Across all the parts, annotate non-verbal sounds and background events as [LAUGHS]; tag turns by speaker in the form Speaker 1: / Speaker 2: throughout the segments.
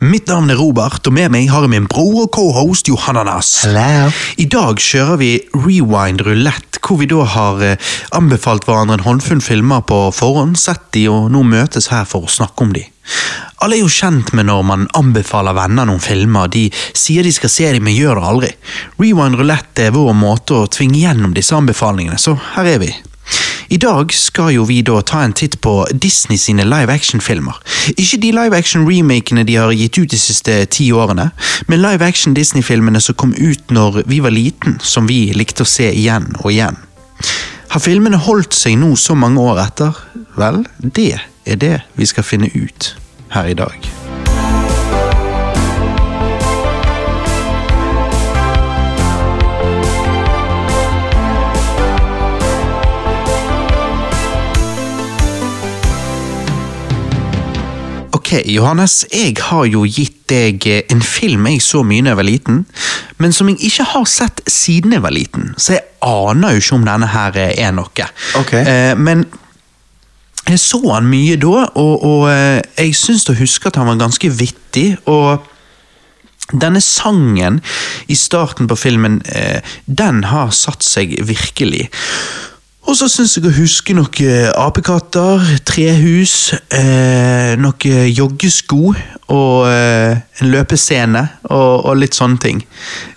Speaker 1: Mitt navn er Robert, og med meg har jeg min bror og cohost Johananas.
Speaker 2: Hello.
Speaker 1: I dag kjører vi Rewind Rulett, hvor vi da har eh, anbefalt hverandre en håndfull filmer på forhånd, sett de og nå møtes her for å snakke om de. Alle er jo kjent med når man anbefaler venner noen filmer, de sier de skal se dem, men gjør det aldri. Rewind Rulett er vår måte å tvinge gjennom disse anbefalingene, så her er vi. I dag skal jo vi da ta en titt på Disney sine live action-filmer. Ikke de live action-remakene de har gitt ut de siste ti årene, men live action Disney-filmene som kom ut når vi var liten, som vi likte å se igjen og igjen. Har filmene holdt seg nå så mange år etter? Vel, det er det vi skal finne ut her i dag. Ok, Johannes, jeg har jo gitt deg eh, en film jeg så mye da jeg var liten, men som jeg ikke har sett siden jeg var liten, så jeg aner jo ikke om denne her eh, er noe.
Speaker 2: Ok.
Speaker 1: Eh, men jeg så han mye da, og, og eh, jeg syns å huske at han var ganske vittig, og denne sangen i starten på filmen, eh, den har satt seg virkelig. Og så syns jeg å huske noen eh, apekatter, trehus, eh, noen joggesko og eh, en løpescene og, og litt sånne ting.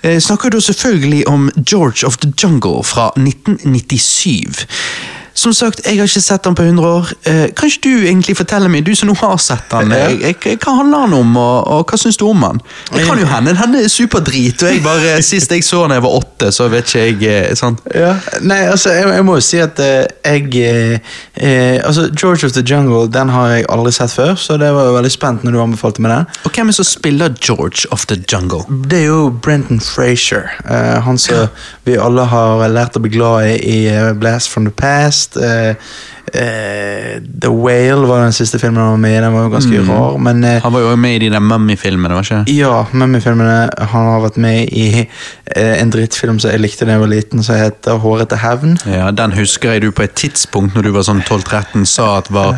Speaker 1: Eh, snakker da selvfølgelig om George of the Jungle fra 1997. Som sagt, jeg har ikke sett han på 100 år. Eh, kan ikke du egentlig fortelle meg, du som nå har sett han,
Speaker 2: Ja.
Speaker 1: eh, jeg, jeg, hva handler han om, og, og hva syns du om han? Det kan jo hende han er superdrit, og jeg bare, [LAUGHS] sist jeg så han da jeg var åtte, så vet ikke jeg eh, sant?
Speaker 2: Ja. Nei, altså, jeg, jeg må jo si at eh, jeg eh, eh, Altså, George of the Jungle den har jeg aldri sett før, så det var jo veldig spent når du anbefalte meg den.
Speaker 1: Og hvem er det som spiller George of the Jungle?
Speaker 2: Det er jo Brenton Frazier, eh, han som vi alle har lært å bli glad i i eh, Blast from the Past. eh, eh, the Whale var den siste filmen han var med i, den var jo ganske rar, men eh,
Speaker 1: Han var jo med i de der Mummy-filmene, var ikke?
Speaker 2: Ja, Mummy-filmene. Han har vært med i eh, en drittfilm som jeg likte da jeg var liten, som heter 'Hårete hevn'.
Speaker 1: Ja, Den husker jeg du på et tidspunkt når du var sånn 12-13 sa at var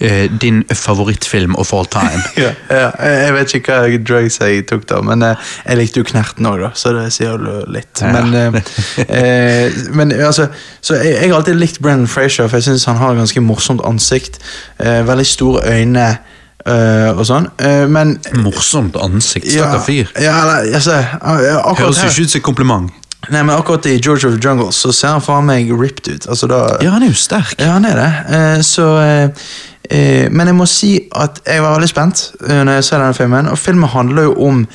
Speaker 1: eh, din favorittfilm of all time.
Speaker 2: Ja, ja, jeg jeg vet ikke hva drugs jeg tok, da, men eh, jeg likte jo Knerten òg, da, så det sier jo litt.
Speaker 1: Ja.
Speaker 2: Men, eh,
Speaker 1: [LAUGHS]
Speaker 2: eh, men altså Så jeg, jeg har alltid likt Brendan Frazier, for jeg syns han har et ganske morsomt ansikt. eh, veldig store øyne eh, og sånn. eh, men
Speaker 1: [LAUGHS] Morsomt ansikt, stakkar fyr.
Speaker 2: Ja, eller, altså, eh, akkurat
Speaker 1: Høres jo
Speaker 2: her
Speaker 1: ikke ut som et kompliment.
Speaker 2: Nei, men akkurat i George of the Jungle så ser han faen meg ripped ut. Altså, da,
Speaker 1: Ja, han er jo sterk.
Speaker 2: ja, han er det. Eh, Så eh, eh, Men jeg må si at jeg var veldig spent eh, når jeg så denne filmen. Og filmen handler jo om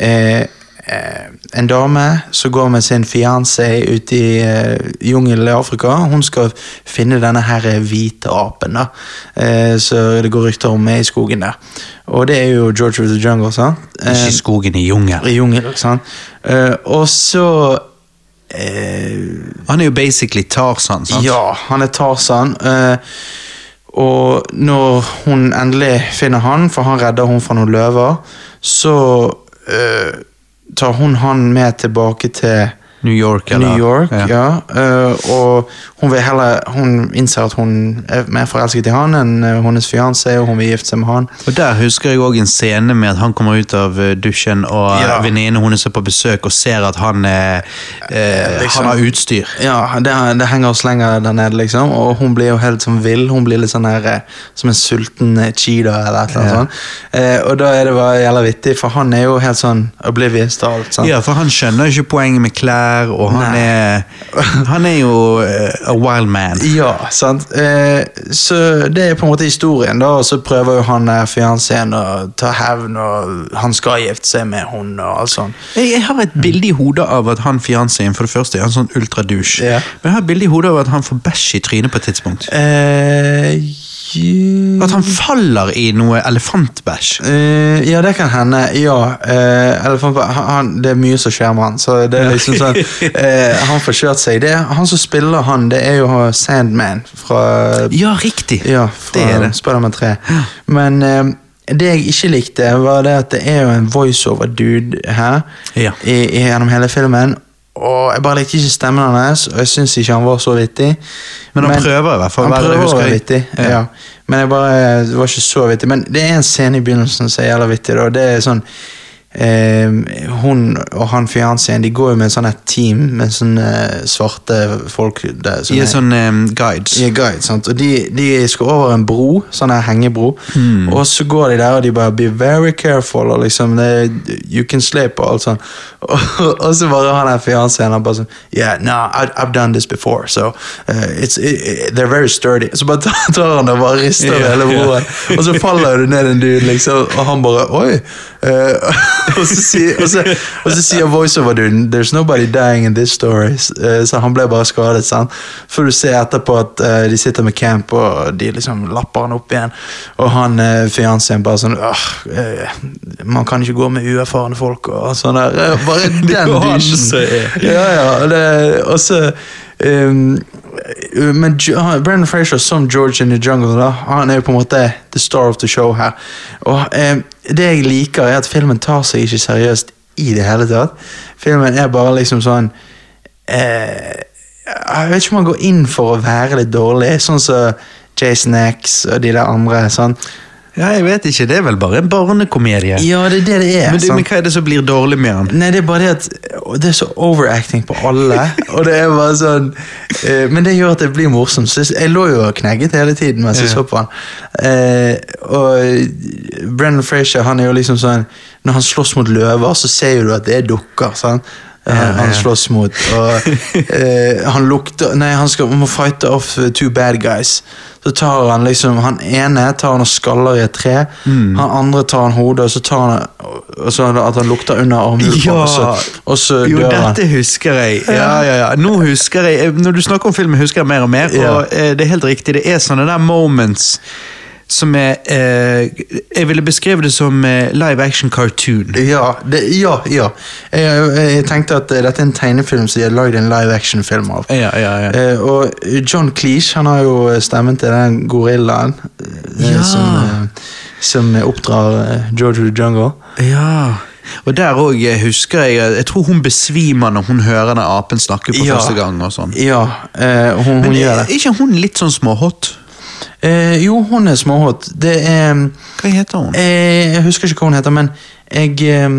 Speaker 2: eh, eh, en dame som går med sin fiancé ute i eh, jungelen i Afrika. Hun skal finne denne her hvite apen, da. Eh, Så det går rykter om er i skogen der. Og det er jo George of the Jungle, sant? Eh,
Speaker 1: Ikke i skogen i jungel.
Speaker 2: I jungelen, sant. Eh, Og så eh,
Speaker 1: Han er jo basically Tarzan, sant?
Speaker 2: ja, han er Tarzan. eh, og når hun endelig finner han, for han redder hun fra noen løver, så eh, tar hun han med tilbake til
Speaker 1: New York, eller?
Speaker 2: New York, ja. eh, og hun vil heller Hun innser at hun er mer forelsket i han enn eh, hennes fiancé, og hun vil gifte seg med han.
Speaker 1: Og Der husker jeg også en scene med at han kommer ut av eh, dusjen, og ja.
Speaker 2: Ja.
Speaker 1: venninnen hennes er på besøk og ser at han, eh, eh,
Speaker 2: Liksom.
Speaker 1: han har utstyr.
Speaker 2: Ja, det, det henger og slenger der nede, liksom. Og hun blir jo helt sånn vill. Hun blir litt sånn her eh, som en sulten eh, cheetah eller et eller annet
Speaker 1: Ja.
Speaker 2: sånt. Eh, og da er det bare jævla vittig, for han er jo helt sånn oblivious til alt. sant?
Speaker 1: Ja, for han skjønner ikke poenget med klær, og han,
Speaker 2: Nei.
Speaker 1: er, han er jo eh, a wild man.
Speaker 2: Ja, sant. Eh, så det er på en måte historien, da. Og så prøver jo han eh, fiancéen å ta hevn, og han skal gifte seg med hun og alt sånt.
Speaker 1: Jeg, jeg har et bilde i hodet av at han fiancéen for det første er en sånn ultradusj.
Speaker 2: Ja.
Speaker 1: Men jeg har et bilde i hodet av at han får bæsj i trynet på et tidspunkt.
Speaker 2: Eh, ju-
Speaker 1: At han faller i noe elefantbæsj.
Speaker 2: Eh, ja, det kan hende. Ja. eh, elefant, han, han- det er mye som skjer med han. Så det er liksom sånn eh, Han får kjørt seg. Det, han som spiller han, det er jo Sandman fra,
Speaker 1: Ja, riktig.
Speaker 2: ja, fra
Speaker 1: Det er det.
Speaker 2: Spiderman 3. Men eh, det jeg ikke likte, var det at det er jo en voiceover-dude her
Speaker 1: Ja.
Speaker 2: i, i, gjennom hele filmen. Og jeg bare likte ikke stemmen hans, og jeg syns ikke han var så vittig.
Speaker 1: Men han prøver i hvert fall å
Speaker 2: Han
Speaker 1: være det,
Speaker 2: prøver å
Speaker 1: husker
Speaker 2: være
Speaker 1: jeg.
Speaker 2: vittig,
Speaker 1: Ja.
Speaker 2: ja. Men jeg bare, det var ikke så vittig. Men det er en scene i begynnelsen som er jævla vittig. Da. Det er sånn eh, Hun og han fianceen de går jo med et sånt her team med sånne eh, svarte folk. Der, sånn som
Speaker 1: De
Speaker 2: er-
Speaker 1: er sånne eh, guides.
Speaker 2: de er guide, sant? Og de, de skal over en bro, sånn her hengebro,
Speaker 1: Hmm.
Speaker 2: og så går de der, og de bare Be very careful, og liksom det, You can slip, og alt sånn. [LAUGHS] Og, og så bare han der fianceen han bare sånn Yeah, no, I, I've done this before, so uh, it's, it, it, They're very sturdy. Så bare [LAUGHS] tar, tar han det og bare rister
Speaker 1: Ja,
Speaker 2: yeah, hele
Speaker 1: ja.
Speaker 2: broen, og så faller det ned en dude, liksom, og han bare Oi! eh, [LAUGHS] og, så sier, og, så, og så sier voiceover-duden There's nobody dying in this story. S- eh, så han ble bare skadet, sant. For du ser etterpå at eh, de sitter med camp, og de liksom lapper han opp igjen. Og han uh, fianceen bare sånn «Åh, eh, Man kan ikke gå med uerfarne folk og sånn der. Eh, bare
Speaker 1: [LAUGHS] Det er
Speaker 2: den
Speaker 1: jo han som
Speaker 2: dusjen.
Speaker 1: er-
Speaker 2: Ja, ja. og Det, og så ehm, Men Jo- han- Brendan Fraser som George in the Jungle, da, han er jo på en måte the star of the show her. Og ehm, det jeg liker, er at filmen tar seg ikke seriøst i det hele tatt. Filmen er bare liksom sånn eh, Jeg vet ikke om han går inn for å være litt dårlig, sånn som Jason X og de der andre. Sånn.
Speaker 1: Ja, jeg vet ikke, det er vel bare en barnekomedie.
Speaker 2: Ja, det er det det er.
Speaker 1: men, du,
Speaker 2: sant?
Speaker 1: men hva er det som blir dårlig med han?
Speaker 2: Nei, det er bare det at og Det er så overacting på alle.
Speaker 1: [LAUGHS]
Speaker 2: Og det er bare sånn eh, Men det gjør at det blir morsomt. Så jeg- jeg lå jo og knegget hele tiden mens jeg
Speaker 1: Ja.
Speaker 2: så på han. Eh, og Brendan Frazier, han er jo liksom sånn Når han slåss mot løver, så ser jo du at det er dukker. sant? Eh, Han
Speaker 1: ja.
Speaker 2: slåss mot
Speaker 1: [LAUGHS]
Speaker 2: og eh, Han lukter Nei, han skal, må fighte off eh, two bad guys. Så tar han liksom Han ene tar han og skaller i et tre.
Speaker 1: Mm.
Speaker 2: Han andre tar han hodet, og så tar han og, og så at han lukter under armen
Speaker 1: Ja.
Speaker 2: og så, og så
Speaker 1: Jo,
Speaker 2: dør han.
Speaker 1: dette husker jeg. Ja, ja, ja. Nå husker jeg, eh, Når du snakker om filmen, husker jeg mer og mer.
Speaker 2: Ja.
Speaker 1: Og eh, det er helt riktig, det er sånne der moments som er eh, Jeg ville beskrevet det som eh, live action cartoon.
Speaker 2: Ja, det, ja, ja. Jeg, jeg, jeg tenkte at eh, dette er en tegnefilm som de har lagd en live action-film av.
Speaker 1: Ja, ja, ja.
Speaker 2: Eh, og John Cleese han har jo eh, stemmen til den gorillaen eh,
Speaker 1: Ja.
Speaker 2: som, eh, som eh, oppdrar eh, George of the Jungle.
Speaker 1: Ja, og der òg husker jeg Jeg tror hun besvimer når hun hører den apen snakke på
Speaker 2: Ja.
Speaker 1: første gang. og sånn.
Speaker 2: Ja, eh, hun,
Speaker 1: Men
Speaker 2: hun gjør
Speaker 1: er
Speaker 2: det.
Speaker 1: ikke hun litt sånn småhot?
Speaker 2: Eh, jo, hun er småhot. Det er mm,
Speaker 1: Hva heter hun?
Speaker 2: eh, Jeg husker ikke hva hun heter, men jeg eh,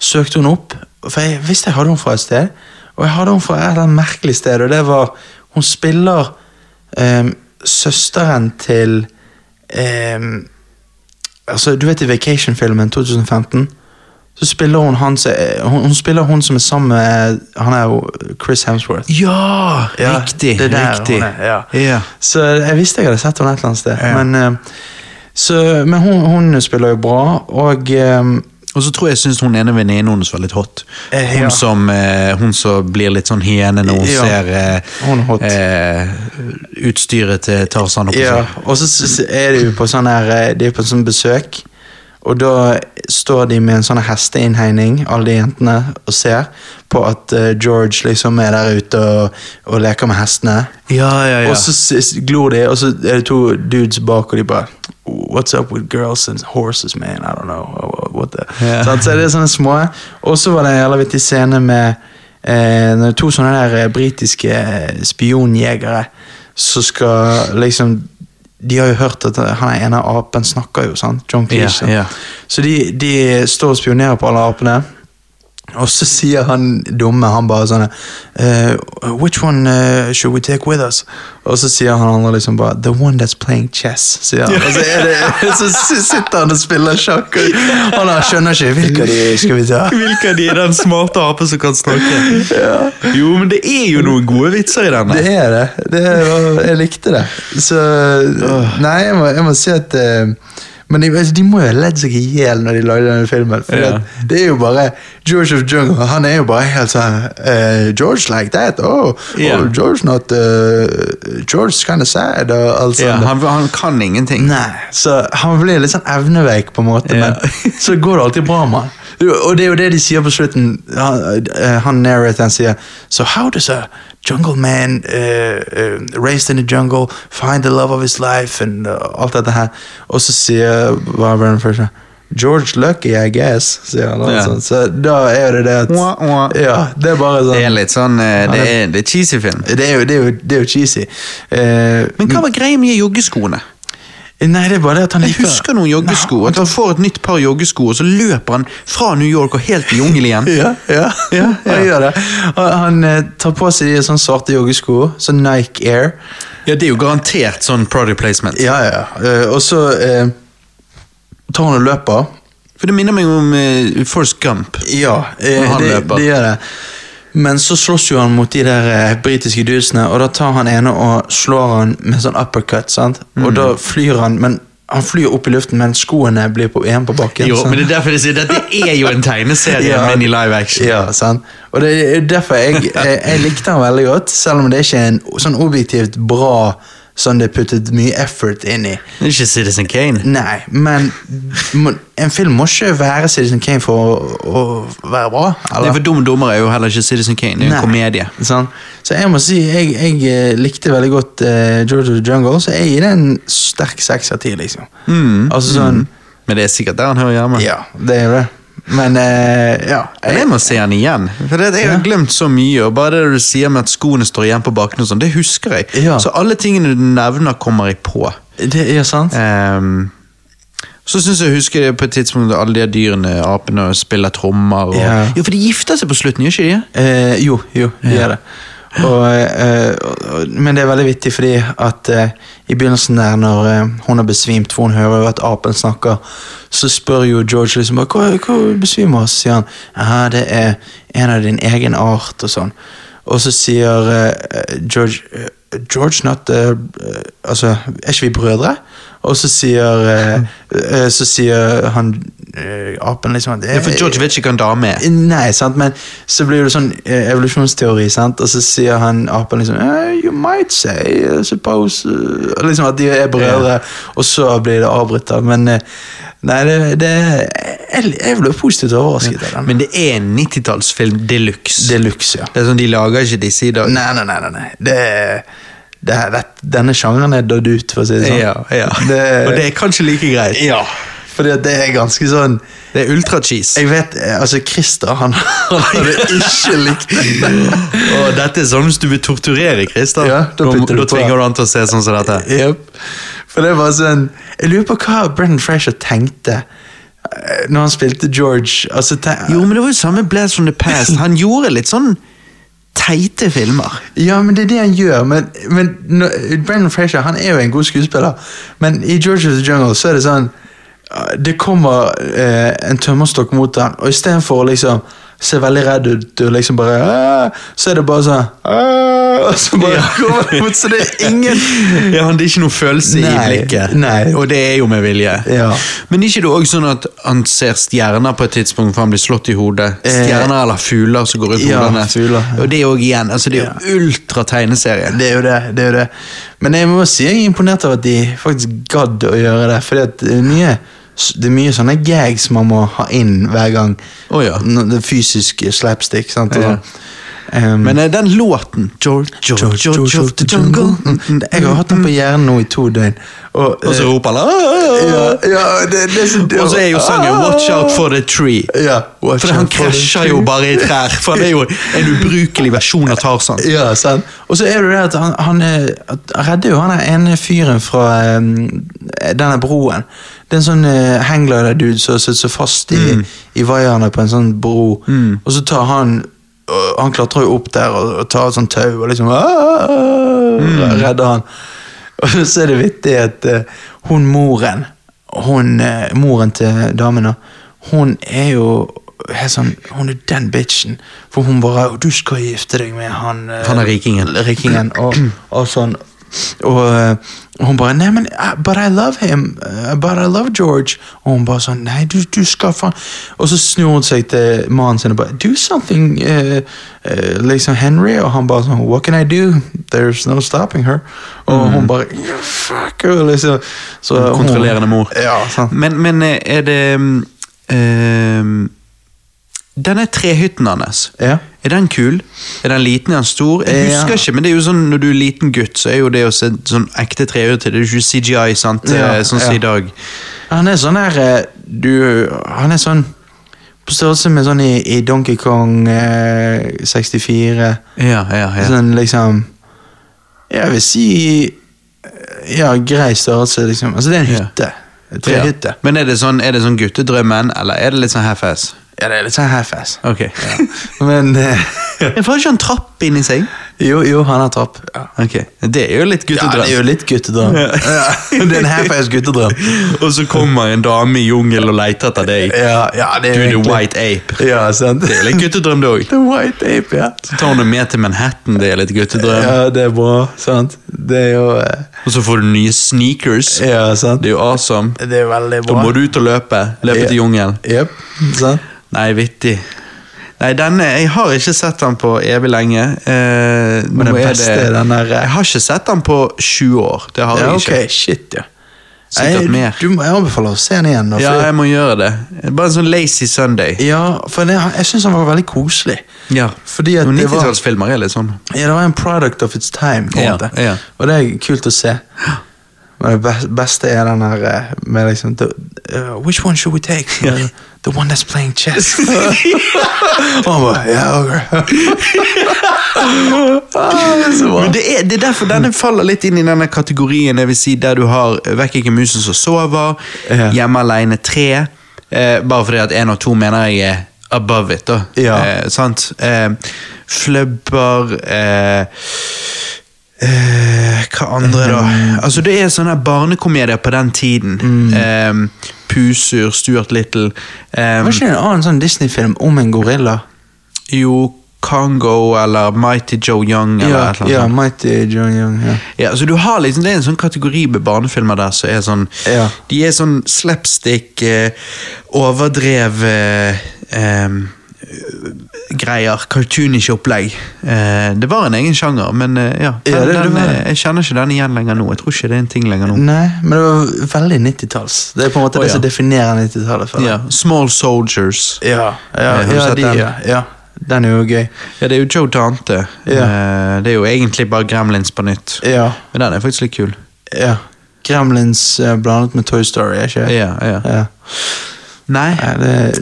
Speaker 2: søkte hun opp. For jeg visste jeg hadde hun fra et sted, og jeg hadde hun fra et eller annet merkelig sted. Og det var Hun spiller eh, søsteren til eh, altså, Du vet i Vacation-filmen 2015? Så spiller hun han som eh, hun, hun spiller hun som er sammen med Han er jo Chris Hemsworth.
Speaker 1: Ja,
Speaker 2: Ja,
Speaker 1: riktig.
Speaker 2: det er der
Speaker 1: riktig.
Speaker 2: hun er, ja.
Speaker 1: ja.
Speaker 2: Så jeg visste jeg hadde sett henne et eller annet sted.
Speaker 1: Ja.
Speaker 2: Men, eh, så, men hun, hun spiller jo bra, og eh,
Speaker 1: Og så tror jeg jeg syns hun ene venninnen hennes var litt hot.
Speaker 2: Eh, ja.
Speaker 1: Hun, som, eh, hun som blir litt sånn hyene når hun
Speaker 2: Ja.
Speaker 1: ser eh,
Speaker 2: Hun er hot.
Speaker 1: Eh, utstyret til Tarzan. oppe på
Speaker 2: ja,
Speaker 1: seg.
Speaker 2: og så s- s- er de jo på sånn her eh, De er på sånn besøk, og da står de med en sånn hesteinnhegning, alle de jentene, og ser på at eh, George liksom er der ute og, og leker med hestene.
Speaker 1: ja, ja, ja.
Speaker 2: Og så s- s- glor de, og så er det to dudes bak, og de bare What's up with girls and horses, man? I don't know. What the?
Speaker 1: Ja.
Speaker 2: [LAUGHS] Sant? Så det er sånne små. Og så var det en jævla vittig scene med eh, når to sånne der eh, britiske eh, spionjegere som skal liksom De har jo hørt at eh, han ene apen snakker jo, sant? John Cleese.
Speaker 1: Ja, ja.
Speaker 2: Så de, de står og spionerer på alle apene. Og så sier han dumme, han bare sånn eh, Which one eh, should we take with us? Oh, Og så sier han andre liksom bare The one that's playing chess, sier han. Og så, er det, så s- sitter han og spiller Oh, sjakk, og han da skjønner ikke hvilke av de skal vi ta.
Speaker 1: Hvilken av de er den smarte apen som kan snakke?
Speaker 2: [LAUGHS]
Speaker 1: Jo, men det er jo noen gode vitser i denne.
Speaker 2: Det er det. det er, og jeg likte det. Så Nei, jeg må, jeg må si at eh, Men de, altså, de må jo ha ledd seg i hjel når de lagde denne filmen. For
Speaker 1: Ja.
Speaker 2: at det er jo bare George of Jungle. Han er jo bare helt sånn eh, George like that. Oh,
Speaker 1: Ja.
Speaker 2: oh George not eh, George kind of sad. Og alt
Speaker 1: Ja,
Speaker 2: sånt.
Speaker 1: han, han kan ingenting.
Speaker 2: Nei, så han blir litt sånn evneveik på en måte,
Speaker 1: Ja. [LAUGHS]
Speaker 2: men så går det alltid bra med han. Og det er jo det de sier på slutten. Han, eh, han narrate, han sier So how does a jungle man eh, eh, raised in the jungle find the love of his life and eh, alt dette her. Og så sier hva var den første? George Lucky, I guess, sier han. og
Speaker 1: Ja.
Speaker 2: Sånn. Så da er det det at
Speaker 1: Wah, wah.
Speaker 2: Ja, det er bare sånn
Speaker 1: Det er litt sånn eh, Det er, det er cheesy film.
Speaker 2: det er jo, det er jo, det er jo cheesy. Eh,
Speaker 1: Men hva var greia med joggeskoene?
Speaker 2: Nei, det er bare det at han
Speaker 1: Jeg
Speaker 2: liker
Speaker 1: husker noen joggesko.
Speaker 2: Nei,
Speaker 1: At han får et nytt par joggesko, og så løper han fra New York og helt til jungel
Speaker 2: [LAUGHS]
Speaker 1: igjen.
Speaker 2: Ja, ja.
Speaker 1: Ja, ja.
Speaker 2: han gjør det. Og han eh, tar på seg de sånne svarte joggesko, sånn Nike Air.
Speaker 1: Ja, Det er jo garantert sånn product placement.
Speaker 2: Ja, ja. Eh, og så eh, tar han og løper.
Speaker 1: For det minner meg om uh, Force Gump.
Speaker 2: Ja, eh,
Speaker 1: Når han
Speaker 2: det,
Speaker 1: løper.
Speaker 2: det gjør det. Men så slåss jo han mot de der eh, britiske dudesene, og da tar han ene og slår han med sånn uppercut, sant?
Speaker 1: Mm.
Speaker 2: Og da flyr han, men han flyr opp i luften, men skoene blir på, igjen på bakken.
Speaker 1: Jo,
Speaker 2: sant?
Speaker 1: men det er derfor jeg sier Dette er jo en tegneserie,
Speaker 2: Ja.
Speaker 1: men i live action.
Speaker 2: Ja, sant? Og det er derfor jeg, jeg, jeg likte han veldig godt, selv om det ikke er en sånn objektivt bra sånn det er puttet mye effort inn i.
Speaker 1: Det er ikke Citizen Kane.
Speaker 2: Nei, men må- en film må ikke være Citizen Kane for å, å være bra,
Speaker 1: Nei,
Speaker 2: eller?
Speaker 1: for Dum og dummere er jo heller ikke Citizen Kane. Det er jo en komedie.
Speaker 2: Sånn. Så jeg må si, jeg, jeg eh, likte veldig godt eh, George of the Jungle, så jeg gir det en sterk seks av ti, liksom.
Speaker 1: Mm,
Speaker 2: Altså sånn,
Speaker 1: Men det er sikkert der han hører hjemme.
Speaker 2: ja, det er jo det. Men, eh, ja.
Speaker 1: mm. Men Jeg må se han igjen. For det, Jeg har glemt så mye. og Bare det du sier med at skoene står igjen på bakken, og sånn, det husker jeg.
Speaker 2: Ja.
Speaker 1: Så alle tingene du nevner, kommer jeg på.
Speaker 2: Det er sant.
Speaker 1: Ehm, så syns jeg husker jeg på et tidspunkt at alle de dyrene, apene, og spiller trommer. Og...
Speaker 2: Ja.
Speaker 1: Jo, for de gifter seg på slutten, gjør ikke de?
Speaker 2: Eh, jo, jo, det gjør det. Og, eh, og- og, men det er veldig vittig fordi at eh, i begynnelsen der når eh, hun har besvimt, for hun hører jo at apen snakker, så spør jo George liksom bare, hva, hva besvimer oss? Så sier han ja, det er en av din egen art og sånn. Og så sier eh, George eh, George not eh, eh, Altså, er ikke vi brødre? Og så sier
Speaker 1: [LAUGHS]
Speaker 2: eh, eh, Så sier han eh, apen liksom at,
Speaker 1: Ja, for George vet ikke hva en dame er.
Speaker 2: Nei, sant, men så blir det sånn eh, evolusjonsteori, sant, og så sier han apen liksom eh, You might say, eh, suppose eh, og Liksom at de er brødre, og så blir det avbrutt, da. Men eh, nei, det, det jeg, jeg ble positivt overrasket av den.
Speaker 1: Men det er en 90-tallsfilm de luxe.
Speaker 2: Det er luks, ja.
Speaker 1: Det er sånn, De lager ikke disse i dag.
Speaker 2: Nei, nei, nei, nei. nei. Det, det, det, denne sjangeren er dødd ut, for å si det sånn.
Speaker 1: Ja, ja.
Speaker 2: Det-
Speaker 1: Og det er kanskje like greit.
Speaker 2: ja. Fordi at det er ganske sånn
Speaker 1: Det er ultra-cheese.
Speaker 2: Jeg vet, eh, altså Christer, han [LAUGHS] han hadde ikke likt det.
Speaker 1: Og dette er sånn hvis du vil torturere Christer.
Speaker 2: Ja, da
Speaker 1: da,
Speaker 2: putter du
Speaker 1: da
Speaker 2: på.
Speaker 1: tvinger du han til å se sånn som dette.
Speaker 2: Jep. For det var sånn Jeg lurer på hva Brendan Fraser tenkte eh, når han spilte George. Altså, ten,
Speaker 1: Jo, men det var jo samme Blast from the Past. Han gjorde litt sånn teite filmer.
Speaker 2: Ja, men det er det han gjør. Men, men nå- Brendan Fraser han er jo en god skuespiller, men i George of the Jungle så er det sånn eh, Det kommer eh, en tømmerstokk mot han, og istedenfor å liksom se veldig redd ut og liksom bare «Åh», Så er det bare sånn «Åh», Og så bare
Speaker 1: Ja.
Speaker 2: [LAUGHS] kommer det mot, så det er [LAUGHS] ingen
Speaker 1: Ja, han, Det er ikke noe følelse i
Speaker 2: Nei,
Speaker 1: blikket,
Speaker 2: nei.
Speaker 1: og det er jo med vilje.
Speaker 2: Ja.
Speaker 1: Men er ikke det også sånn at han ser stjerner på et tidspunkt for han blir slått i hodet?
Speaker 2: Eh,
Speaker 1: Stjerner eller fugler som går ut på
Speaker 2: ja,
Speaker 1: hodene?
Speaker 2: fugler, ja.
Speaker 1: Og det er jo igjen, altså det er jo ultra tegneserie.
Speaker 2: Det er jo det. det er jo det. Men jeg må si jeg er imponert over at de faktisk gadd å gjøre det. Fordi at det er mye, det er mye sånne gags man må ha inn hver gang.
Speaker 1: Å ja.
Speaker 2: Nå- Det fysiske slapstick. sant? Og
Speaker 1: Ja.
Speaker 2: sånn. Ehm,
Speaker 1: Men eh, den låten George, George, George, of the Jungle
Speaker 2: Mm, Jeg har hatt den på hjernen nå i to døgn. Og,
Speaker 1: Og så roper han «Ah!»
Speaker 2: eh, ja, ja, det, det er så Ah!
Speaker 1: Og så er jo sangen 'Watch Out for the Tree'.
Speaker 2: Ja, watch
Speaker 1: For han
Speaker 2: out for the
Speaker 1: krasjer
Speaker 2: tree.
Speaker 1: jo bare i trær. For det er jo en ubrukelig versjon av Tarzan.
Speaker 2: Ja, sant. Og så er det det at han, han eh, at han redder jo han der ene fyren fra eh, denne broen. Det er en sånn eh, hangglider-dude som sitter så fast i, i vaierne på en sånn bro. Og så tar han og Han klatrer jo opp der og, og tar et sånt tau og liksom «Aah!» Redder han. [LAUGHS] Og så er det vittig at eh, hun moren, hun, eh, moren til damen, da, hun er jo helt sånn, Hun er den bitchen. For hun bare 'Du skal gifte deg med han eh,
Speaker 1: Han er rikingen.
Speaker 2: rikingen', og, og sånn. Og eh, hun bare 'Nei, men eh, But I love him. eh, But I love George'. Og hun bare sånn 'Nei, du, du skal faen Og så snur hun seg til mannen sin og bare 'Do something', eh, eh, liksom Henry. Og han bare sånn 'What can I do? There's no stopping her'. Og
Speaker 1: Mm.
Speaker 2: hun bare «You Fuck you, liksom. Så hun-
Speaker 1: Kontrollerende mor.
Speaker 2: Ja, sant.
Speaker 1: Men, men eh, er det mm, ehm, Denne trehytten hans,
Speaker 2: Ja.
Speaker 1: er den kul? Er den liten? Er den stor? Jeg
Speaker 2: Ja.
Speaker 1: husker ikke, men det er jo sånn når du er liten gutt, så er jo det å se sånn ekte trehytte Det er jo ikke CGI, sant?
Speaker 2: Ja,
Speaker 1: Eh, Sånn som
Speaker 2: ja.
Speaker 1: i dag.
Speaker 2: Han er sånn her eh, Du Han er sånn På størrelse med sånn i, i Donkey Kong eh, 64.
Speaker 1: Ja, ja, ja.
Speaker 2: Sånn liksom Jeg vil si eh, ja, grei størrelse, liksom. Altså, det er en hytte. Trehytte.
Speaker 1: Men er det sånn, er det sånn guttedrømmen, eller er det litt sånn half-ass?
Speaker 2: Ja, det er litt sånn half-ass.
Speaker 1: Ok.
Speaker 2: Men eh,
Speaker 1: [LAUGHS] Jeg får ikke en trapp inni seg.
Speaker 2: jo, jo, han har trapp. Ja.
Speaker 1: Ok, Det er jo litt guttedrøm.
Speaker 2: det er jo litt guttedrøm.
Speaker 1: Ja.
Speaker 2: Ja, det er en half-ass guttedrøm.
Speaker 1: Og så kommer en dame i jungelen og leter etter deg.
Speaker 2: Ja, ja, det
Speaker 1: Du er
Speaker 2: er
Speaker 1: the
Speaker 2: egentlig-
Speaker 1: white ape.
Speaker 2: Ja, sant.
Speaker 1: Det er jo litt guttedrøm, det òg.
Speaker 2: The White Ape, ja.
Speaker 1: Så tar hun deg med til Manhattan, det er litt guttedrøm.
Speaker 2: Ja, det er bra, sant. Det er jo eh,
Speaker 1: Og så får du nye sneakers.
Speaker 2: Ja, sant.
Speaker 1: Det er jo awesome.
Speaker 2: Det er veldig
Speaker 1: Da
Speaker 2: bra.
Speaker 1: må du ut og løpe. Løpe
Speaker 2: Ja.
Speaker 1: til jungelen.
Speaker 2: Jep, sant.
Speaker 1: Nei, vittig. Nei, denne, Jeg har ikke sett den på evig lenge. Eh, nå
Speaker 2: den
Speaker 1: er
Speaker 2: beste er den der- eh,
Speaker 1: Jeg har ikke sett den på 20 år. Det har
Speaker 2: Ja,
Speaker 1: jeg ikke.
Speaker 2: ok, shit, ja.
Speaker 1: Sikkert
Speaker 2: Nei,
Speaker 1: mer.
Speaker 2: Du, må- jeg anbefaler å se den igjen. Da, for,
Speaker 1: Ja,
Speaker 2: ja,
Speaker 1: jeg må gjøre det. Bare en sånn lazy Sunday.
Speaker 2: for det, jeg syns han var veldig koselig.
Speaker 1: Ja.
Speaker 2: Fordi at det var,
Speaker 1: 90-tallsfilmer er litt sånn.
Speaker 2: ja, det var en product of its time, på en
Speaker 1: Ja,
Speaker 2: måte.
Speaker 1: ja.
Speaker 2: Og det er kult å se. Men det bes- beste er den her eh, med liksom the, uh, Which one should we take? The one that's playing chess. [LAUGHS] Og han bare, ja, ok. ah, det er så bra.
Speaker 1: Men det er, det er derfor denne faller litt inn i denne kategorien jeg vil si, der du har eh, Vekk ikke musen som sover,
Speaker 2: Ja.
Speaker 1: Hjemme aleine tre. Eh, bare fordi at én og to mener jeg er above it. da.
Speaker 2: Ja.
Speaker 1: Eh, sant? Eh, fløbber eh, eh, Hva andre, da?
Speaker 2: Mm.
Speaker 1: Altså Det er sånne her barnekomedier på den tiden. Eh, Pusur, Stuart Little eh,
Speaker 2: Var ikke det en annen sånn Disney-film om en gorilla?
Speaker 1: Jo, Congo eller Mighty Joe Young eller
Speaker 2: Ja,
Speaker 1: et eller annet.
Speaker 2: ja
Speaker 1: sånt.
Speaker 2: Mighty John Young. Ja.
Speaker 1: Ja, så du har liksom, Det er en sånn kategori med barnefilmer der som er sånn
Speaker 2: Ja.
Speaker 1: De er sånn slapstick, eh, overdrevet eh, greier. Cartoonish opplegg. Eh, det var en egen sjanger, men eh, ja. Den,
Speaker 2: Ja, det- det
Speaker 1: den,
Speaker 2: var det.
Speaker 1: eh, jeg kjenner ikke den igjen lenger nå. Jeg tror ikke det er en ting lenger nå.
Speaker 2: Nei, men det var veldig 90-talls. Det er på en måte
Speaker 1: Å,
Speaker 2: det
Speaker 1: ja.
Speaker 2: som definerer 90-tallet. føler jeg.
Speaker 1: Ja, Small Soldiers.
Speaker 2: ja, ja,
Speaker 1: Eh, har du
Speaker 2: ja,
Speaker 1: sett
Speaker 2: de,
Speaker 1: den?
Speaker 2: ja, ja. Den er jo gøy.
Speaker 1: Ja, Det er jo Joe Dante. Eh, det er jo egentlig bare Gremlins på nytt.
Speaker 2: Ja,
Speaker 1: Men den er faktisk litt kul.
Speaker 2: ja. Gremlins eh, blandet med Toy Story, er ikke det?
Speaker 1: Ja, ja.
Speaker 2: Ja.
Speaker 1: Nei,
Speaker 2: Nei, det er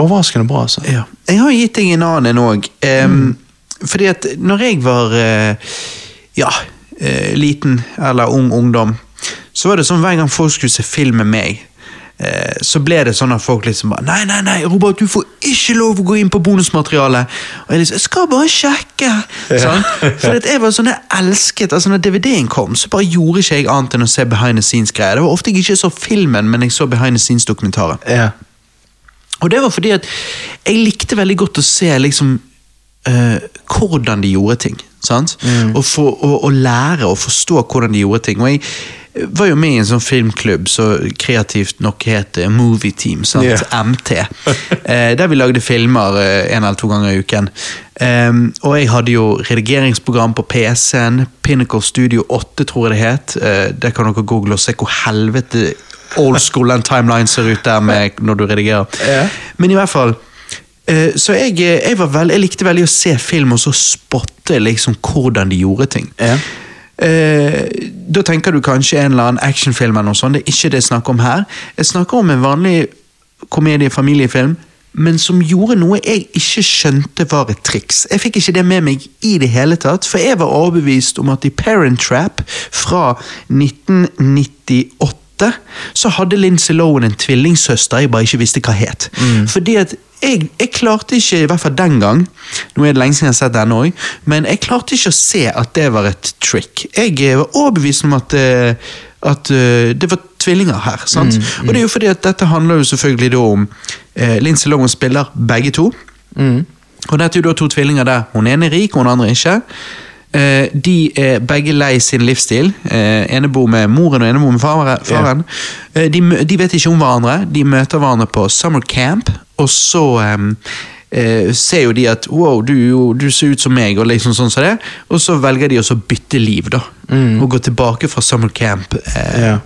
Speaker 2: overraskende bra, altså.
Speaker 1: Ja. Jeg har gitt deg en annen en òg. Um, Fordi at når jeg var eh, ja, eh, liten eller ung ungdom, så var det sånn hver gang folk skulle se film med meg, eh, så ble det sånn at folk liksom bare Nei, nei, nei, Robert, du får ikke lov å gå inn på bonusmaterialet. Og jeg liksom Jeg skal bare sjekke. Sånn? For at jeg var sånn, jeg elsket altså Når DVD-en kom, så bare gjorde ikke jeg annet enn å se behind the scenes-greier. Det var ofte jeg ikke så filmen, men jeg så behind the scenes-dokumentaret.
Speaker 2: Ja.
Speaker 1: Og det var fordi at jeg likte veldig godt å se liksom eh, hvordan de gjorde ting. Sant? Og, for, og, og lære og forstå hvordan de gjorde ting. Og jeg eh, var jo med i en sånn filmklubb så kreativt nok het det Movie Team, sant? [LAUGHS]
Speaker 2: Ja.
Speaker 1: MT. Eh, der vi lagde filmer eh, en eller to ganger i uken. Em, og jeg hadde jo redigeringsprogram på PC-en. Pinnacle Studio 8, tror jeg det het. Eh, der kan dere google og se hvor helvete old school den timeline ser ut der med når du redigerer.
Speaker 2: Ja.
Speaker 1: Men i hvert fall eh, Så jeg, eh, jeg, var vel- jeg likte veldig å se film og så spotte liksom hvordan de gjorde ting.
Speaker 2: Ja.
Speaker 1: Eh, da tenker du kanskje en eller annen actionfilm, eller noe sånt. det er ikke det jeg snakker om her. Jeg snakker om en vanlig komedie-familiefilm, men som gjorde noe jeg ikke skjønte var et triks. Jeg fikk ikke det med meg i det hele tatt, for jeg var overbevist om at i Parent Trap fra 1998 så hadde Lindsay Lohan en tvillingsøster jeg bare ikke visste hva het. Fordi at jeg, jeg klarte ikke, i hvert fall den gang, nå er det lenge siden jeg har sett den òg, men jeg klarte ikke å se at det var et trick. Jeg eh, var overbevist om at, eh, at eh, det var tvillinger her. sant? Og det er jo fordi at dette handler jo selvfølgelig da om eh, Lindsay Lohan spiller begge to. Og dette er jo da to tvillinger der hun ene er rik, og hun andre ikke. Eh, de er begge lei sin livsstil. Eh, ene bor med moren, og ene bor med faren. faren. Eh, de, mø- de vet ikke om hverandre. De møter hverandre på summer camp, og så em, eh, ser jo de at wow, du, er jo- du ser ut som meg, og liksom sånn som det. Og så velger de også å bytte liv, da. Og gå tilbake fra summer camp eh,
Speaker 2: Ja.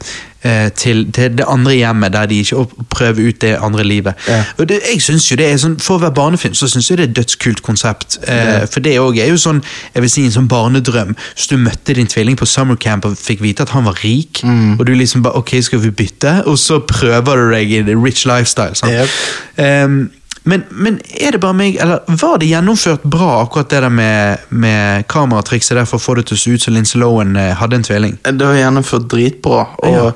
Speaker 1: eh, til, til det andre hjemmet, der de ikke og prøver ut det andre livet.
Speaker 2: Ja.
Speaker 1: Og det, jeg synes jo det er sånn, For å være barnefilm så syns jeg det er et dødskult konsept. Eh, For det òg er jo sånn jeg vil si en sånn barnedrøm. Hvis du møtte din tvilling på summercamp og fikk vite at han var rik, og du liksom bare Ok, skal vi bytte? Og så prøver du deg i the rich lifestyle. Sant?
Speaker 2: Yep.
Speaker 1: Ehm, Men, men er det bare meg, eller var det gjennomført bra, akkurat det der med, med kameratrikset der for å få det til å se ut som Lindsay Lohan eh, hadde en tvilling?
Speaker 2: Det var gjennomført dritbra. Og
Speaker 1: Ja.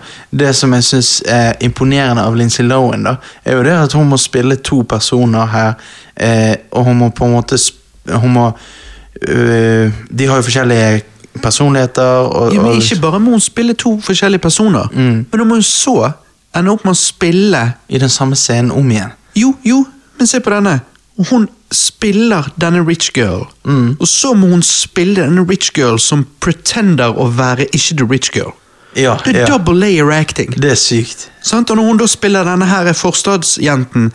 Speaker 2: det som jeg syns er imponerende av Lindsay Lohan, da, er jo det at hun må spille to personer her, eh, og hun må på en måte sp- Hun må øh, De har jo forskjellige personligheter, og,
Speaker 1: Ja, men
Speaker 2: og Mm.
Speaker 1: ikke bare må hun spille to forskjellige personer, men hun må jo så ende opp med å spille
Speaker 2: i den samme scenen om igjen.
Speaker 1: Jo, jo, men se på denne. Hun spiller denne rich girl,
Speaker 2: Mm.
Speaker 1: og så må hun spille denne rich girl som pretender å være ikke the rich girl.
Speaker 2: Ja,
Speaker 1: Det er
Speaker 2: ja.
Speaker 1: double layer acting.
Speaker 2: Det er sykt.
Speaker 1: Sant? Og når hun da spiller denne her forstadsjenten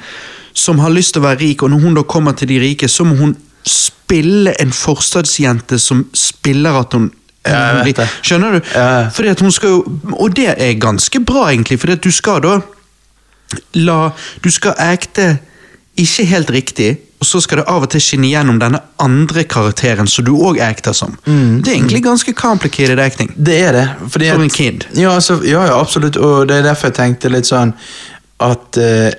Speaker 1: som har lyst til å være rik, og når hun da kommer til de rike, så må hun spille en forstadsjente som spiller at hun
Speaker 2: Ja, jeg
Speaker 1: hun
Speaker 2: vet
Speaker 1: blir-
Speaker 2: det.
Speaker 1: Skjønner du?
Speaker 2: Ja.
Speaker 1: Fordi at hun skal jo, og det er ganske bra, egentlig, fordi at du skal da la Du skal acte ikke helt riktig, og så skal det av og til skinne gjennom denne andre karakteren som du òg acter som. Det er egentlig ganske complicated acting.
Speaker 2: Det er det. Fordi
Speaker 1: Som en
Speaker 2: at-
Speaker 1: kid.
Speaker 2: Ja, altså, ja, ja, absolutt. Og det er derfor jeg tenkte litt sånn at eh,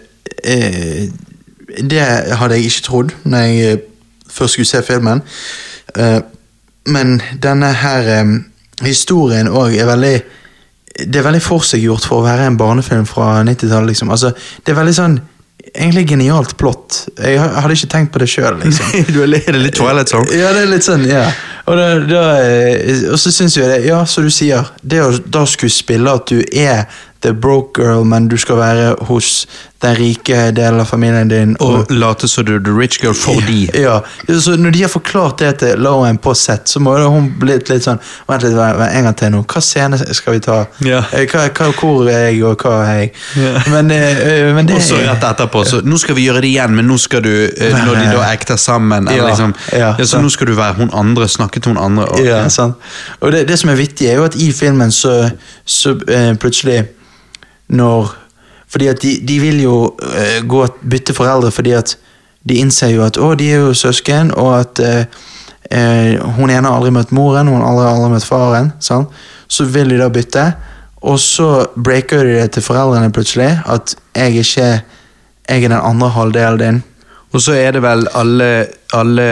Speaker 2: eh, Det hadde jeg ikke trodd når jeg eh, først skulle se filmen. Eh, men denne her eh, historien òg er veldig Det er veldig forseggjort for å være en barnefilm fra 90-tallet, liksom. Altså, det er veldig sånn Egentlig genialt plott. Jeg ha- hadde ikke tenkt på det sjøl, liksom.
Speaker 1: [LAUGHS] du er litt- er det litt Twilight Zone.
Speaker 2: Ja, det er litt sånn, ja. Og, da, da, eh, og så syns jeg det Ja, som du sier, det å da skulle spille at du er the broke girl, men du skal være hos den rike delen av familien din
Speaker 1: Og late som du er the rich girl fordi
Speaker 2: ja, så Når de har forklart det til Lauren på set, så må jo hun blitt litt sånn Vent litt, vent, vent, en gang til nå. Hva scene skal vi ta?
Speaker 1: Ja.
Speaker 2: Eh, Hva, hva, hvor er jeg, og hva er jeg?
Speaker 1: Ja.
Speaker 2: Men, eh, eh, men det
Speaker 1: Og så rett etterpå, så nå skal vi gjøre det igjen, men nå skal du, eh, når de da acter sammen eller
Speaker 2: Ja,
Speaker 1: liksom,
Speaker 2: ja,
Speaker 1: ja, Så
Speaker 2: sant.
Speaker 1: nå skal du være hun andre, snakke til hun andre. Og,
Speaker 2: Ja, sant. Og det, det som er vittig, er jo at i filmen så, så eh, plutselig Når Fordi at de, de vil jo eh, gå og bytte foreldre fordi at de innser jo at å, de er jo søsken, og at eh, eh, hun ene har aldri møtt moren, hun andre har aldri møtt faren. Sant? Så vil de da bytte, og så breaker de det til foreldrene plutselig at jeg er ikke jeg er den andre halvdelen din.
Speaker 1: og så er det vel alle, alle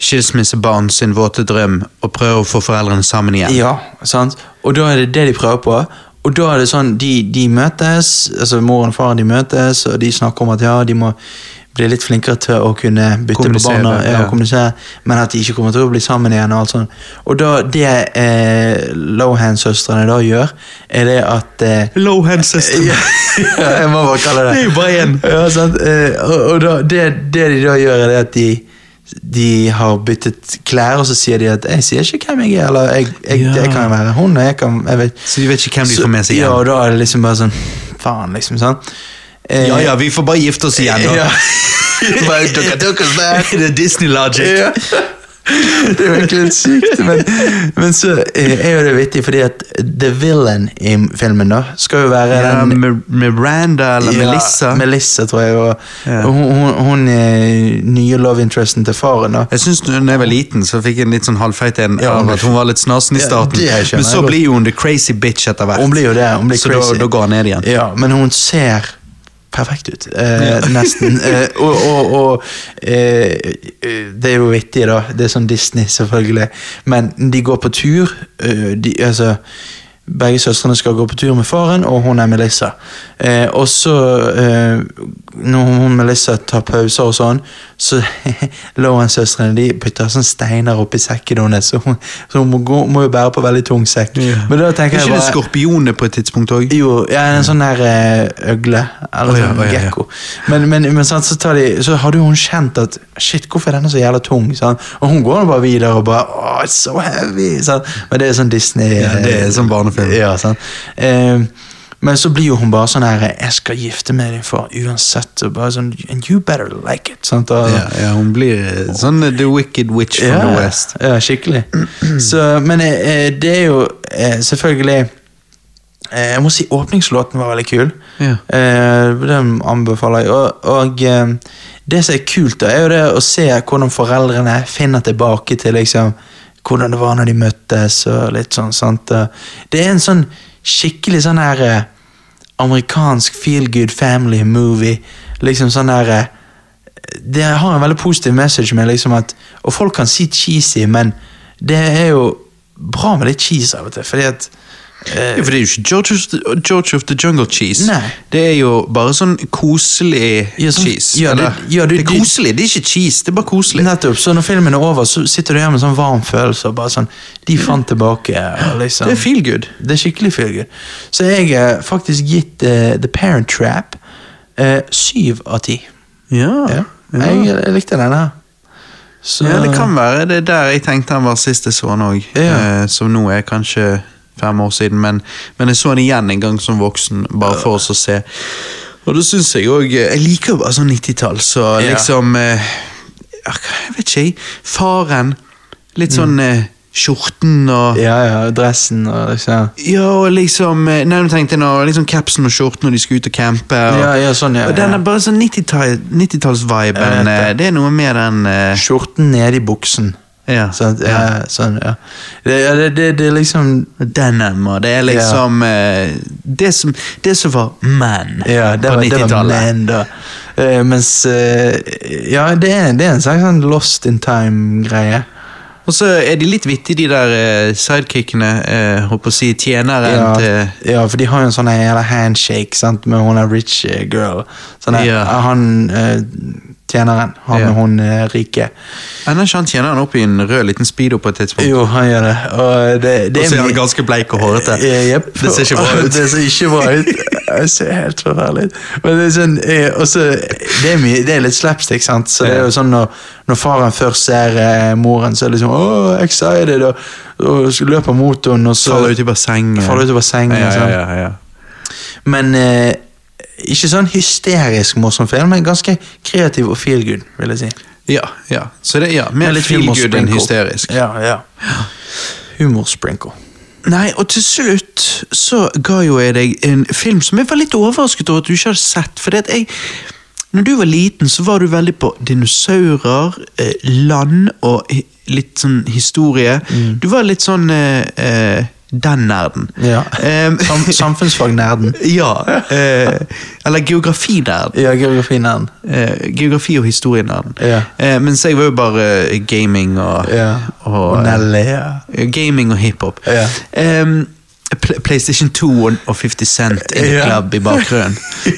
Speaker 1: skilsmissebarn sin våte drøm å prøve å få foreldrene sammen igjen.
Speaker 2: Ja, sant? Og da er det det de prøver på. Og da er det sånn, de, de møtes, altså moren og faren de møtes, og de snakker om at ja, de må bli litt flinkere til å kunne bytte på
Speaker 1: Kommunisere,
Speaker 2: barna, ja,
Speaker 1: ja.
Speaker 2: og kommunisere, men at de ikke kommer til å bli sammen igjen. Og alt sånt. Og da, det eh, Lohan-søstrene da gjør, er det at eh,
Speaker 1: Low hand system.
Speaker 2: ja, jeg må bare kalle det
Speaker 1: Det er jo bare én.
Speaker 2: Ja, sant? Eh, Og, og da, det, det de da gjør, er det at de de har byttet klær, og så sier de at 'jeg sier ikke hvem jeg er', eller 'jeg, jeg,
Speaker 1: Ja.
Speaker 2: jeg kan være hun', og jeg kan jeg vet.
Speaker 1: Så de vet ikke hvem de
Speaker 2: Så-
Speaker 1: får med seg
Speaker 2: Ja,
Speaker 1: igjen.
Speaker 2: og da er det liksom bare sånn Faen, liksom. sant? Eh,
Speaker 1: Ja ja, vi får bare gifte oss igjen, da.
Speaker 2: [LAUGHS]
Speaker 1: [LAUGHS]
Speaker 2: ja. Bare, dere tok oss [LAUGHS] vekk.
Speaker 1: Det er Disney logic.
Speaker 2: Ja. Det er jo egentlig litt sykt, men, men så eh, er jo det vittig, fordi at the villain i filmen da skal jo være
Speaker 1: Ja,
Speaker 2: den
Speaker 1: Mir- Miranda eller
Speaker 2: Ja,
Speaker 1: Melissa.
Speaker 2: Melissa, tror jeg. Og,
Speaker 1: Ja.
Speaker 2: og hun, hun, hun er nye love interesten til faren. da.
Speaker 1: Jeg synes når jeg var liten, så fikk jeg en litt sånn halvfeit en
Speaker 2: Ja,
Speaker 1: av
Speaker 2: men-
Speaker 1: at hun var litt snasen i
Speaker 2: Ja,
Speaker 1: starten.
Speaker 2: det skjønner
Speaker 1: men
Speaker 2: jeg
Speaker 1: så
Speaker 2: godt.
Speaker 1: blir jo hun the crazy bitch etter hvert.
Speaker 2: Hun blir jo det. Hun blir
Speaker 1: så
Speaker 2: crazy.
Speaker 1: da, da går han ned igjen.
Speaker 2: Ja, men hun ser perfekt ut. Eh,
Speaker 1: Ja. [LAUGHS]
Speaker 2: Nesten. Eh, og og, og eh, eh, det er jo vittig, da. Det er sånn Disney, selvfølgelig. Men de går på tur. eh, de, altså, begge søstrene skal gå på tur med faren, og hun er Melissa. Eh, og så, eh, når hun Melissa tar pauser og sånn, så [LAUGHS] Lauren-søstrene de putter sånn steiner oppi sekken hennes, så hun, så hun må, gå, må jo bære på veldig tung sekk. Men da
Speaker 1: Er
Speaker 2: tenker jeg
Speaker 1: ikke det
Speaker 2: bare
Speaker 1: skorpioner på et tidspunkt òg?
Speaker 2: jo, ja, en sånn der eh, øgle.
Speaker 1: Å
Speaker 2: Eller
Speaker 1: ja,
Speaker 2: sånn
Speaker 1: å ja, ja.
Speaker 2: gekko. Men, men, men sant, så, tar de, så har jo hun kjent at Shit, hvorfor er denne så jævla tung? Sant? Og hun går bare videre og bare Åh, it's so heavy! Sant? Men det er sånn Disney
Speaker 1: Ja, det er sånn barnefilm.
Speaker 2: Ja, sant? Eh, men så blir jo hun bare sånn her Jeg skal gifte med deg for uansett. Og bare sånn And you better like it. Sant? Og,
Speaker 1: Ja, ja, hun blir eh, sånn eh, The Wicked Witch from the West.
Speaker 2: ja, skikkelig. Så, men eh, eh, det er jo eh, selvfølgelig eh, Jeg må si åpningslåten var veldig kul.
Speaker 1: Ja.
Speaker 2: Eh, den anbefaler jeg. Og, og eh, det som er kult, da, er jo det å se hvordan foreldrene finner tilbake til liksom, hvordan det var når de møttes. og litt sånn, sant? Eh, Det er en sånn skikkelig sånn her eh, amerikansk feel good family movie. Liksom sånn her eh, det har en veldig positiv message med liksom at Og folk kan si cheesy, men det er jo bra med litt cheese av og til, fordi at eh,
Speaker 1: Ja, for det er jo ikke George of the, George of the Jungle cheese.
Speaker 2: Nei.
Speaker 1: Det er jo bare sånn koselig
Speaker 2: Ja, sånn-
Speaker 1: cheese.
Speaker 2: ja, det-
Speaker 1: eller?
Speaker 2: ja, du-
Speaker 1: det er
Speaker 2: du-
Speaker 1: koselig, det er ikke cheese, det er bare koselig.
Speaker 2: Nettopp, så når filmen er over, så sitter du igjen med en sånn varm følelse. og bare sånn, De fant tilbake. og liksom...
Speaker 1: Det er feel good.
Speaker 2: Det er skikkelig feel good. Så jeg har faktisk gitt eh, The Parent Trap eh, syv av ti.
Speaker 1: Ja.
Speaker 2: Ja.
Speaker 1: Ja.
Speaker 2: Jeg, jeg likte den her. Så
Speaker 1: ja, det kan være. Det er der jeg tenkte han var sist jeg så han òg.
Speaker 2: Ja.
Speaker 1: Eh, som nå er kanskje fem år siden, men, men jeg så han igjen en gang som voksen, bare for oss å se. Og da syns jeg òg Jeg liker jo bare sånn 90-tall, så
Speaker 2: Ja.
Speaker 1: liksom eh, ja, hva- Jeg vet ikke, jeg. Faren. Litt sånn eh, skjorten og
Speaker 2: Mm. Ja, ja, dressen og liksom
Speaker 1: ja, og liksom eh, Nei, nå tenkte jeg nå, liksom capsen og skjorten når de skal ut og campe. Og,
Speaker 2: Ja, ja, sånn, ja,
Speaker 1: og den er
Speaker 2: ja.
Speaker 1: bare sånn 90-tall- 90-tallsviben.
Speaker 2: Jeg vet det.
Speaker 1: eh, det er noe med den eh,
Speaker 2: Skjorten nede i buksen.
Speaker 1: ja,
Speaker 2: Sånn, ja, sånn, ja. Det, ja, det, det, det er liksom
Speaker 1: Denim, og det er liksom eh, det, som, det som var man
Speaker 2: Ja, det
Speaker 1: på
Speaker 2: var, det var
Speaker 1: 90-tallet.
Speaker 2: men da. Eh, mens eh, Ja, det er, det er en slags sånn lost in time-greie.
Speaker 1: Og så er de litt vittige, de der eh, sidekickene. eh, Holdt på å si tjeneren
Speaker 2: Ja,
Speaker 1: til
Speaker 2: ja, for de har jo en sånn her jævla handshake sant, med hun der rich eh, girl. Sånn her,
Speaker 1: Ja.
Speaker 2: eh, Han eh, tjeneren har
Speaker 1: Ja.
Speaker 2: med hun eh, rike.
Speaker 1: Ender ikke han tjeneren opp i en rød liten speedo på et tidspunkt?
Speaker 2: Jo, han gjør det. Og det, det
Speaker 1: Og så er
Speaker 2: mi-
Speaker 1: han ganske bleik og hårete.
Speaker 2: Eh, jepp.
Speaker 1: Det ser ikke bra ut.
Speaker 2: [LAUGHS] det ser ikke bra ut. Det ser helt forferdelig ut. Men det er sånn, eh, også, det, er mye, det er litt slapstick, sant? Så det er jo sånn når, når faren først ser eh, moren, så er det liksom oh, excited, og, og så løper mot henne, og så
Speaker 1: Faller ut i bassenget.
Speaker 2: Faller ut i bassenget, altså.
Speaker 1: Ja, ja,
Speaker 2: sant?
Speaker 1: ja, ja.
Speaker 2: Men eh, ikke sånn hysterisk morsom film, men ganske kreativ og feel good, vil jeg si.
Speaker 1: Ja, ja. Så det, ja, mer
Speaker 2: Med litt
Speaker 1: feel
Speaker 2: humor
Speaker 1: good enn
Speaker 2: sprinkle.
Speaker 1: hysterisk.
Speaker 2: Ja, ja. Humorsprinkle.
Speaker 1: Nei, og til slutt så ga jo jeg deg en film som jeg var litt overrasket over at du ikke hadde sett. Fordi at jeg, når du var liten, så var du veldig på dinosaurer, eh, land og hi- litt sånn historie.
Speaker 2: Mm.
Speaker 1: Du var litt sånn eh, eh, den nerden.
Speaker 2: Ja.
Speaker 1: Em,
Speaker 2: [LAUGHS] Sam Samfunnsfagnerden.
Speaker 1: [LAUGHS] ja. Eh, eller geografinerden.
Speaker 2: Ja, geografinerden.
Speaker 1: Eh, geografi- og historienerden.
Speaker 2: Ja.
Speaker 1: Eh, mens jeg var jo bare eh, gaming og,
Speaker 2: Ja.
Speaker 1: og,
Speaker 2: Og
Speaker 1: eh,
Speaker 2: Nelly, ja.
Speaker 1: Gaming og hiphop.
Speaker 2: Ja.
Speaker 1: Ehm, Pl- PlayStation 2 og- og 50 Cent in the
Speaker 2: Ja.
Speaker 1: club i
Speaker 2: [LAUGHS]
Speaker 1: bakgrunnen.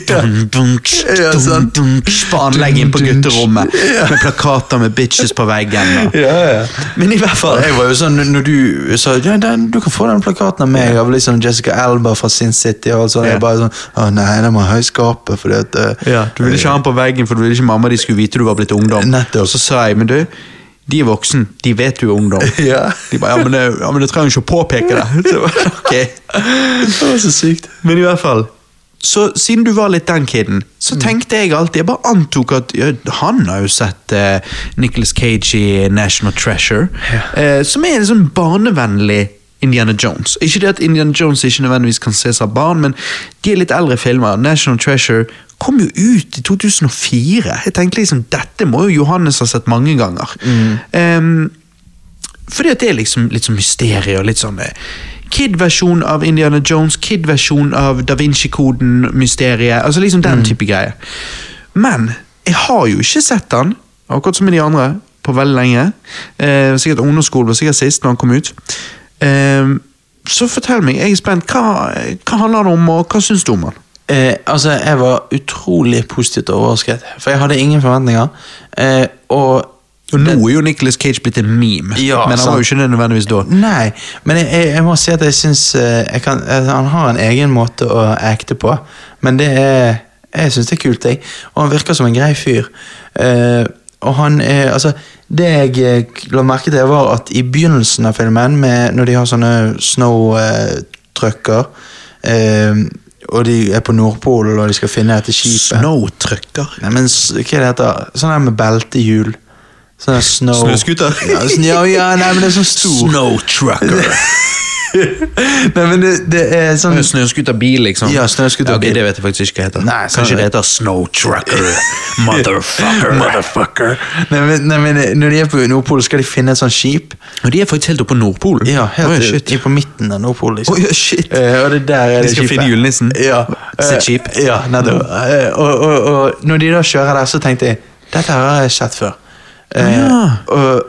Speaker 1: Dun, dun, tsk,
Speaker 2: Ja,
Speaker 1: dun,
Speaker 2: sant.
Speaker 1: dun, tsk, På anlegget inn på
Speaker 2: Dun, dun, tsk.
Speaker 1: gutterommet med plakater med bitches på veggen. og-
Speaker 2: Ja, ja.
Speaker 1: Men i hvert fall
Speaker 2: Jeg var jo sånn, når du sa ja, den, du kan få den plakaten av meg av liksom Jessica Alba fra Sin City og alt sånt,
Speaker 1: Ja.
Speaker 2: jeg bare sånn, å nei, den må ha i skapet, fordi at eh,
Speaker 1: Du ville ikke ha den på veggen, for du ville ikke mamma de skulle vite du var blitt ungdom.
Speaker 2: Nettopp.
Speaker 1: Og Så sa jeg, men du, de er voksen, de vet du er ungdom.
Speaker 2: Ja.
Speaker 1: De bare, ja, men det, ja, men det trenger ikke å påpeke
Speaker 2: [LAUGHS]
Speaker 1: det. Så, ok.
Speaker 2: [LAUGHS] Det var så sykt.
Speaker 1: Men i hvert fall Så siden du var litt den kiden, så tenkte jeg alltid Jeg bare antok at ja, han har jo sett eh, Nicholas Cage i National Treasure, eh, som er en sånn barnevennlig Indiana Jones. Ikke det at Indiana Jones ikke nødvendigvis kan ses av barn, men de er litt eldre filmer. National Treasure kom jo ut i 2004. Jeg tenkte liksom, dette må jo Johannes ha sett mange ganger. Ehm, fordi at det er liksom litt sånn mysterie og litt sånn eh, Kid-versjon av Indiana Jones, kid-versjon av Da Vinci-koden, mysteriet. Altså liksom den type greie. Men jeg har jo ikke sett den, akkurat som med de andre, på veldig lenge. Eh, sikkert ungdomsskolen var sikkert sist når han kom ut. Eh, så fortell meg, jeg er spent. Hva, hva handler det om, og hva syns du om den?
Speaker 2: Eh, altså, jeg var utrolig positivt overrasket, for jeg hadde ingen forventninger, eh, og
Speaker 1: Og nå er jo Nicholas Cage blitt en meme,
Speaker 2: Ja,
Speaker 1: men han
Speaker 2: sant.
Speaker 1: var jo ikke det nødvendigvis da.
Speaker 2: Nei, men jeg, jeg, jeg må si at jeg syns jeg kan, eh, han har en egen måte å acte på. Men det er Jeg syns det er kult, jeg. Og han virker som en grei fyr. Eh, og han er Altså, det jeg eh, la merke til, var at i begynnelsen av filmen, med, når de har sånne snow-trucker eh, og de er på Nordpolen og de skal finne dette skipet
Speaker 1: Snowtrucker.
Speaker 2: Nei, men s- hva er det heter? Sånn her med beltehjul. Sånn her snow...
Speaker 1: Snøskuter.
Speaker 2: Ja, sn- ja, ja, nei, men det er sånn stor
Speaker 1: Snowtrucker.
Speaker 2: Nei, men det, det er sånn
Speaker 1: Ja, Snøskuterbil, liksom.
Speaker 2: Ja, snøskuterbil.
Speaker 1: Mm. Ja, ok, det vet jeg faktisk ikke hva heter.
Speaker 2: Nei, sånn-
Speaker 1: Kanskje det heter Snowtrucker. [LAUGHS] Motherfucker.
Speaker 2: Motherfucker. Nei, men, nei, men eh, når de er på Nordpolen, skal de finne et sånt skip.
Speaker 1: Og de er faktisk helt oppe på Nordpolen.
Speaker 2: Ja, helt
Speaker 1: Oi,
Speaker 2: i-
Speaker 1: shit.
Speaker 2: i på midten av Nordpolen, liksom.
Speaker 1: Oi, shit.
Speaker 2: Eh, og det der er
Speaker 1: De
Speaker 2: det
Speaker 1: skal
Speaker 2: skipet.
Speaker 1: finne julenissen.
Speaker 2: Ja.
Speaker 1: Sitt
Speaker 2: Eh,
Speaker 1: skip.
Speaker 2: Ja, nettopp. Eh, og, og, og når de da kjører der, så tenkte jeg Dette her har jeg sett før. Eh, Ah,
Speaker 1: Ja.
Speaker 2: og,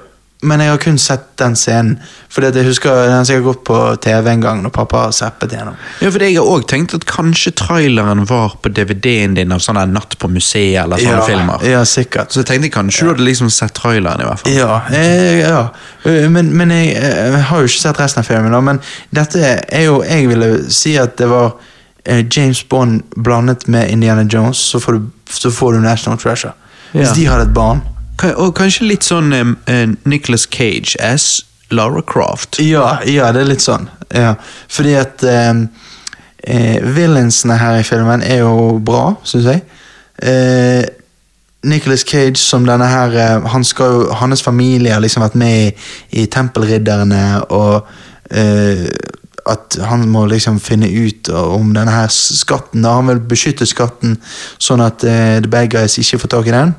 Speaker 2: men jeg har kun sett den scenen. Fordi at jeg husker den har sikkert gått på TV en gang når pappa har zappet gjennom.
Speaker 1: Ja, for jeg har òg tenkt at kanskje traileren var på DVD-en din av sånn der Natt på museet eller sånne filmer.
Speaker 2: ja, sikkert.
Speaker 1: Så jeg tenkte kanskje du hadde liksom sett traileren i hvert fall.
Speaker 2: Ja, eh, ja. Eh, Men, men jeg, eh, jeg har jo ikke sett resten av filmen. da, Men dette er jo Jeg ville si at det var eh, James Bond blandet med Indiana Jones, så får du, så får du National Treasure. Hvis
Speaker 1: Ja.
Speaker 2: de hadde et barn.
Speaker 1: Ka- Og kanskje litt sånn um, Nicholas Cage as Lara Croft.
Speaker 2: Ja, ja, det er litt sånn. Ja. Fordi at eh, eh, Villainsene her i filmen er jo bra, syns jeg. Eh, Nicholas Cage som denne her eh, han skal, jo- Hans familie har liksom vært med i, i Tempelridderne, og eh, at han må liksom finne ut om denne her skatten. da. Han vil beskytte skatten, sånn at eh, The Bad Guys ikke får tak i den.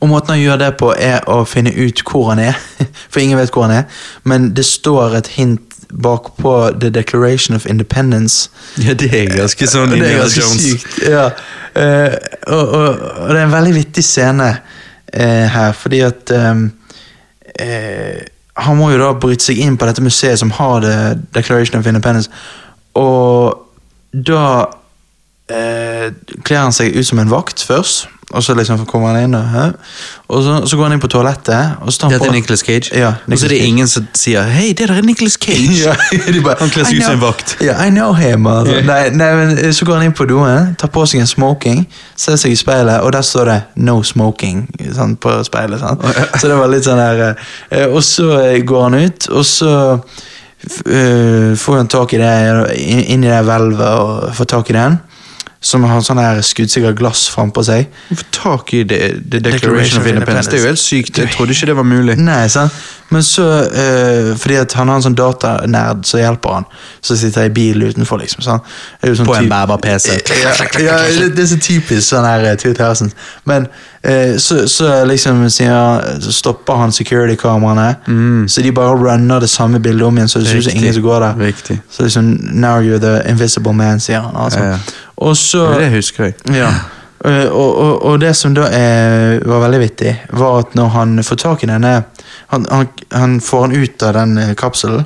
Speaker 2: Og måten han gjør det på er å finne ut hvor han er, [LAUGHS] for ingen vet hvor han er. Men det står et hint bakpå The Declaration of Independence.
Speaker 1: Ja, det er ganske sånn
Speaker 2: Og det er ganske sykt. Ja. Eh, og, og, og det er en veldig vittig scene eh, her, fordi at eh, eh, Han må jo da bryte seg inn på dette museet som har The Declaration of Independence, og da eh, kler han seg ut som en vakt først, og så liksom kommer han inn, og, hæ? og så, så går han inn på toalettet, og så tar han
Speaker 1: Dette er
Speaker 2: på
Speaker 1: Nicolas Cage,
Speaker 2: Ja,
Speaker 1: og så er det
Speaker 2: Nicolas Cage.
Speaker 1: ingen som sier 'hei, det der er Nicolas [LAUGHS] Cage'.
Speaker 2: [LAUGHS] Ja, de bare,
Speaker 1: Han kler seg
Speaker 2: "I
Speaker 1: ut som en
Speaker 2: know-
Speaker 1: vakt.
Speaker 2: Ja, I know him. Altså. Nei, nei, men Så går han inn på doen, tar på seg en smoking, ser seg i speilet, og der står det 'no smoking' sånn, på speilet. Sant? Så det var litt sånn her eh, Og så eh, går han ut, og så f- eh, får han tak i det, inn- inn i det hvelvet og får tak i den. Som har sånn her skuddsikkert glass frampå seg.
Speaker 1: Få tak i The, the Declaration of Independence. Det er jo helt sykt. Jeg trodde ikke det var mulig.
Speaker 2: [LAUGHS] Nei, sant? Men så, eh, fordi at han har en sånn datanerd som hjelper han, så sitter jeg i bil utenfor, liksom. sant? Det er jo sånn
Speaker 1: På en
Speaker 2: typ-
Speaker 1: bærbar PC.
Speaker 2: [LAUGHS] Ja, ja, det det er så typisk sånn her eh, 2000. Men eh, så, så liksom sier han- så stopper han security-kameraene, så de bare runner det samme bildet om igjen, så det ser ut som
Speaker 1: Mm. Riktig.
Speaker 2: ingen som går der.
Speaker 1: Riktig.
Speaker 2: Så liksom, now you're the invisible man, sier han. Altså.
Speaker 1: Ja, ja.
Speaker 2: Og så...
Speaker 1: Det husker jeg.
Speaker 2: Ja. Eh, Og, og, og det som da eh, var veldig vittig, var at når han får tak i denne Han, han, han får han ut av den eh, kapselen,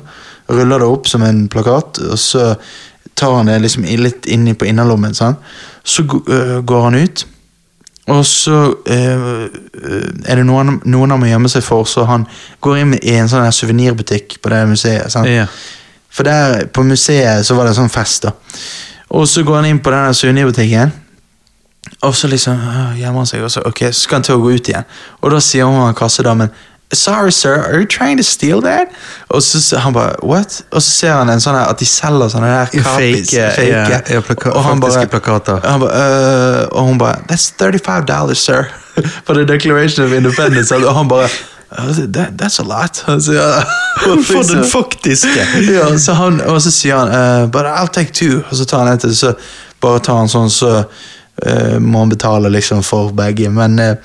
Speaker 2: ruller det opp som en plakat, og så tar han det liksom i- litt inni på innerlommen. sant? Så g- eh, går han ut, og så eh, eh, er det noen, noen han må gjemme seg for, så han går inn i en sånn her suvenirbutikk på det museet. sant?
Speaker 1: Ja.
Speaker 2: For der på museet så var det en sånn fest, da. Og så går han inn på den suvenibutikken, og så liksom øh, gjemmer han seg, og så ok, så skal han til å gå ut igjen. Og da sier hun han kassedamen Sorry, sir, are you trying to steal that? Og så s- han bare, what? Og så ser han en sånn her, at de selger sånne der
Speaker 1: Ja,
Speaker 2: kapis,
Speaker 1: fake, ja, ja, plaka- faktiske plakater.
Speaker 2: han ba, «Øh», og hun bare That's 35 dollars, sir. [LAUGHS] For the Declaration of Independence. Og han bare «Øh, that, That's a lot. Og så- [LAUGHS]
Speaker 1: For den [LAUGHS] faktiske.
Speaker 2: ja, [LAUGHS] så han, og så sier han eh, But I'll take two Og så tar han etter Så bare tar han sånn Så eh, må han betale liksom for begge Men eh,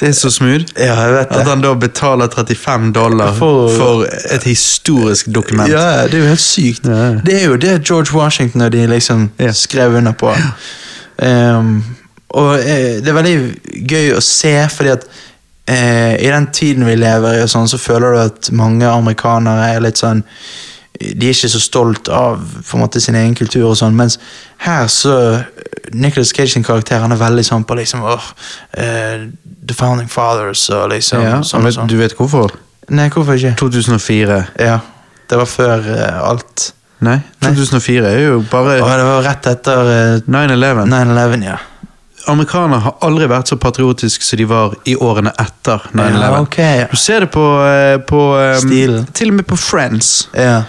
Speaker 1: Det er så smooth.
Speaker 2: Ja, jeg vet
Speaker 1: At
Speaker 2: det
Speaker 1: han da betaler 35 dollar for,
Speaker 2: For-
Speaker 1: et historisk dokument.
Speaker 2: ja, det er jo helt sykt
Speaker 1: Ja.
Speaker 2: Det er jo det George Washington Og de liksom
Speaker 1: Ja.
Speaker 2: skrev under på Ehm, Og eh, det er veldig gøy å se Fordi at eh, I den tiden vi lever i og sånn Så føler du at mange amerikanere er litt sånn de er ikke så stolt av på en måte sin egen kultur og sånn, mens her så Nicholas Cage sin karakter han er veldig sånn på liksom åh, eh, The Founding Fathers og liksom
Speaker 1: Ja,
Speaker 2: sånn
Speaker 1: men
Speaker 2: og sånn.
Speaker 1: Du vet hvorfor?
Speaker 2: Nei, hvorfor ikke?
Speaker 1: 2004.
Speaker 2: Ja, det var før eh, alt.
Speaker 1: Nei, 2004 er jo
Speaker 2: Og
Speaker 1: bare
Speaker 2: det var rett etter eh,
Speaker 1: 9-11.
Speaker 2: 9-11, ja.
Speaker 1: Amerikanere har aldri vært så patriotiske som de var i årene etter 9-11.
Speaker 2: Ja, ok, ja.
Speaker 1: Du ser det på, eh, på eh,
Speaker 2: Stilen.
Speaker 1: Til og med på Friends.
Speaker 2: ja.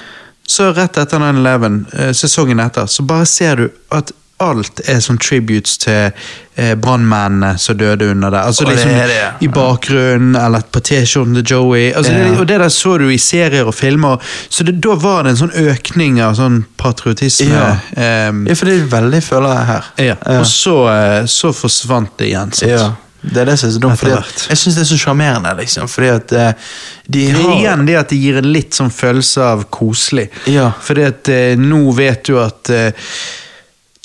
Speaker 1: Så rett etter 9-11, eh, sesongen etter, så bare ser du at alt er sånn tributes til eh, brannmennene som døde under der. Altså
Speaker 2: Og det
Speaker 1: liksom
Speaker 2: er det, ja.
Speaker 1: I bakgrunnen, eller på T-skjorten til Joey. Altså,
Speaker 2: Ja.
Speaker 1: det, og det der så du i serier og filmer, så det, da var det en sånn økning av sånn patriotisme.
Speaker 2: Ja.
Speaker 1: Ehm,
Speaker 2: ja, for det er veldig føler jeg her.
Speaker 1: ja. Og så, eh, så forsvant det igjen. sant?
Speaker 2: Ja, Sånn. det er det som er så dumt.
Speaker 1: Etter
Speaker 2: Fordi
Speaker 1: hvert.
Speaker 2: at, jeg syns det er så sjarmerende, liksom. Fordi at eh, de
Speaker 1: Det er
Speaker 2: har
Speaker 1: igjen det at det gir en litt sånn følelse av koselig.
Speaker 2: Ja.
Speaker 1: Fordi at eh, nå vet du at eh,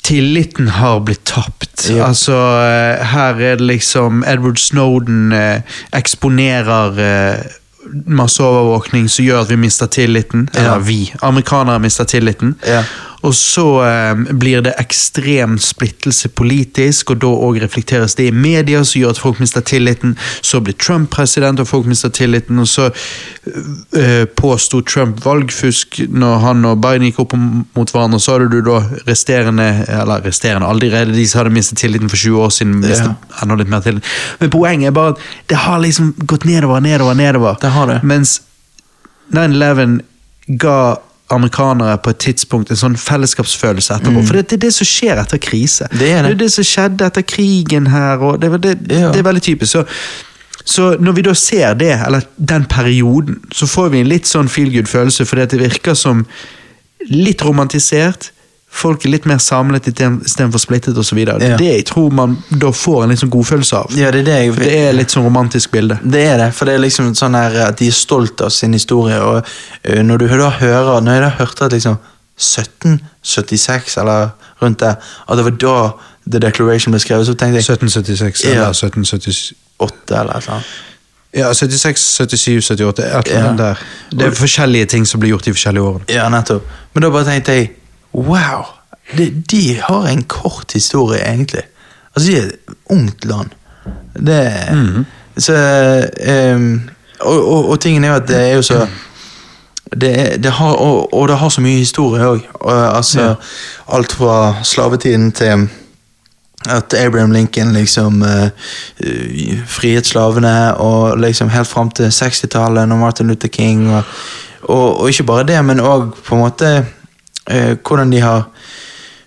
Speaker 1: tilliten har blitt tapt.
Speaker 2: Ja.
Speaker 1: Altså, eh, her er det liksom Edward Snowden eh, eksponerer eh, masse overvåkning som gjør at vi mister tilliten.
Speaker 2: Ja.
Speaker 1: Eller vi. Amerikanere mister tilliten.
Speaker 2: Ja.
Speaker 1: Og så eh, blir det ekstrem splittelse politisk, og da òg reflekteres det i media, som gjør at folk mister tilliten. Så blir Trump president, og folk mister tilliten. Og så eh, påsto Trump valgfusk når han og Biden gikk opp mot hverandre. og Så hadde du da resterende, eller resterende, allerede de som hadde mistet tilliten for 20 år siden. mistet enda litt mer tillit. Men poenget er bare at det har liksom gått nedover, nedover, nedover.
Speaker 2: Det har det.
Speaker 1: Mens 9-11 ga amerikanere på et tidspunkt en sånn fellesskapsfølelse etterpå. For det, det er det som skjer etter krise.
Speaker 2: Mm. Det er det.
Speaker 1: det som skjedde etter krigen her, og det, var- det,
Speaker 2: Ja.
Speaker 1: det er veldig typisk. Så, så når vi da ser det, eller den perioden, så får vi en litt sånn feel good-følelse, fordi at det virker som litt romantisert, folk er litt mer samlet istedenfor splittet osv. Det
Speaker 2: Ja.
Speaker 1: er det jeg tror man da får en litt sånn godfølelse av.
Speaker 2: Ja, det er det jeg
Speaker 1: For det er litt sånn romantisk bilde.
Speaker 2: Det er det, for det er liksom sånn her at de er stolt av sin historie. Og eh, når du da hører Når jeg da hørte at liksom 1776 eller rundt der, at det var da The Declaration ble skrevet, så tenkte jeg
Speaker 1: 1776
Speaker 2: Ja.
Speaker 1: eller 1777.
Speaker 2: 8 eller et eller annet.
Speaker 1: Ja, 76, 77, 78, et eller
Speaker 2: Ja.
Speaker 1: annet der. Det er forskjellige ting som blir gjort i forskjellige årene.
Speaker 2: Ja, nettopp. Men da bare tenkte jeg Wow! De, de har en kort historie, egentlig. Altså, de er et ungt land. Det Så ehm, og, og, og tingen er jo at det er jo så det, er- det har, og, og det har så mye historie òg. Altså,
Speaker 1: Ja.
Speaker 2: Alt fra slavetiden til at Abraham Lincoln liksom eh, eh, friet slavene, og liksom helt fram til 60-tallet og Martin Luther King. Og, og, og ikke bare det, men òg på en måte eh, hvordan de har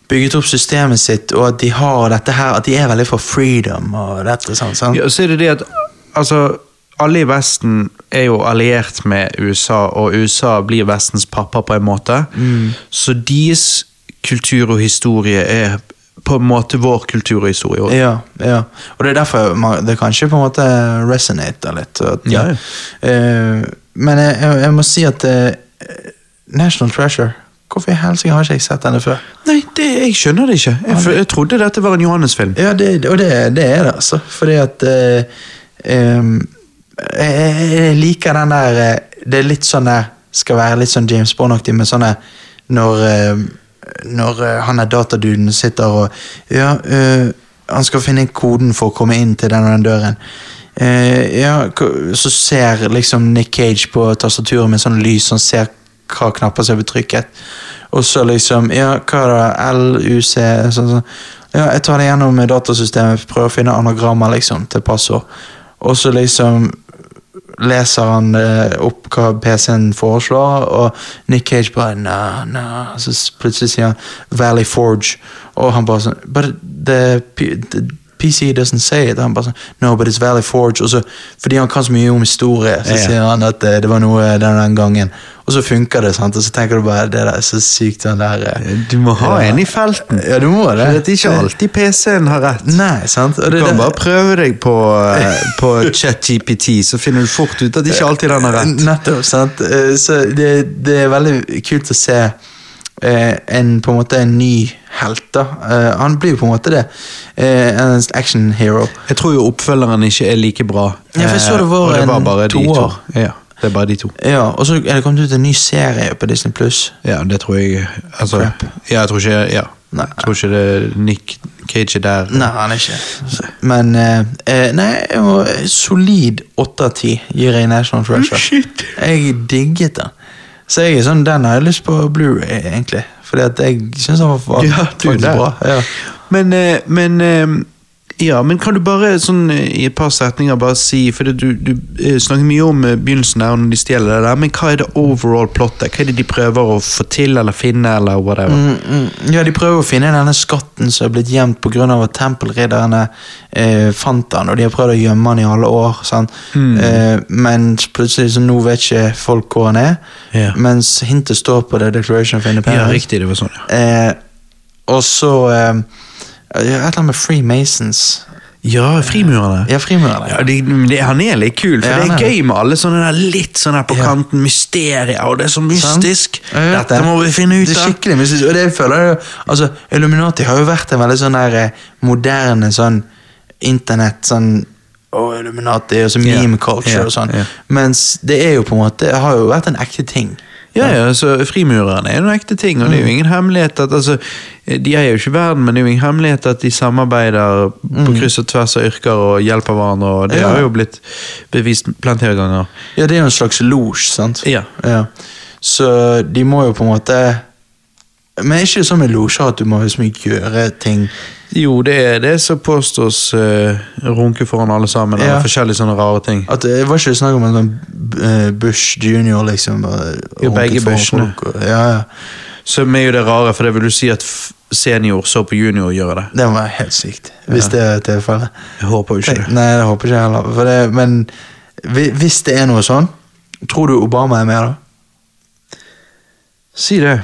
Speaker 2: bygget opp systemet sitt, og at de har dette her, at de er veldig for freedom og dette. sånn, sant?
Speaker 1: Ja, så er det det at altså, alle i Vesten er jo alliert med USA, og USA blir Vestens pappa på en måte. Så deres kultur og historie er på en måte vår kultur og historie også.
Speaker 2: Ja, ja. Og det er derfor man, det kanskje på en måte resonater litt. og At, ja.
Speaker 1: Ja,
Speaker 2: Eh, men jeg, jeg, jeg må si at eh, National Treasure Hvorfor i helsike har ikke jeg sett denne før?
Speaker 1: Nei, det, jeg skjønner det ikke. Jeg, for, jeg trodde dette var en Johannes-film.
Speaker 2: Ja, det, Og det, det er det, altså. Fordi at eh, em, jeg, jeg- jeg liker den der eh, Det er litt sånn der Skal være litt sånn James Bond-aktig, men sånn der når, eh, når eh, han er dataduden sitter og Ja, eh, han skal finne koden for å komme inn til den og den døren. Eh, ja, k- så ser liksom Nick Cage på tastaturet med sånn lys, han ser hva knapper som er betrykket. Og så liksom Ja, hva er det? LUC sånn, sånn. Ja, jeg tar det gjennom eh, datasystemet, prøver å finne anagrammer liksom, til passord. Og så liksom leser han eh, opp hva PC-en foreslår, og Nick Cage bare nah, nah. Så s- plutselig sier han Valley Forge, og han bare sånn But the, P- the PC doesn't say it. Han bare sånn No, but it's Valley Forge. Og så, fordi han kan så mye om historie, så
Speaker 1: Ja, ja.
Speaker 2: sier han at eh, det var noe den og den gangen. Og så funker det, sant? og så tenker du bare det der er så sykt, den der eh,
Speaker 1: Du må ha en i felten.
Speaker 2: Ja, du må det.
Speaker 1: For det er ikke alltid PC-en har rett.
Speaker 2: Nei, sant? Og
Speaker 1: Du
Speaker 2: det-
Speaker 1: kan
Speaker 2: det-
Speaker 1: bare prøve deg på, eh, på [LAUGHS] ChatGPT, så finner du fort ut at ikke alltid den har rett.
Speaker 2: Nettopp, sant? Eh, Så det, det er veldig kult å se eh, en på en måte en ny helt. da. Eh, Han blir jo på en måte det. Eh, En action hero.
Speaker 1: Jeg tror jo oppfølgeren ikke er like bra.
Speaker 2: Ja, for jeg så det
Speaker 1: Eh,
Speaker 2: var
Speaker 1: og det var
Speaker 2: en
Speaker 1: bare de to.
Speaker 2: toer.
Speaker 1: Ja, det er bare de to.
Speaker 2: Ja, Og så er det kommet ut en ny serie på Disney Pluss.
Speaker 1: Ja, det tror jeg altså,
Speaker 2: Crap.
Speaker 1: ja, jeg tror ikke, ja.
Speaker 2: Nei.
Speaker 1: jeg tror ikke det Nick Cage er der.
Speaker 2: Nei, han er ikke Men eh, eh, Nei, jeg må, solid åtte av ti gir jeg National Treasure.
Speaker 1: Shit.
Speaker 2: Jeg digget den. Så jeg er sånn, den har jeg lyst på Blu-ray, egentlig. Fordi at jeg syns den var fa-
Speaker 1: Ja, du
Speaker 2: faktisk
Speaker 1: der.
Speaker 2: bra. Ja.
Speaker 1: Men, eh, men eh, ja, men kan du bare sånn, eh, i et par setninger bare si For det- du, du eh, snakker mye om eh, begynnelsen her, og når de stjeler det der, men hva er det overall plottet? Hva er det de prøver å få til eller finne? eller whatever?
Speaker 2: Mm, mm. Ja, de prøver å finne denne skatten som er blitt gjemt pga. at tempelridderne eh, fant den, og de har prøvd å gjemme den i alle år. Sant?
Speaker 1: Hmm.
Speaker 2: Eh, men plutselig så nå vet ikke folk hvor han er,
Speaker 1: Ja.
Speaker 2: mens hintet står på The Declaration of
Speaker 1: Ja,
Speaker 2: Independence.
Speaker 1: riktig, det var sånn, ja.
Speaker 2: eh, og så eh, ja, Et eller annet med Freemasons.
Speaker 1: Ja, frimurerne.
Speaker 2: Ja, frimurerne.
Speaker 1: Ja, de, men det- han er litt kul, for
Speaker 2: Ja,
Speaker 1: det
Speaker 2: han
Speaker 1: er
Speaker 2: er
Speaker 1: gøy med alle sånne der litt sånn her på
Speaker 2: Ja.
Speaker 1: kanten mysterier, og det er så
Speaker 2: Sant?
Speaker 1: mystisk.
Speaker 2: Jeg vet
Speaker 1: Dette
Speaker 2: det.
Speaker 1: må vi finne ut
Speaker 2: Det er
Speaker 1: av.
Speaker 2: skikkelig mystisk, og det føler jeg jo- altså, Illuminati har jo vært en veldig sånn der eh, moderne sånn internett sånn og Illuminati og så
Speaker 1: Ja.
Speaker 2: meme culture
Speaker 1: Ja,
Speaker 2: og sånn.
Speaker 1: ja.
Speaker 2: Mens det er jo på en måte det har jo vært en ekte ting.
Speaker 1: Ja, ja, så Frimurerne er jo en ekte ting, og det er
Speaker 2: Mm.
Speaker 1: jo ingen hemmelighet at altså, De er jo ikke verden, men det er jo ingen hemmelighet at de samarbeider på kryss og tvers av yrker og hjelper hverandre, og det
Speaker 2: Mm. Ja.
Speaker 1: har jo blitt bevist plenty av ganger.
Speaker 2: Ja, det er jo en slags losj, sant?
Speaker 1: Ja.
Speaker 2: Så de må jo på en måte Men er ikke det sånn med losjer at du må liksom gjøre ting
Speaker 1: Jo, det er det som påstås eh, runke foran alle sammen,
Speaker 2: Ja.
Speaker 1: og forskjellige sånne rare ting.
Speaker 2: At eh, det var ikke snakk om en sånn eh, Bush junior, liksom. bare
Speaker 1: Ja, begge
Speaker 2: runket foran
Speaker 1: Bushene.
Speaker 2: folk og- Ja, ja.
Speaker 1: Som er jo det rare, for det vil du si at f- senior så på junior gjøre det.
Speaker 2: Det må være helt sykt, hvis det er tilfellet.
Speaker 1: Jeg håper jo ikke det.
Speaker 2: Nei, det håper ikke jeg heller. For det, men hvi- hvis det er noe sånn, tror du Obama er med da?
Speaker 1: Si det.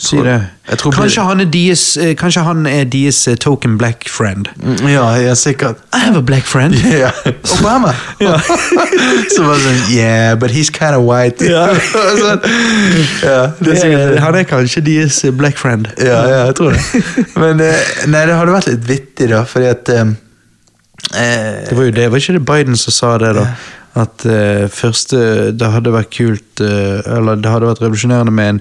Speaker 1: Si
Speaker 2: Tror-
Speaker 1: det.
Speaker 2: jeg tror-
Speaker 1: kanskje, han er deres, eh, kanskje han er deres eh, token black friend.
Speaker 2: Mm, Ja, ja sikkert.
Speaker 1: I have a black friend.
Speaker 2: [LAUGHS] Ja, [LAUGHS] Obama!
Speaker 1: Ja.
Speaker 2: Så bare sånn Yeah, but he's kind of white. [LAUGHS]
Speaker 1: Ja.
Speaker 2: sånn. ja, det er sikkert
Speaker 1: Eh, han er kanskje deres eh, black friend.
Speaker 2: Ja, ja, jeg [LAUGHS] tror det. Men eh, nei, det hadde vært litt vittig, da, fordi at eh, eh,
Speaker 1: Det var jo det, var ikke det Biden som sa det, da? At eh, første Det hadde vært kult eh, Eller det hadde vært revolusjonerende med en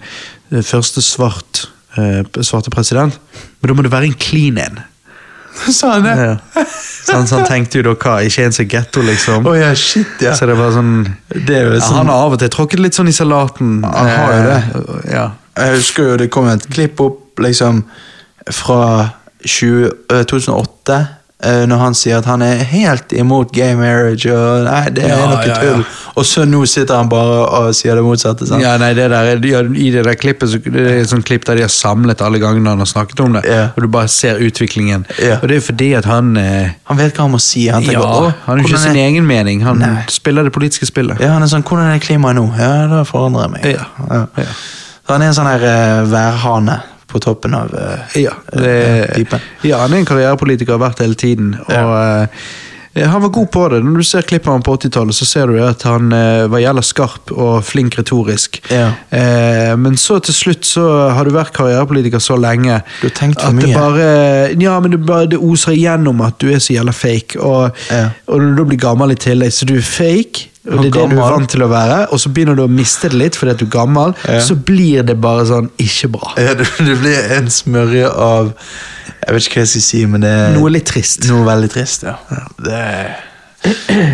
Speaker 1: eh, første svart eh, svarte president, men da må det være en clean en.
Speaker 2: Sa han det?
Speaker 1: Ja. Så han, så han tenkte jo da hva, ikke en som er getto, liksom.
Speaker 2: Å ja, shit, ja.
Speaker 1: Så det var sånn,
Speaker 2: Det er jo
Speaker 1: ja,
Speaker 2: sånn-
Speaker 1: Han har av og til tråkket litt sånn i salaten.
Speaker 2: Han har jo
Speaker 1: det. Ja.
Speaker 2: Jeg husker jo det kom et klipp opp liksom, fra 20, eh, 2008, eh, når han sier at han er helt imot gay marriage, og nei, det er
Speaker 1: Ja,
Speaker 2: noe
Speaker 1: ja, ja.
Speaker 2: tull. Og så nå sitter han bare og sier det motsatte. Sant?
Speaker 1: Ja, nei, det der, er- ja, I det der klippet så, Det er et sånt klipp der de har samlet alle gangene han har snakket om det,
Speaker 2: Ja.
Speaker 1: og du bare ser utviklingen.
Speaker 2: Ja.
Speaker 1: Og det er jo fordi at han eh,
Speaker 2: Han vet hva han må si. Han
Speaker 1: ja,
Speaker 2: tenker,
Speaker 1: Han
Speaker 2: «Åh,
Speaker 1: har jo ikke
Speaker 2: hvordan
Speaker 1: sin
Speaker 2: er-
Speaker 1: egen mening, han
Speaker 2: Nei.
Speaker 1: spiller det politiske spillet.
Speaker 2: ja, han er sånn, hvordan er klimaet nå? Ja, da forandrer jeg meg.
Speaker 1: Ja, ja.
Speaker 2: Så han er en sånn her eh, værhane på toppen av eh, [LAUGHS]
Speaker 1: Ja,
Speaker 2: eh,
Speaker 1: det,
Speaker 2: pipen.
Speaker 1: ja, han er en karrierepolitiker og har vært det hele tiden. Og, eh, han var god på det. Når du ser klippet av han på 80-tallet, så ser du at han eh, var jævla skarp og flink retorisk.
Speaker 2: Ja.
Speaker 1: Eh, men så til slutt så har du vært karrierepolitiker så lenge
Speaker 2: Du har tenkt for
Speaker 1: at det
Speaker 2: mye.
Speaker 1: bare Ja, men det, bare, det oser igjennom at du er så jævla fake. Og,
Speaker 2: Ja.
Speaker 1: og når du da blir gammel i tillegg, så du er fake. Og
Speaker 2: Og
Speaker 1: det er det du er
Speaker 2: gammel.
Speaker 1: vant til å være, og så begynner du å miste det litt fordi at du er gammel.
Speaker 2: Ja.
Speaker 1: Så blir det bare sånn ikke bra.
Speaker 2: Ja, du, du blir en smørje av Jeg vet ikke hva jeg skal si, men det
Speaker 1: Noe litt trist.
Speaker 2: Noe veldig trist, ja. Det...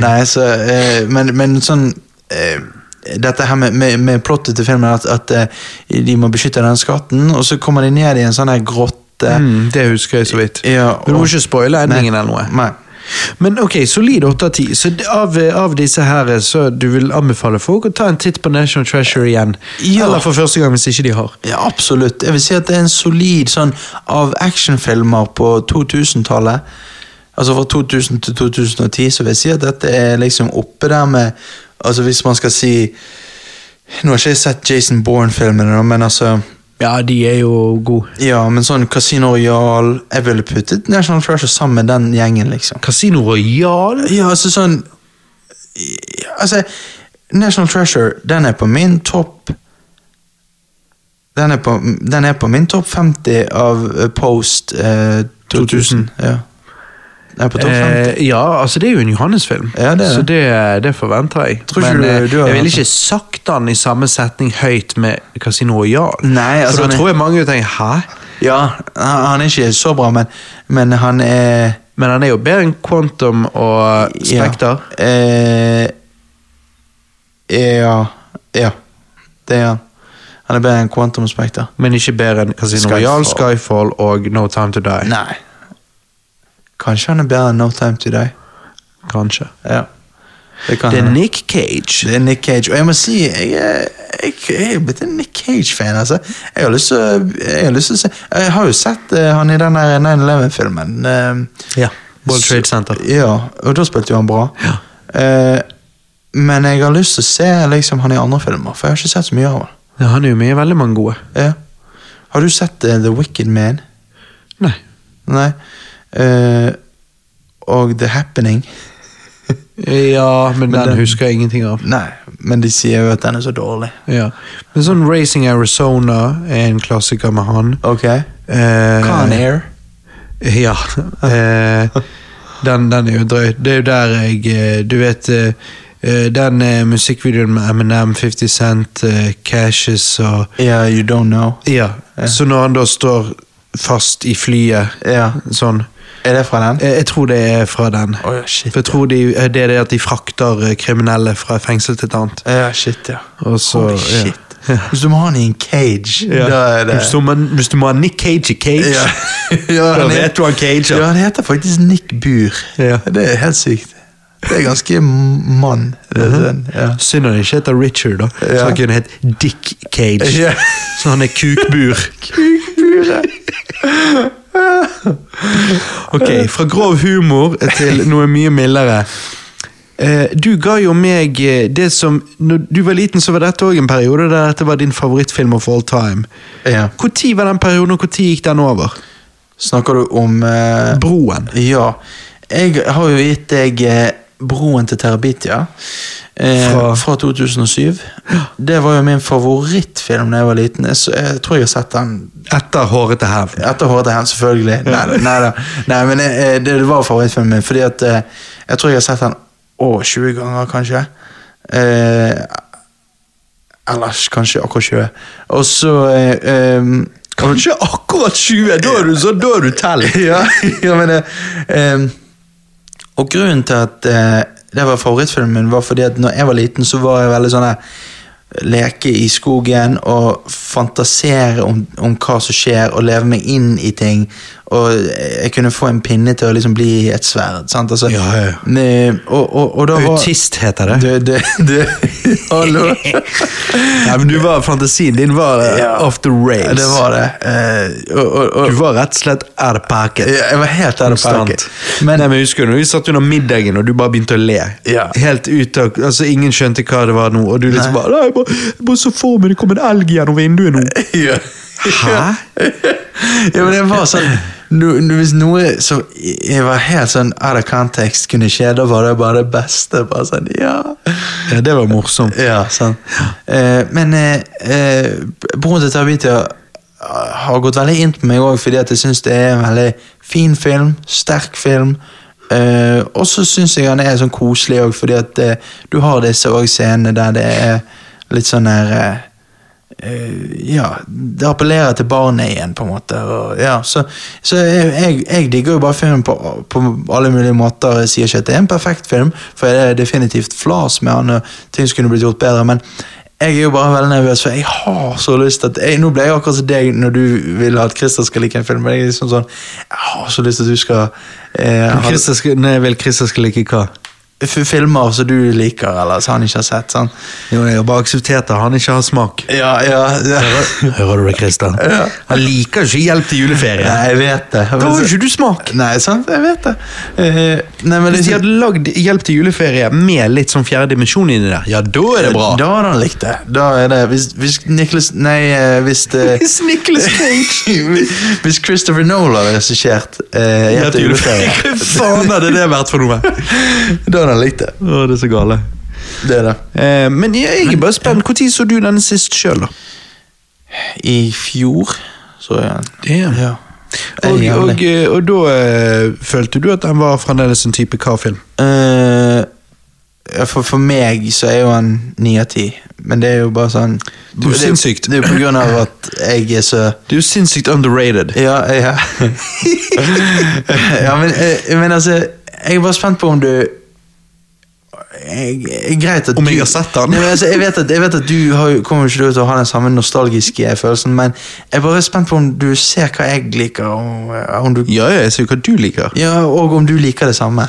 Speaker 2: Nei, så eh, men, men sånn eh, Dette her med, med, med plottet til filmen, at, at eh, de må beskytte den skatten, og så kommer de ned i en sånn her grotte.
Speaker 1: Mm, det husker jeg så vidt.
Speaker 2: Ja,
Speaker 1: Du må
Speaker 2: og-
Speaker 1: ikke spoile endingen
Speaker 2: Nei.
Speaker 1: eller noe.
Speaker 2: Nei.
Speaker 1: Men ok, solid 8 av 10. Så det- av, av disse her så du vil anbefale folk å ta en titt på National Treasure igjen.
Speaker 2: Ja.
Speaker 1: Eller for første gang, hvis ikke de har.
Speaker 2: Ja, absolutt. Jeg vil si at det er en solid sånn av actionfilmer på 2000-tallet. Altså fra 2000 til 2010, så vil jeg si at dette er liksom oppe der med Altså hvis man skal si Nå har ikke jeg sett Jason Bourne-filmene, da, men altså
Speaker 1: Ja, de er jo gode.
Speaker 2: Ja, men sånn Casino Royal Jeg ville puttet National Treasure sammen med den gjengen, liksom.
Speaker 1: Casino Royal?
Speaker 2: Ja, altså sånn Altså, National Treasure, den er på min topp Den er på, den er på min topp 50 av eh, Post eh, 2000. Ja. Den er på topp 50.
Speaker 1: Eh, ja, altså det er jo en Johannes-film,
Speaker 2: Ja, det er det.
Speaker 1: så det, det forventer jeg.
Speaker 2: Tror ikke
Speaker 1: Men
Speaker 2: du-
Speaker 1: eh,
Speaker 2: du har
Speaker 1: jeg ville
Speaker 2: hørt
Speaker 1: ikke sagt den i samme setning høyt med Casino Royal.
Speaker 2: Nei,
Speaker 1: For da
Speaker 2: altså, han er-
Speaker 1: tror jeg mange tenker 'hæ?'
Speaker 2: Ja, han han er ikke så bra, men, men han er
Speaker 1: Men han er jo bedre enn Quantum og Spekter.
Speaker 2: Ja. Eh, ja. Ja. Det er han. Han er bedre enn Quantum Spekter.
Speaker 1: Men ikke bedre enn Casino
Speaker 2: Skyfall.
Speaker 1: Royale, Skyfall og No Time To Die.
Speaker 2: Nei. Kanskje han er bedre enn No Time To Die.
Speaker 1: Kanskje.
Speaker 2: Ja. Det kan
Speaker 1: Det er
Speaker 2: hende.
Speaker 1: Nick Cage.
Speaker 2: Det er Nick Cage. Og jeg må si, jeg er, jeg, jeg er blitt en Nick Cage-fan. altså. Jeg har lyst til å- jeg har lyst til å se Jeg har jo sett eh, han i den der 9-11-filmen. eh,
Speaker 1: Ja. World
Speaker 2: så-
Speaker 1: Trade Center.
Speaker 2: Ja, og da spilte jo han bra.
Speaker 1: Ja.
Speaker 2: Eh, men jeg har lyst til å se liksom, han i andre filmer, for jeg har ikke sett så mye av han.
Speaker 1: Ja, han er jo med i veldig mange gode.
Speaker 2: Ja. Har du sett eh, The Wicked Man?
Speaker 1: Nei.
Speaker 2: Nei. Eh, og The Happening.
Speaker 1: Ja, men, den,
Speaker 2: den-
Speaker 1: husker jeg ingenting av.
Speaker 2: Nei, men de sier jo at den er så dårlig.
Speaker 1: Ja. Men sånn Racing Arizona er en klassiker med han.
Speaker 2: Ok.
Speaker 1: Eh,
Speaker 2: Con Air.
Speaker 1: [LAUGHS] Ja. Eh, den, den er jo drøy. Det er jo der jeg eh, Du vet eh, eh, den eh, musikkvideoen med Eminem, 50 Cent, eh, Cashes og
Speaker 2: Ja, You Don't Know.
Speaker 1: ja. Så når han da står fast i flyet
Speaker 2: Ja.
Speaker 1: sånn
Speaker 2: Er det fra den?
Speaker 1: jeg, jeg tror det er fra den.
Speaker 2: Å ja, shit.
Speaker 1: For jeg tror de, eh, det er det at de frakter eh, kriminelle fra et fengsel til et annet.
Speaker 2: Ja, shit, ja.
Speaker 1: Og så,
Speaker 2: Holy
Speaker 1: ja.
Speaker 2: shit. Hvis du må ha han i en cage,
Speaker 1: Ja.
Speaker 2: da er det
Speaker 1: Hvis, du må, hvis du må ha Nick Cage i cage
Speaker 2: Ja.
Speaker 1: [LAUGHS]
Speaker 2: Ja,
Speaker 1: Da
Speaker 2: han er-
Speaker 1: vet du han cager.
Speaker 2: Ja, han heter faktisk Nick Bur.
Speaker 1: Ja.
Speaker 2: Det er helt sykt. Det er ganske m- mann. Det er
Speaker 1: Mhm.
Speaker 2: sånn, ja.
Speaker 1: Synd han ikke heter Richard, da. Så
Speaker 2: Ja.
Speaker 1: han kunne hett Dick Cage.
Speaker 2: Ja.
Speaker 1: Så han er
Speaker 2: [LAUGHS]
Speaker 1: kukbur. ok, fra grov humor til noe mye mildere. Eh, Du ga jo meg eh, det som Når du var liten, så var dette òg en periode der dette var din favorittfilm of all time.
Speaker 2: ja.
Speaker 1: Når var den perioden, og når gikk den over?
Speaker 2: Snakker du om eh,
Speaker 1: Broen.
Speaker 2: Ja. Jeg har jo gitt deg eh, Broen til Terabitia eh,
Speaker 1: Fra-
Speaker 2: fra, 2007. Det var jo min favorittfilm da jeg var liten. Jeg, s- jeg tror jeg har sett den
Speaker 1: Etter Hårete hevn.
Speaker 2: Etter Hårete hen, selvfølgelig. Nei, nei, nei, nei men eh, det, det var favorittfilmen min. Fordi at eh, Jeg tror jeg har sett den å, 20 ganger, kanskje. Eh, ellers kanskje akkurat 20. Og så eh, eh,
Speaker 1: Kanskje akkurat 20! Da er du så, da er du tell.
Speaker 2: [LAUGHS] ja, ja, men eh, eh, Og grunnen til at eh, det var favorittfilmen min, var fordi at når jeg var liten, så var jeg veldig sånn der Leke i skogen og fantasere om, om hva som skjer, og leve meg inn i ting. Og jeg kunne få en pinne til å liksom bli et sverd. sant? Altså,
Speaker 1: Ja, ja, ja.
Speaker 2: ne- Og, og, og da var
Speaker 1: Autist heter det.
Speaker 2: Du, du, du,
Speaker 1: [LAUGHS]
Speaker 2: [LAUGHS] hallo?
Speaker 1: Nei, men du var, Fantasien din var eh,
Speaker 2: Ja.
Speaker 1: off the rails.
Speaker 2: Det var det. Eh, og, og, og,
Speaker 1: Du var rett og slett out of pocket.
Speaker 2: jeg var helt der oppe.
Speaker 1: Konstant. Men, Nei, men husker du, når Vi satt under middagen, og du bare begynte å le.
Speaker 2: Ja.
Speaker 1: Helt ut av, altså Ingen skjønte hva det var nå, og du liksom
Speaker 2: Nei.
Speaker 1: bare Nei, jeg bare, jeg bare så for meg det kom en elg gjennom vinduet nå.
Speaker 2: Ja.
Speaker 1: Hæ?
Speaker 2: ja, men det var sånn no, no, Hvis noe som jeg var helt sånn out of context kunne skje, da var det bare det beste. Bare sånn, ja.
Speaker 1: Ja, det var morsomt.
Speaker 2: Ja, sant. Eh, men eh, eh, broren til Tabita har gått veldig inn på meg òg, fordi at jeg syns det er en veldig fin film. Sterk film. Eh, og så syns jeg han er sånn koselig òg, fordi at eh, du har disse også scenene der det er litt sånn der eh, eh, ja, det appellerer til barnet igjen, på en måte. Og, ja, så så jeg, jeg, jeg digger jo bare filmen på, på alle mulige måter. Jeg sier ikke at det er en perfekt film, for det er definitivt flas med han, og ting skulle blitt gjort bedre, men jeg er jo bare veldig nervøs, for jeg har så lyst til at jeg, Nå ble jeg akkurat som deg når du vil at Christer skal like en film, men jeg er liksom sånn Jeg har så lyst til at du skal eh,
Speaker 1: Men
Speaker 2: ha
Speaker 1: Christer skal, nei, vel, Christer skal like hva?
Speaker 2: f- filmer som du liker, eller som han ikke har sett. Sånn.
Speaker 1: Jo, jeg har bare akseptert at han ikke har smak.
Speaker 2: Ja, ja, ja.
Speaker 1: Hører du det, Christer? Han liker ikke hjelp til juleferie.
Speaker 2: Nei, jeg vet det.
Speaker 1: Da har jo ikke du smak.
Speaker 2: Nei, sant? Jeg vet det. Eh, nei, men
Speaker 1: Hvis de
Speaker 2: liksom,
Speaker 1: hadde lagd Hjelp til juleferie med litt sånn fjerde dimensjon inni der, ja, da er det bra.
Speaker 2: Da hadde han likt det. Da er det. Hvis, hvis Nicholas Nei, eh, hvis det,
Speaker 1: [LAUGHS] Hvis Nicolas Cage
Speaker 2: [LAUGHS] Hvis Christopher Nolan hadde regissert eh, Hjem til juleferie,
Speaker 1: [LAUGHS]
Speaker 2: [LAUGHS]
Speaker 1: Hva faen hadde det vært for noe?
Speaker 2: da hadde han likt det.
Speaker 1: Å, det er så gale.
Speaker 2: Det er det.
Speaker 1: Eh, men jeg jeg er bare spent. Når så du denne sist sjøl, da?
Speaker 2: I fjor så jeg han.
Speaker 1: Ja.
Speaker 2: Ja.
Speaker 1: Og,
Speaker 2: Jeg er
Speaker 1: og,
Speaker 2: jævlig.
Speaker 1: eh, og da eh, følte du at den var fremdeles en type hva-film?
Speaker 2: Eh, ja, for, for meg så er jo han ni av ti, men det er jo bare sånn
Speaker 1: Det er jo sinnssykt.
Speaker 2: Det er jo på grunn av at jeg er så
Speaker 1: Det er jo sinnssykt underrated.
Speaker 2: Ja, ja. [LAUGHS] ja men, eh, men altså, jeg er bare spent på om du jeg, jeg, greit at
Speaker 1: Om
Speaker 2: du,
Speaker 1: jeg har sett den?
Speaker 2: Nei, men altså, jeg, vet at, jeg vet at du har, jo- kommer ikke til å ha den samme nostalgiske følelsen, men jeg er bare spent på om du ser hva jeg liker, og, eh, om du,
Speaker 1: Ja, ja, jeg ser jo hva du liker.
Speaker 2: ja, og om du liker det samme.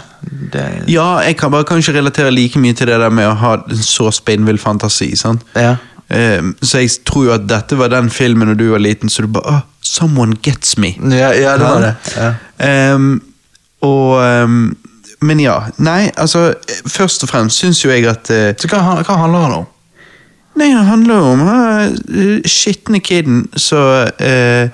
Speaker 2: Det,
Speaker 1: Ja, jeg kan bare kanskje relatere like mye til det der med å ha en så spinnvill fantasi. sant?
Speaker 2: ja.
Speaker 1: Eh, så jeg tror jo at dette var den filmen når du var liten, så du bare «Åh, Someone gets me.
Speaker 2: Ja, ja, det var det. Ja.
Speaker 1: Ehm, og ehm, Men ja. Nei, altså Først og fremst syns jo jeg at eh,
Speaker 2: Så hva, han- hva handler han om?
Speaker 1: Nei, det handler jo om uh, skitne kiden som eh,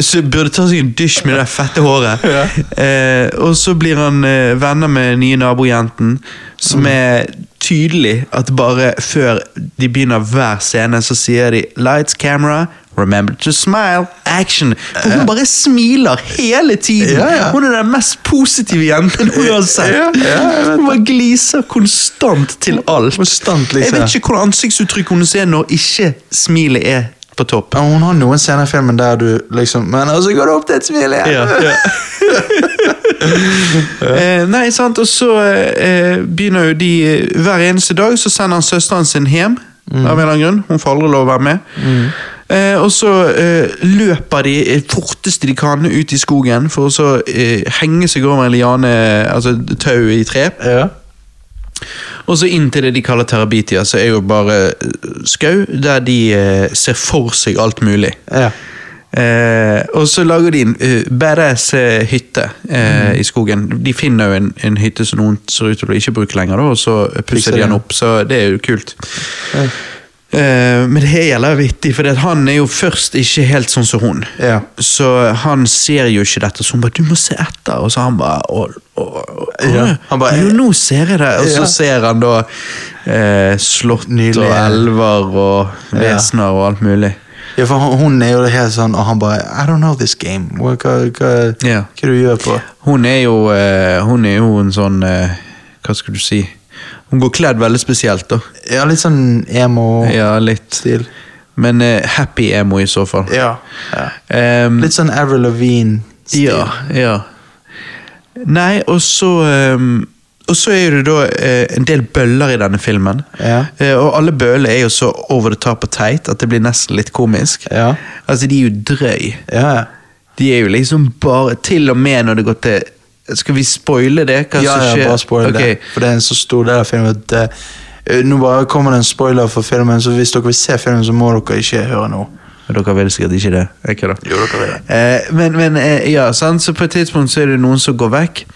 Speaker 1: Så burde ta seg en dusj med det fette håret.
Speaker 2: [LAUGHS] Ja.
Speaker 1: Eh, og så blir han eh, venner med den nye nabojenten,
Speaker 2: Mm.
Speaker 1: som er tydelig at bare før de begynner hver scene, så sier de 'lights, camera'. Remember to smile, action. Og hun bare smiler hele tiden.
Speaker 2: Ja, ja.
Speaker 1: Hun er den mest positive jenten hun har sett.
Speaker 2: [LAUGHS] Ja, ja, jeg vet
Speaker 1: hun bare gliser konstant til alt.
Speaker 2: Konstant
Speaker 1: Jeg
Speaker 2: liksom.
Speaker 1: vet ikke hvordan ansiktsuttrykk hun ser når ikke smilet er på topp.
Speaker 2: Ja, Hun har noen scener i filmen der du liksom Men altså, går det opp til et smil igjen?
Speaker 1: Eh, nei, sant, og så eh, eh, begynner jo de eh, Hver eneste dag så sender han søsteren sin hjem. Av en eller annen grunn. Hun får aldri lov å være med. Eh, og så eh, løper de eh, fortest de kan ut i skogen for å så eh, henge seg over en liane, altså tau i tre.
Speaker 2: [LAUGHS] Ja.
Speaker 1: Og så inn til det de kaller terabitia, så er jo bare eh, skau der de eh, ser for seg alt mulig.
Speaker 2: Ja.
Speaker 1: Eh, og så lager de en eh, badass eh, hytte eh,
Speaker 2: Mm.
Speaker 1: i skogen. De finner jo en, en hytte som noen ser ut til å ikke bruke lenger, da, og så pusser
Speaker 2: Fikser
Speaker 1: de den
Speaker 2: det.
Speaker 1: opp, så det er jo kult. Eh, men det er jævla vittig, for han er jo først ikke helt sånn som hun.
Speaker 2: Ja.
Speaker 1: Så han ser jo ikke dette, så hun bare 'du må se etter', og så han bare å, å, å,
Speaker 2: Ja, han bare,
Speaker 1: Jo, nå ser jeg det! Og så
Speaker 2: Ja.
Speaker 1: ser han da eh, slott
Speaker 2: Nydelig.
Speaker 1: og elver og
Speaker 2: Ja.
Speaker 1: vesener og alt mulig.
Speaker 2: ja, for hun- hun er jo helt sånn, og han bare I don't know this game. Hva, hva, hva,
Speaker 1: Ja.
Speaker 2: hva du gjør på?
Speaker 1: Hun er jo, eh, hun er jo en sånn eh, Hva skal du si? Hun går kledd veldig spesielt, da.
Speaker 2: Ja, litt sånn emo-stil.
Speaker 1: Ja, litt. Men eh, happy emo, i så fall.
Speaker 2: Ja. ja.
Speaker 1: Ehm,
Speaker 2: Litt sånn Avril Lavigne-stil.
Speaker 1: ja, ja. Nei, og så ehm, Og så er det da eh, en del bøller i denne filmen.
Speaker 2: Ja.
Speaker 1: Eh, og alle bøllene er jo så over the top og teit at det blir nesten litt komisk.
Speaker 2: Ja.
Speaker 1: Altså, de er jo drøy.
Speaker 2: Ja, ja.
Speaker 1: De er jo liksom bare Til og med når det går til Skal vi spoile det? Hva
Speaker 2: ja,
Speaker 1: som skjer?
Speaker 2: ja, bare spoil
Speaker 1: Ok.
Speaker 2: det. For det er en så stor del av filmen at eh, eh, Nå bare kommer det en spoiler for filmen, så hvis dere vil se filmen, så må dere ikke høre noe.
Speaker 1: Men dere vil sikkert ikke det. Ikke da?
Speaker 2: Jo, dere vil det.
Speaker 1: Eh, men men eh, ja, sant? så på et tidspunkt så er det noen som går vekk.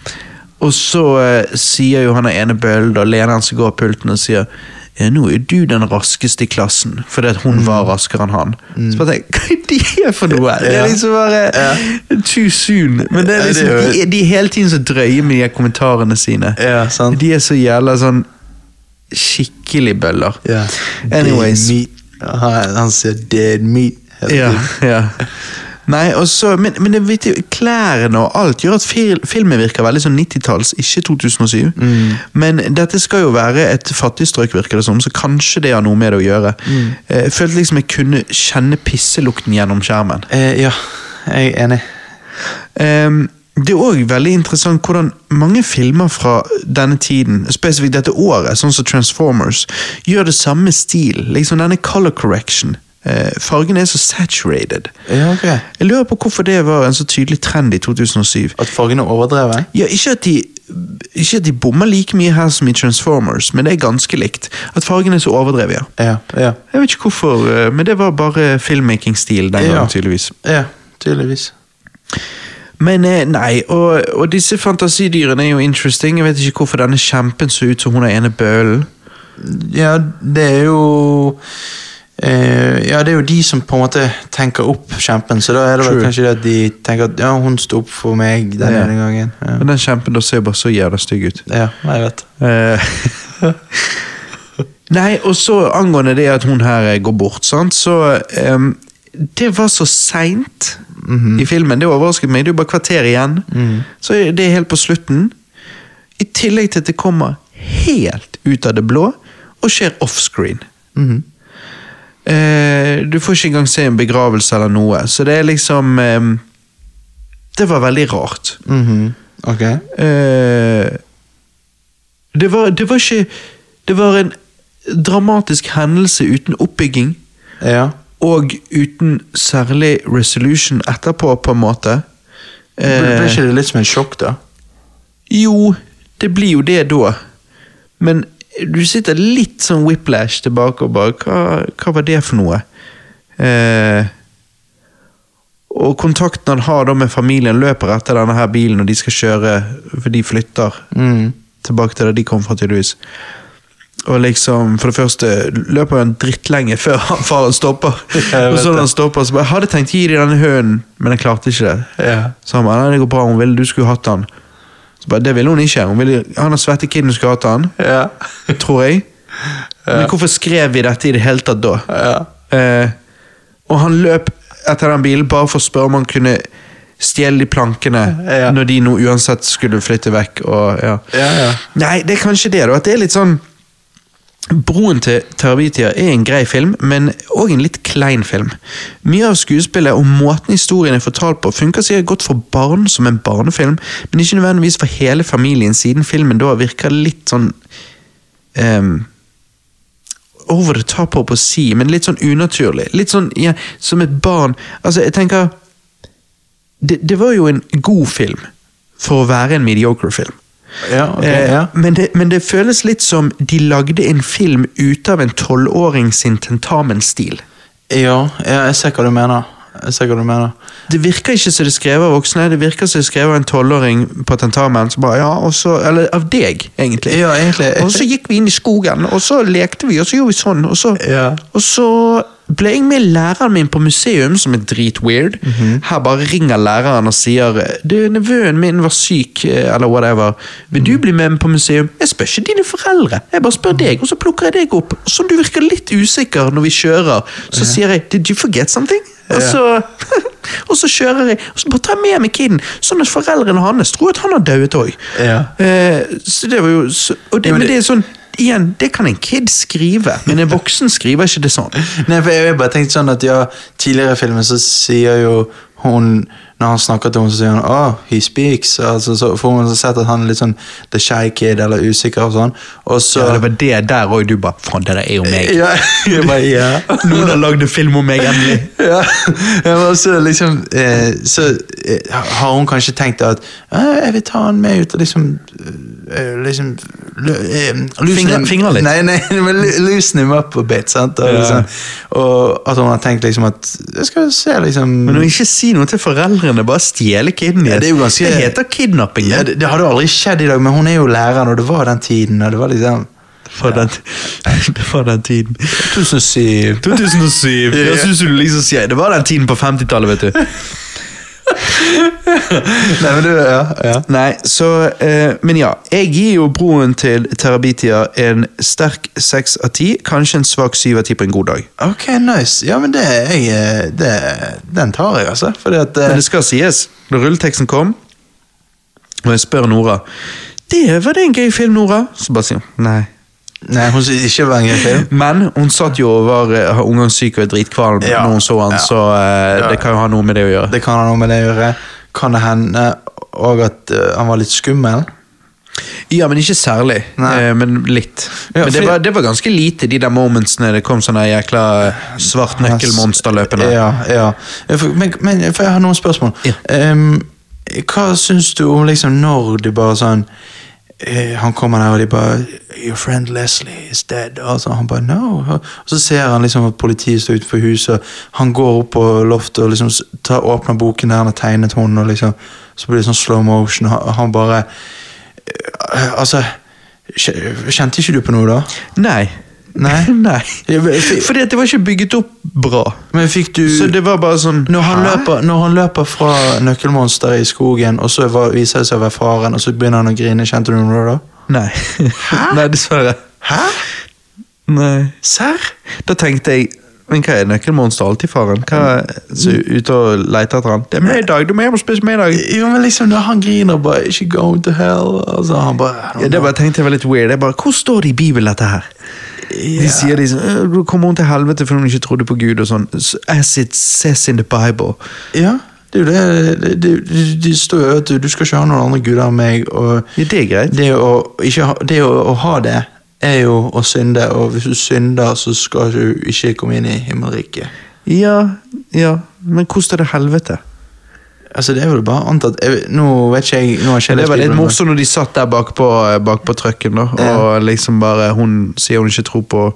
Speaker 1: Og så eh, sier jo han den ene bølen, da lener han seg over pulten og sier ja, nå er du den raskeste i klassen, fordi at
Speaker 2: Mm.
Speaker 1: hun var raskere enn han. Så bare tenk, Hva er det for noe? Det
Speaker 2: Ja.
Speaker 1: er liksom bare Too soon. Men det er
Speaker 2: Ja, det
Speaker 1: liksom,
Speaker 2: er jo-
Speaker 1: de, er- de er hele tiden så drøye med de her kommentarene sine.
Speaker 2: Ja, sant.
Speaker 1: De er så jævla sånn skikkelig bøller.
Speaker 2: Ja.
Speaker 1: Anyways.
Speaker 2: Dead meat. Han, han sier dead meat. hele
Speaker 1: Ja,
Speaker 2: tiden.
Speaker 1: [LAUGHS] ja. Nei, og så, men, men det, vet du, klærne og alt gjør at fil, filmen virker veldig sånn 90-talls, ikke 2007. Men dette skal jo være et fattig strøk, virker det som, så kanskje det har noe med det å gjøre. Eh, Jeg følte liksom jeg kunne kjenne pisselukten gjennom skjermen.
Speaker 2: Eh, ja, jeg er enig.
Speaker 1: Ehm, det er òg veldig interessant hvordan mange filmer fra denne tiden, spesifikt dette året, sånn som Transformers, gjør det samme stil. Liksom denne color correction. Eh, fargen er så saturated.
Speaker 2: Ja, ok.
Speaker 1: Jeg lurer på hvorfor det var en så tydelig trend i 2007.
Speaker 2: At fargen er overdreven?
Speaker 1: Ja, ikke at de ikke at de bommer like mye her som i Transformers, men det er ganske likt. At fargen er så overdrevet, ja.
Speaker 2: Ja. ja.
Speaker 1: Jeg vet ikke hvorfor, eh, men det var bare filmmaking-stil den
Speaker 2: Ja.
Speaker 1: gangen, tydeligvis.
Speaker 2: Ja, tydeligvis.
Speaker 1: Men eh, nei, og, og disse fantasidyrene er jo interesting. Jeg vet ikke hvorfor denne kjempen så ut som hun er ene bølen.
Speaker 2: Ja, det er jo eh, Ja, det er jo de som på en måte tenker opp kjempen, så da er det vel
Speaker 1: True.
Speaker 2: kanskje det at de tenker at ja, hun sto opp for meg den
Speaker 1: Ja.
Speaker 2: ene gangen. Ja.
Speaker 1: Men den kjempen da ser jo bare så jævla stygg ut.
Speaker 2: ja, jeg vet.
Speaker 1: Eh, [LAUGHS] Nei, og så angående det at hun her eh, går bort, sant? så ehm, Det var så seint i filmen. Det overrasket meg. Det er jo bare kvarter igjen. Så det er helt på slutten. I tillegg til at det kommer helt ut av det blå og skjer offscreen. Eh, du får ikke engang se en begravelse eller noe, så det er liksom ehm, Det var veldig rart.
Speaker 2: Mhm. Ok.
Speaker 1: Eh, det, var, det var ikke Det var en dramatisk hendelse uten oppbygging.
Speaker 2: Ja.
Speaker 1: Og uten særlig resolution etterpå, på en måte.
Speaker 2: Ble, ble
Speaker 1: Eh,
Speaker 2: ikke det litt som en sjokk, da?
Speaker 1: jo, det blir jo det da. Men du sitter litt sånn whiplash tilbake og bare Hva, hva var det for noe? Eh, og kontakten han har da med familien, løper etter denne her bilen, og de skal kjøre, for de flytter
Speaker 2: Mm.
Speaker 1: tilbake til der de kom fra, tydeligvis. Og liksom, For det første løper han drittlenge før [LAUGHS] han- faren stopper.
Speaker 2: jeg
Speaker 1: og
Speaker 2: vet
Speaker 1: så når
Speaker 2: det.
Speaker 1: han stopper, så bare 'Jeg hadde tenkt å gi deg denne hønen, men jeg klarte ikke det'.
Speaker 2: Ja.
Speaker 1: Så han bare 'Nei, det går bra, hun ville, du skulle hatt han'. Så bare, Det ville hun ikke. Hun ville, han har svette kiden skulle hatt
Speaker 2: [LAUGHS]
Speaker 1: han,
Speaker 2: Ja.
Speaker 1: tror jeg. Men hvorfor skrev vi dette i det hele tatt da?
Speaker 2: ja.
Speaker 1: Eh, og han løp etter den bilen bare for å spørre om han kunne stjele de plankene
Speaker 2: Ja.
Speaker 1: når de nå uansett skulle flytte vekk. Og, ja.
Speaker 2: Ja, ja.
Speaker 1: Nei, det er kanskje det, da. At det er litt sånn Broen til Terabitia er en grei film, men òg en litt klein film. Mye av skuespillet og måten historien er fortalt på, funker sikkert godt for barn som en barnefilm, men ikke nødvendigvis for hele familien, siden filmen da virker litt sånn ehm, over the top, holdt på å si, men litt sånn unaturlig. Litt sånn ja, som et barn. Altså, jeg tenker det, det var jo en god film for å være en mediocre film.
Speaker 2: Ja, ok,
Speaker 1: Eh,
Speaker 2: ja.
Speaker 1: men, det, men det føles litt som de lagde en film ut av en tolvåring sin tentamensstil.
Speaker 2: ja, ja, jeg ser hva du mener. Jeg ser hva du mener.
Speaker 1: Det virker ikke som det er skrevet av voksne, det virker som det er skrevet av en tolvåring på tentamen. Som bare, ja, og så, eller av deg, egentlig.
Speaker 2: Ja, egentlig.
Speaker 1: Og så gikk vi inn i skogen, og så lekte vi, og så gjorde vi sånn. Og så,
Speaker 2: Ja.
Speaker 1: og så ble jeg med læreren min på museum, som er dritweird. Her bare ringer læreren og sier du, nevøen min var syk, eh, eller whatever. Vil du bli med meg på museum? Jeg spør ikke dine foreldre, jeg bare spør deg, og så plukker jeg deg opp. Og så du virker litt usikker når vi kjører, så sier jeg 'did you forget something'? Og så, [LAUGHS] og så kjører jeg, og så bare tar jeg med meg kiden, sånn at foreldrene hans tror at han har dødd òg.
Speaker 2: Ja.
Speaker 1: Eh, så det var jo så, og det,
Speaker 2: Ja, men
Speaker 1: men
Speaker 2: det-
Speaker 1: det er sånn Igjen, det kan en kid skrive, men en voksen skriver ikke det sånn. [LAUGHS]
Speaker 2: Nei, for jeg har bare tenkt sånn at ja, Tidligere i filmen så sier jo hun Når han snakker til henne, så sier hun oh, he speaks. Altså, så får hun sett at han er litt sånn the shy kid eller usikker og sånn. Og så
Speaker 1: Ja, det var det der òg du bare Faen, det der er jo meg.
Speaker 2: ja, jeg bare, ja. [LAUGHS]
Speaker 1: [LAUGHS] Noen har lagd en film om meg, [LAUGHS] endelig.
Speaker 2: Ja, ja, men så liksom eh, Så eh, har hun kanskje tenkt at «Eh, Jeg vil ta han med ut og liksom eh, Liksom lø, eh, loosen
Speaker 1: Fingre-
Speaker 2: him-
Speaker 1: fingre litt.
Speaker 2: Nei, nei, men lo- loosen him up a bit. Sant? Og,
Speaker 1: Ja.
Speaker 2: liksom, og at hun har tenkt liksom at Jeg skal se, liksom
Speaker 1: Men å ikke si noe til foreldrene, bare stjele kiden
Speaker 2: Ja, det er jo ganske-
Speaker 1: Det heter kidnapping.
Speaker 2: ja,
Speaker 1: Ja,
Speaker 2: det, det hadde jo aldri skjedd i dag, men hun er jo læreren, og det var den tiden. Og det var liksom
Speaker 1: for, den, [LAUGHS] for den tiden.
Speaker 2: 2007.
Speaker 1: 2007.
Speaker 2: Ja.
Speaker 1: Jeg synes du liksom sier Det var den tiden på 50-tallet, vet du.
Speaker 2: Nei, men du, ja, ja.
Speaker 1: [LAUGHS] Nei, så eh, Men ja. Jeg gir jo broen til Terabitia en sterk seks av ti. Kanskje en svak syv av ti på en god dag.
Speaker 2: Ok, nice. Ja, men det, er jeg, eh, det Den tar jeg, altså. Fordi at eh,
Speaker 1: Men det skal sies, da rulleteksten kom, og jeg spør Nora det, 'Var det en gøy film, Nora?' Så bare sier hun nei.
Speaker 2: Nei, hun synes ikke det var en gøy film.
Speaker 1: Men hun satt jo og var eh, omgangssyk og dritkvalm
Speaker 2: Ja,
Speaker 1: når hun så han,
Speaker 2: ja.
Speaker 1: så eh,
Speaker 2: Ja.
Speaker 1: det kan jo ha noe med det å gjøre.
Speaker 2: Det kan ha noe med det å gjøre. Kan det hende òg at eh, han var litt skummel?
Speaker 1: Ja, men ikke særlig.
Speaker 2: Nei.
Speaker 1: Eh, men litt.
Speaker 2: Ja,
Speaker 1: men det,
Speaker 2: fordi-
Speaker 1: var, det var ganske lite, de der momentsene det kom sånne jækla eh, svart nøkkelmonster løpende.
Speaker 2: Ja, ja. Ja, for- Men, men for jeg har noen spørsmål.
Speaker 1: Ja.
Speaker 2: Ehm, hva syns du om liksom når de bare sånn eh, Han kommer der, og de bare 'Your friend Leslie is dead.' Og så han bare 'No.' Og så ser han liksom at politiet står utenfor huset, og han går opp på loftet og liksom s- tar, åpner boken der han har tegnet hånden, og liksom så blir det sånn slow motion, og han- han bare eh, Altså kj- Kjente ikke du på noe da?
Speaker 1: Nei.
Speaker 2: Nei?
Speaker 1: [LAUGHS] Nei.
Speaker 2: Ja, men-
Speaker 1: Fordi at det var ikke bygget opp bra.
Speaker 2: Men fikk du
Speaker 1: Så det var bare sånn
Speaker 2: Når han,
Speaker 1: hæ?
Speaker 2: løper, når han løper fra nøkkelmonsteret i skogen, og så var, viser det seg å være faren, og så begynner han å grine, kjente du noe da?
Speaker 1: Nei. [LAUGHS] Nei, dessverre.
Speaker 2: Hæ?
Speaker 1: Nei.
Speaker 2: Serr?
Speaker 1: Da tenkte jeg men hva er nøkkelmonster alltid faren? Hva er så ute og leter etter han? Det er middag, du må hjem og spise middag.
Speaker 2: Jo, men liksom, når han griner bare 'Ikke go to hell', og så han bare
Speaker 1: Ja, det bare tenkte jeg var litt weird. Jeg bare, Hvor står det i Bibelen, dette her? De sier liksom «Øh, Du kommer hun til helvete fordi hun ikke trodde på Gud og sånn. «S- As it says in the Bible.
Speaker 2: Ja, det er jo det det- det- det- Det står jo at du, du skal ikke ha noen andre guder enn meg, og
Speaker 1: Ja, det er greit.
Speaker 2: det å, ikke ha, det å, å ha det er jo å synde, og hvis du synder, så skal du ikke komme inn i himmelriket.
Speaker 1: Ja, ja. Men hvor står det helvete?
Speaker 2: Altså, det er vel bare antatt jeg, Nå vet ikke jeg nå har ikke jeg
Speaker 1: Det
Speaker 2: lest
Speaker 1: var litt
Speaker 2: Bibelen, men-
Speaker 1: morsomt når de satt der bakpå bak på trucken, da, og liksom bare Hun sier hun ikke tror på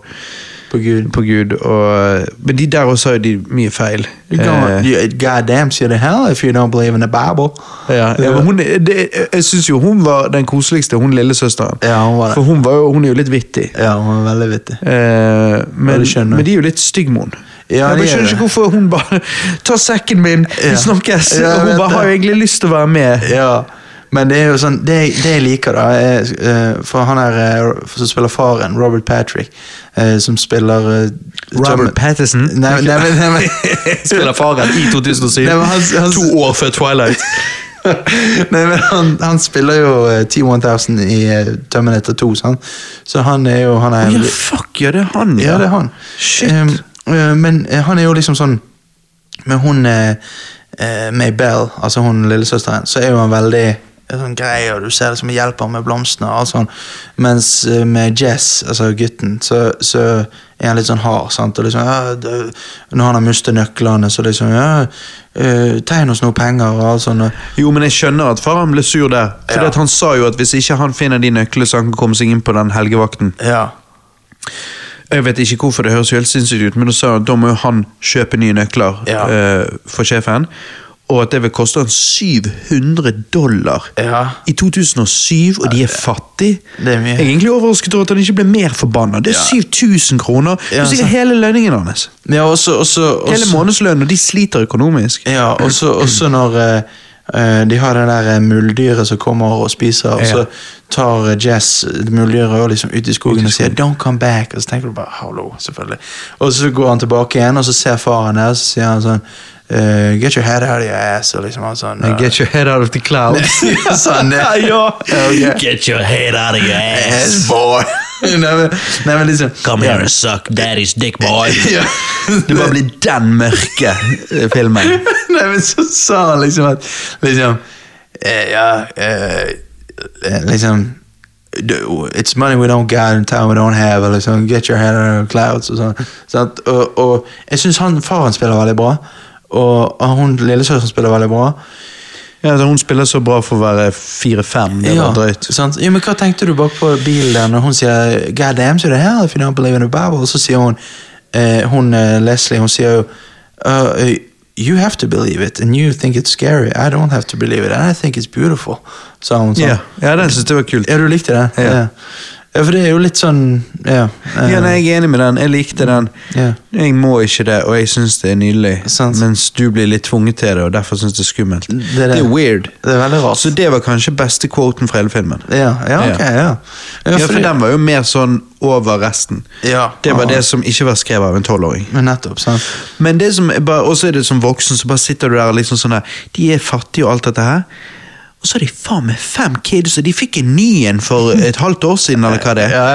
Speaker 2: på Gud.
Speaker 1: på Gud. Og, men de der også har jo de mye feil.
Speaker 2: You gonna,
Speaker 1: Eh,
Speaker 2: you, God damn, to hell if you don't believe in the Bible.
Speaker 1: ja, ja, men hun, det, jeg syns jo hun var den koseligste, hun lillesøsteren.
Speaker 2: Ja, hun var det.
Speaker 1: For hun, var jo, hun er jo litt vittig.
Speaker 2: Ja, hun er veldig vittig.
Speaker 1: Eh, men,
Speaker 2: det skjønner jeg.
Speaker 1: men de er jo litt stygge med henne.
Speaker 2: Ja,
Speaker 1: jeg bare
Speaker 2: de er
Speaker 1: skjønner
Speaker 2: det.
Speaker 1: ikke hvorfor hun bare tar sekken min, vi
Speaker 2: Ja.
Speaker 1: snakkes!
Speaker 2: Ja, jeg
Speaker 1: og hun
Speaker 2: vet
Speaker 1: bare
Speaker 2: det.
Speaker 1: har jo egentlig lyst til å være
Speaker 2: [LAUGHS]
Speaker 1: med.
Speaker 2: Ja, men det er jo sånn Det, det jeg liker, da, er, eh, for han her eh, som spiller faren, Robert Patrick, eh, som spiller eh, Tom-
Speaker 1: Patterson
Speaker 2: Nei, nei, men- nei, men-
Speaker 1: [LAUGHS] spiller faren i 2007.
Speaker 2: Nei, men han- han-
Speaker 1: to år før Twilight.
Speaker 2: [LAUGHS] Nei, men han, han spiller jo eh, T-1000 i eh, Terminator 2, sant? så han er jo han er,
Speaker 1: ja, fuck, ja, det er han,
Speaker 2: Ja, det er han.
Speaker 1: Shit.
Speaker 2: Um, uh, men uh, han er jo liksom sånn Men hun uh, uh, Maybell, altså hun lillesøsteren, så er jo han veldig uh, sånn grei, og du ser det som hjelper med blomstene og alt sånn. Mens uh, med Jess, altså gutten, så, så er han litt sånn hard. sant? Og liksom, «Ja, det- når han har mistet nøklene, så liksom ja, uh, Tegn oss noe penger og alt sånt. og-
Speaker 1: Jo, men jeg skjønner at faren ble sur der. For
Speaker 2: Ja.
Speaker 1: at han sa jo at hvis ikke han finner de nøklene, så han kan komme seg inn på den helgevakten.
Speaker 2: Ja.
Speaker 1: Jeg vet ikke hvorfor det høres jo helt sinnssykt ut, men da sa han at da må jo han kjøpe nye nøkler
Speaker 2: Ja.
Speaker 1: eh, for sjefen. Og at det vil koste han 700 dollar
Speaker 2: Ja.
Speaker 1: i 2007, og de er fattige.
Speaker 2: Det er mye.
Speaker 1: Jeg er egentlig overrasket over at han ikke ble mer forbanna. Det er 7000 kroner. Det
Speaker 2: Ja,
Speaker 1: er sikkert
Speaker 2: sant.
Speaker 1: hele lønningen hans.
Speaker 2: ja, også, også, også
Speaker 1: Hele månedslønnen, og de sliter økonomisk.
Speaker 2: Ja, og så- og så når eh, eh, de har det der eh, muldyret som kommer og spiser, og
Speaker 1: Ja.
Speaker 2: så tar eh, Jess det muldyret og liksom ut i skogen og sier 'don't come back', og så tenker du bare 'hallo', selvfølgelig. Og så går han tilbake igjen, og så ser faren der, og så sier han sånn eh, 'get your head out of your ass', og liksom han sånn eh, [LAUGHS]
Speaker 1: your head out of the clouds.
Speaker 2: sånn, eh,
Speaker 1: ja.
Speaker 2: [LAUGHS] Ja, ok.
Speaker 3: [LAUGHS] Get your head out of your
Speaker 1: [LAUGHS]
Speaker 3: ass.
Speaker 2: Ass boy! [LAUGHS] nei, men, nei, men liksom
Speaker 3: Come
Speaker 2: ja.
Speaker 3: here and suck daddy's dick,
Speaker 1: [LAUGHS]
Speaker 3: boy.
Speaker 2: Ja.
Speaker 1: Det bare blir den mørke eh, filmen.
Speaker 2: [LAUGHS] Nei, men så sa han liksom at Liksom eh, Ja eh, eh, Liksom du- It's money we don't got and time we don't have eller liksom, Get your head out of the clouds og sånn sant? og, og jeg synes han, faren spiller veldig bra Og, og hun lillesøsteren spiller veldig bra
Speaker 1: Ja, altså, hun spiller så bra for å være 4-5. Det var drøyt.
Speaker 2: sant? Jo, men hva tenkte du bak på bilen der Når hun sier God damn, so the hell if you don't believe in the Bible Og så sier hun eh, Hun, eh, Leslie, hun sier jo uh, You have to believe it And you think it's scary I don't have to believe it And I think it's beautiful Sa hun sånn
Speaker 1: Ja, ja den synes jeg var kult.
Speaker 2: Ja, du likte det?
Speaker 1: Ja.
Speaker 2: Ja, for det er jo litt sånn Ja, eh,
Speaker 1: Ja, nei, jeg er enig med den. Jeg likte den.
Speaker 2: Ja.
Speaker 1: Jeg må ikke det, og jeg syns det er nydelig.
Speaker 2: Sant.
Speaker 1: Mens du blir litt tvunget til det, og derfor syns det er skummelt. Det
Speaker 2: er det.
Speaker 1: weird.
Speaker 2: det er veldig rart
Speaker 1: Så det var kanskje beste quoten fra hele filmen.
Speaker 2: Ja, ja, ok, ja Ja,
Speaker 1: Ja, for
Speaker 2: fordi-
Speaker 1: den var jo mer sånn over resten.
Speaker 2: Ja. Ah.
Speaker 1: Det var det som ikke var skrevet av en tolvåring.
Speaker 2: Men nettopp, sant
Speaker 1: Men det som er bare, også er det som voksen, så bare sitter du der og liksom sånn der De er fattige og alt dette her. Og så har de faen meg fem kids, og de fikk en ny en for et halvt år siden, eller hva det [LAUGHS] er.
Speaker 2: Ja,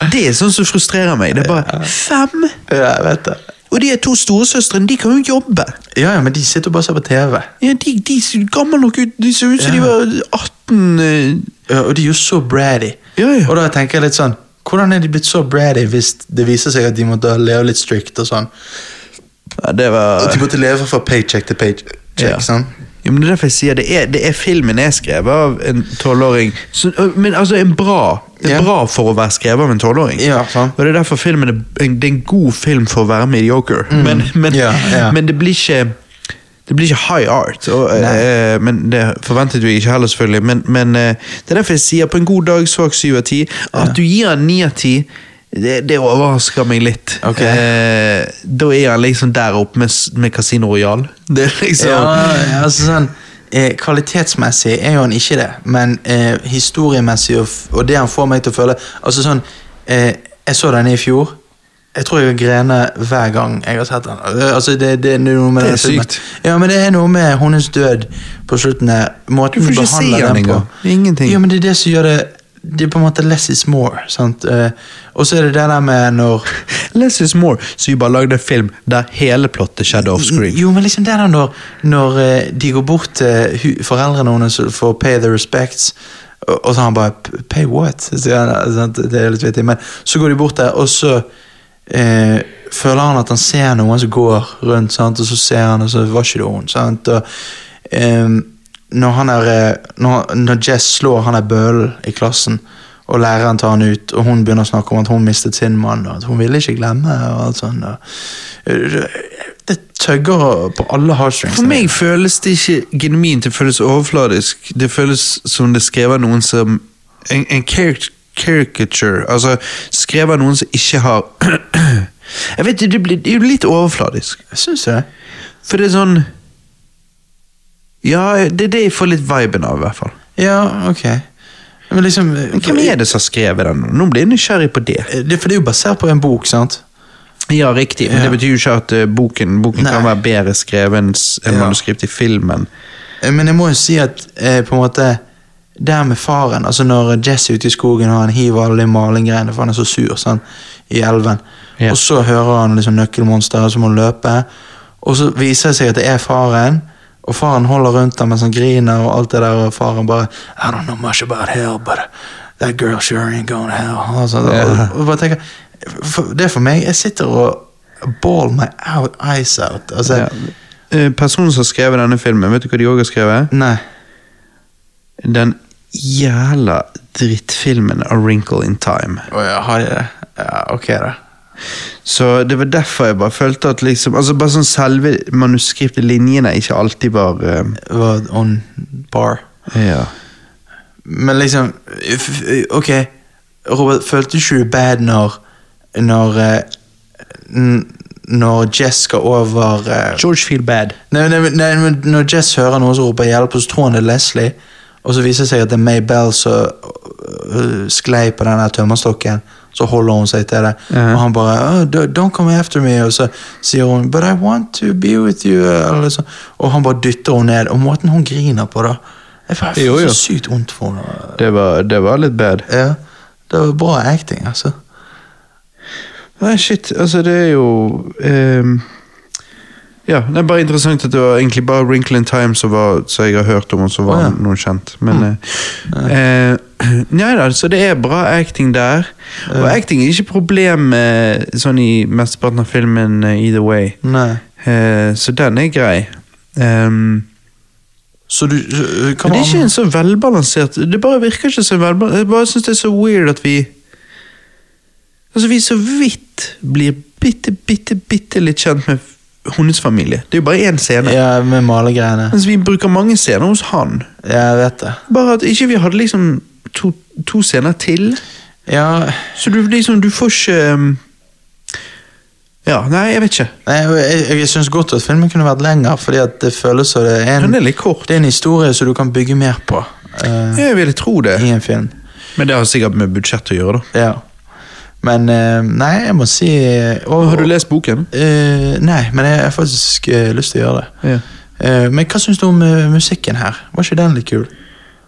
Speaker 2: ja.
Speaker 1: Det er sånn som frustrerer meg. Det er bare fem!
Speaker 2: Ja, jeg vet det
Speaker 1: Og de er to storesøstre, de kan jo jobbe.
Speaker 2: Ja, ja, men de sitter jo bare og ser på TV
Speaker 1: Ja, de, de ser gammel nok ut, de ser ut som de var 18 eh,
Speaker 2: Ja, og de er jo så bratty.
Speaker 1: Ja, ja.
Speaker 2: Og da tenker jeg litt sånn Hvordan er de blitt så bratty hvis det viser seg at de måtte leve litt strict og sånn?
Speaker 1: Ja, det var
Speaker 2: At de måtte leve fra paycheck til paycheck.
Speaker 1: Ja.
Speaker 2: Sånn?
Speaker 1: Ja, men det er derfor jeg sier det er, det er filmen er skrevet av en tolvåring. Så- Men altså, en bra det er
Speaker 2: Ja.
Speaker 1: bra for å være skrevet av en tolvåring.
Speaker 2: Ja, sant.
Speaker 1: Og det er derfor filmen er, en- det er en god film for å være mediocre. Men, men,
Speaker 2: Mm. Ja, ja.
Speaker 1: men det blir ikke det blir ikke high art, og, eh, men det forventet vi ikke heller, selvfølgelig. Men, men eh, det er derfor jeg sier på en god dag svak syv av ti. At du gir han ni av ti, det, det overrasker meg litt.
Speaker 2: Ok.
Speaker 1: Eh, da er han liksom der oppe med, s- med Casino Royal. Det er liksom
Speaker 2: Ja, altså sånn eh, Kvalitetsmessig er jo han ikke det, men eh, historiemessig og, f- og det han får meg til å føle Altså sånn eh, Jeg så denne i fjor. Jeg tror jeg grener hver gang jeg har sett den. Eh, Altså det, det, er noe med
Speaker 1: Det er
Speaker 2: den filmen.
Speaker 1: sykt.
Speaker 2: Ja, men det er noe med hennes død på slutten der. Måten
Speaker 1: Du får
Speaker 2: du
Speaker 1: ikke se
Speaker 2: behandler
Speaker 1: den
Speaker 2: den på.
Speaker 1: engang. Ingenting.
Speaker 2: Ja, men det er det som gjør det Det er på en måte less is more. sant? Eh, og så er det det der med når
Speaker 1: Less is more, så vi bare lagde en film der hele plottet skjedde off screen.
Speaker 2: Jo, men liksom det er da når, når eh, de går bort til hu- foreldrene hennes for å pay their respects, og, og så han bare "P- Pay what? Så sier han, sant? Det er litt vittig, men så går de bort der, og så eh, føler han at han ser noen som går rundt, sant? og så ser han, og så var ikke det hun. Sant? Og, ehm, eh, når, han er, eh, når, når Jess slår han er bølen i klassen, Og læreren tar han ut, og hun begynner å snakke om at hun mistet sin mann, og at hun ville ikke glemme. og alt sånt. Og, eh, det tøgger på alle heartstrings.
Speaker 1: For meg føles det ikke genuint, det føles overfladisk. Det føles som det er skrevet av noen som En, en caric- caricature. Altså skrevet av noen som ikke har [CLEARS THROAT] Jeg vet ikke, det blir det er jo litt overfladisk.
Speaker 2: Syns jeg.
Speaker 1: For det er sånn Ja, det er det jeg får litt viben av, i hvert fall.
Speaker 2: Ja, ok. Men liksom eh,
Speaker 1: Men hvem er det som har skrevet den? nå? Nå blir jeg nysgjerrig på det.
Speaker 2: det? For det er jo basert på en bok, sant?
Speaker 1: Ja, riktig, men
Speaker 2: Ja.
Speaker 1: det betyr jo ikke at eh, boken, boken kan
Speaker 2: Nei.
Speaker 1: være bedre skrevet enn s- enn
Speaker 2: Ja.
Speaker 1: manuskript i filmen.
Speaker 2: Eh, Men jeg må jo si at eh, på en måte der med faren, altså når Jesse er ute i skogen og han hiver alle de malinggreiene, for han er så sur sant, i elven,
Speaker 1: Ja.
Speaker 2: og så hører han liksom nøkkelmonsteret som må løpe, og så viser det seg at det er faren, og faren holder rundt ham mens han griner og alt det der, og faren bare I don't know much about hell, but that girl sure ain't going to hell. Og, så,
Speaker 1: Ja.
Speaker 2: og, og bare tenker, for, det er for meg, jeg sitter og ball my out, eyes out. Altså,
Speaker 1: Ja. Eh, Personen som har skrevet denne filmen, vet du hva de òg har skrevet?
Speaker 2: nei.
Speaker 1: Den jævla drittfilmen A Wrinkle in Time.
Speaker 2: Å ja, har de det? Ja, ok da.
Speaker 1: Så det var derfor jeg bare følte at liksom Altså bare sånn selve manuskriptet, linjene, ikke alltid var eh,
Speaker 2: Det var on par.
Speaker 1: Ja.
Speaker 2: Men liksom, f- f- ok, Robert, følte ikke du bad når, når, eh, n- når Jess skal over... eh,
Speaker 1: George feel bad.
Speaker 2: Nei, nei, nei, men når Jess hører noen som roper hjelp, og så tror han det er Leslie, og så viser det seg at det er May Bell som øh, sklei på den der tømmerstokken, så holder hun seg til det,
Speaker 1: Mhm.
Speaker 2: og han bare «Åh, don't- Don't come after me, og så sier hun But I want to be with you, eller sånn. Og han bare dytter henne ned, og måten hun griner på, da Jeg får jeg
Speaker 1: Jo,
Speaker 2: får
Speaker 1: jo.
Speaker 2: så sykt vondt for henne.
Speaker 1: Det var, det var litt bad.
Speaker 2: Ja, det var bra acting, altså.
Speaker 1: Nei, shit, altså det er jo ehm, Ja, det er bare interessant at det var egentlig bare Wrinkle in Time som, var, som jeg har hørt om, og som var
Speaker 2: Å, ja. Mm.
Speaker 1: noen kjent. Men eh, eh, Nei da, så det er bra acting der. Og acting er ikke problem eh, sånn i mesteparten av filmen eh, either way.
Speaker 2: Nei.
Speaker 1: Eh, så den er grei. Ehm,
Speaker 2: Så du øh, hva
Speaker 1: men det
Speaker 2: var
Speaker 1: er ikke
Speaker 2: an-
Speaker 1: en så velbalansert Det bare virker ikke så velbalansert. Jeg bare synes det er så weird at vi Altså, vi så vidt blir bitte, bitte, bitte litt kjent med hennes familie. Det er jo bare én scene.
Speaker 2: Ja, med malegreiene.
Speaker 1: Mens vi bruker mange scener hos han.
Speaker 2: Ja, jeg vet det.
Speaker 1: Bare at ikke vi hadde liksom to, to scener til.
Speaker 2: Ja...
Speaker 1: Så du liksom, du får ikke um, Ja, nei, jeg vet ikke.
Speaker 2: Nei, jeg, jeg, jeg synes godt at filmen kunne vært lenger, fordi at det føles som det er en,
Speaker 1: Den er litt kort.
Speaker 2: det er en historie som du kan bygge mer på eh,
Speaker 1: Jeg ville tro det.
Speaker 2: i en film.
Speaker 1: Men det har sikkert med budsjett å gjøre, da.
Speaker 2: Ja. Men eh, nei, jeg må si og,
Speaker 1: Har du lest boken?
Speaker 2: Eh, nei, men jeg har faktisk eh, lyst til å gjøre det.
Speaker 1: Ja.
Speaker 2: Eh, men hva syns du om eh, musikken her? Var ikke den litt kul?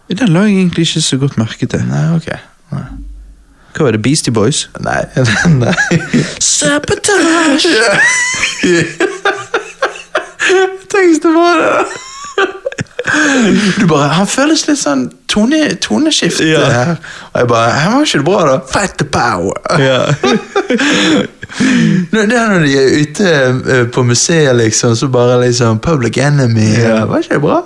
Speaker 1: Den la jeg egentlig ikke så godt merke til.
Speaker 2: Nei, ok. Nei,
Speaker 1: Hva var det, Beastie Boys?
Speaker 2: nei. [LAUGHS] nei.
Speaker 1: Sabotage!
Speaker 2: Tenk hvis det var det! Du bare, Han føles litt sånn tone, toneskift
Speaker 1: Ja.
Speaker 2: her. Og jeg bare Her var ikke det bra, da. Fight the power!
Speaker 1: Ja.
Speaker 2: Når- Det er når de er ute eh, på museet, liksom, så bare liksom Public Enemy
Speaker 1: Ja.
Speaker 2: Var ikke det bra?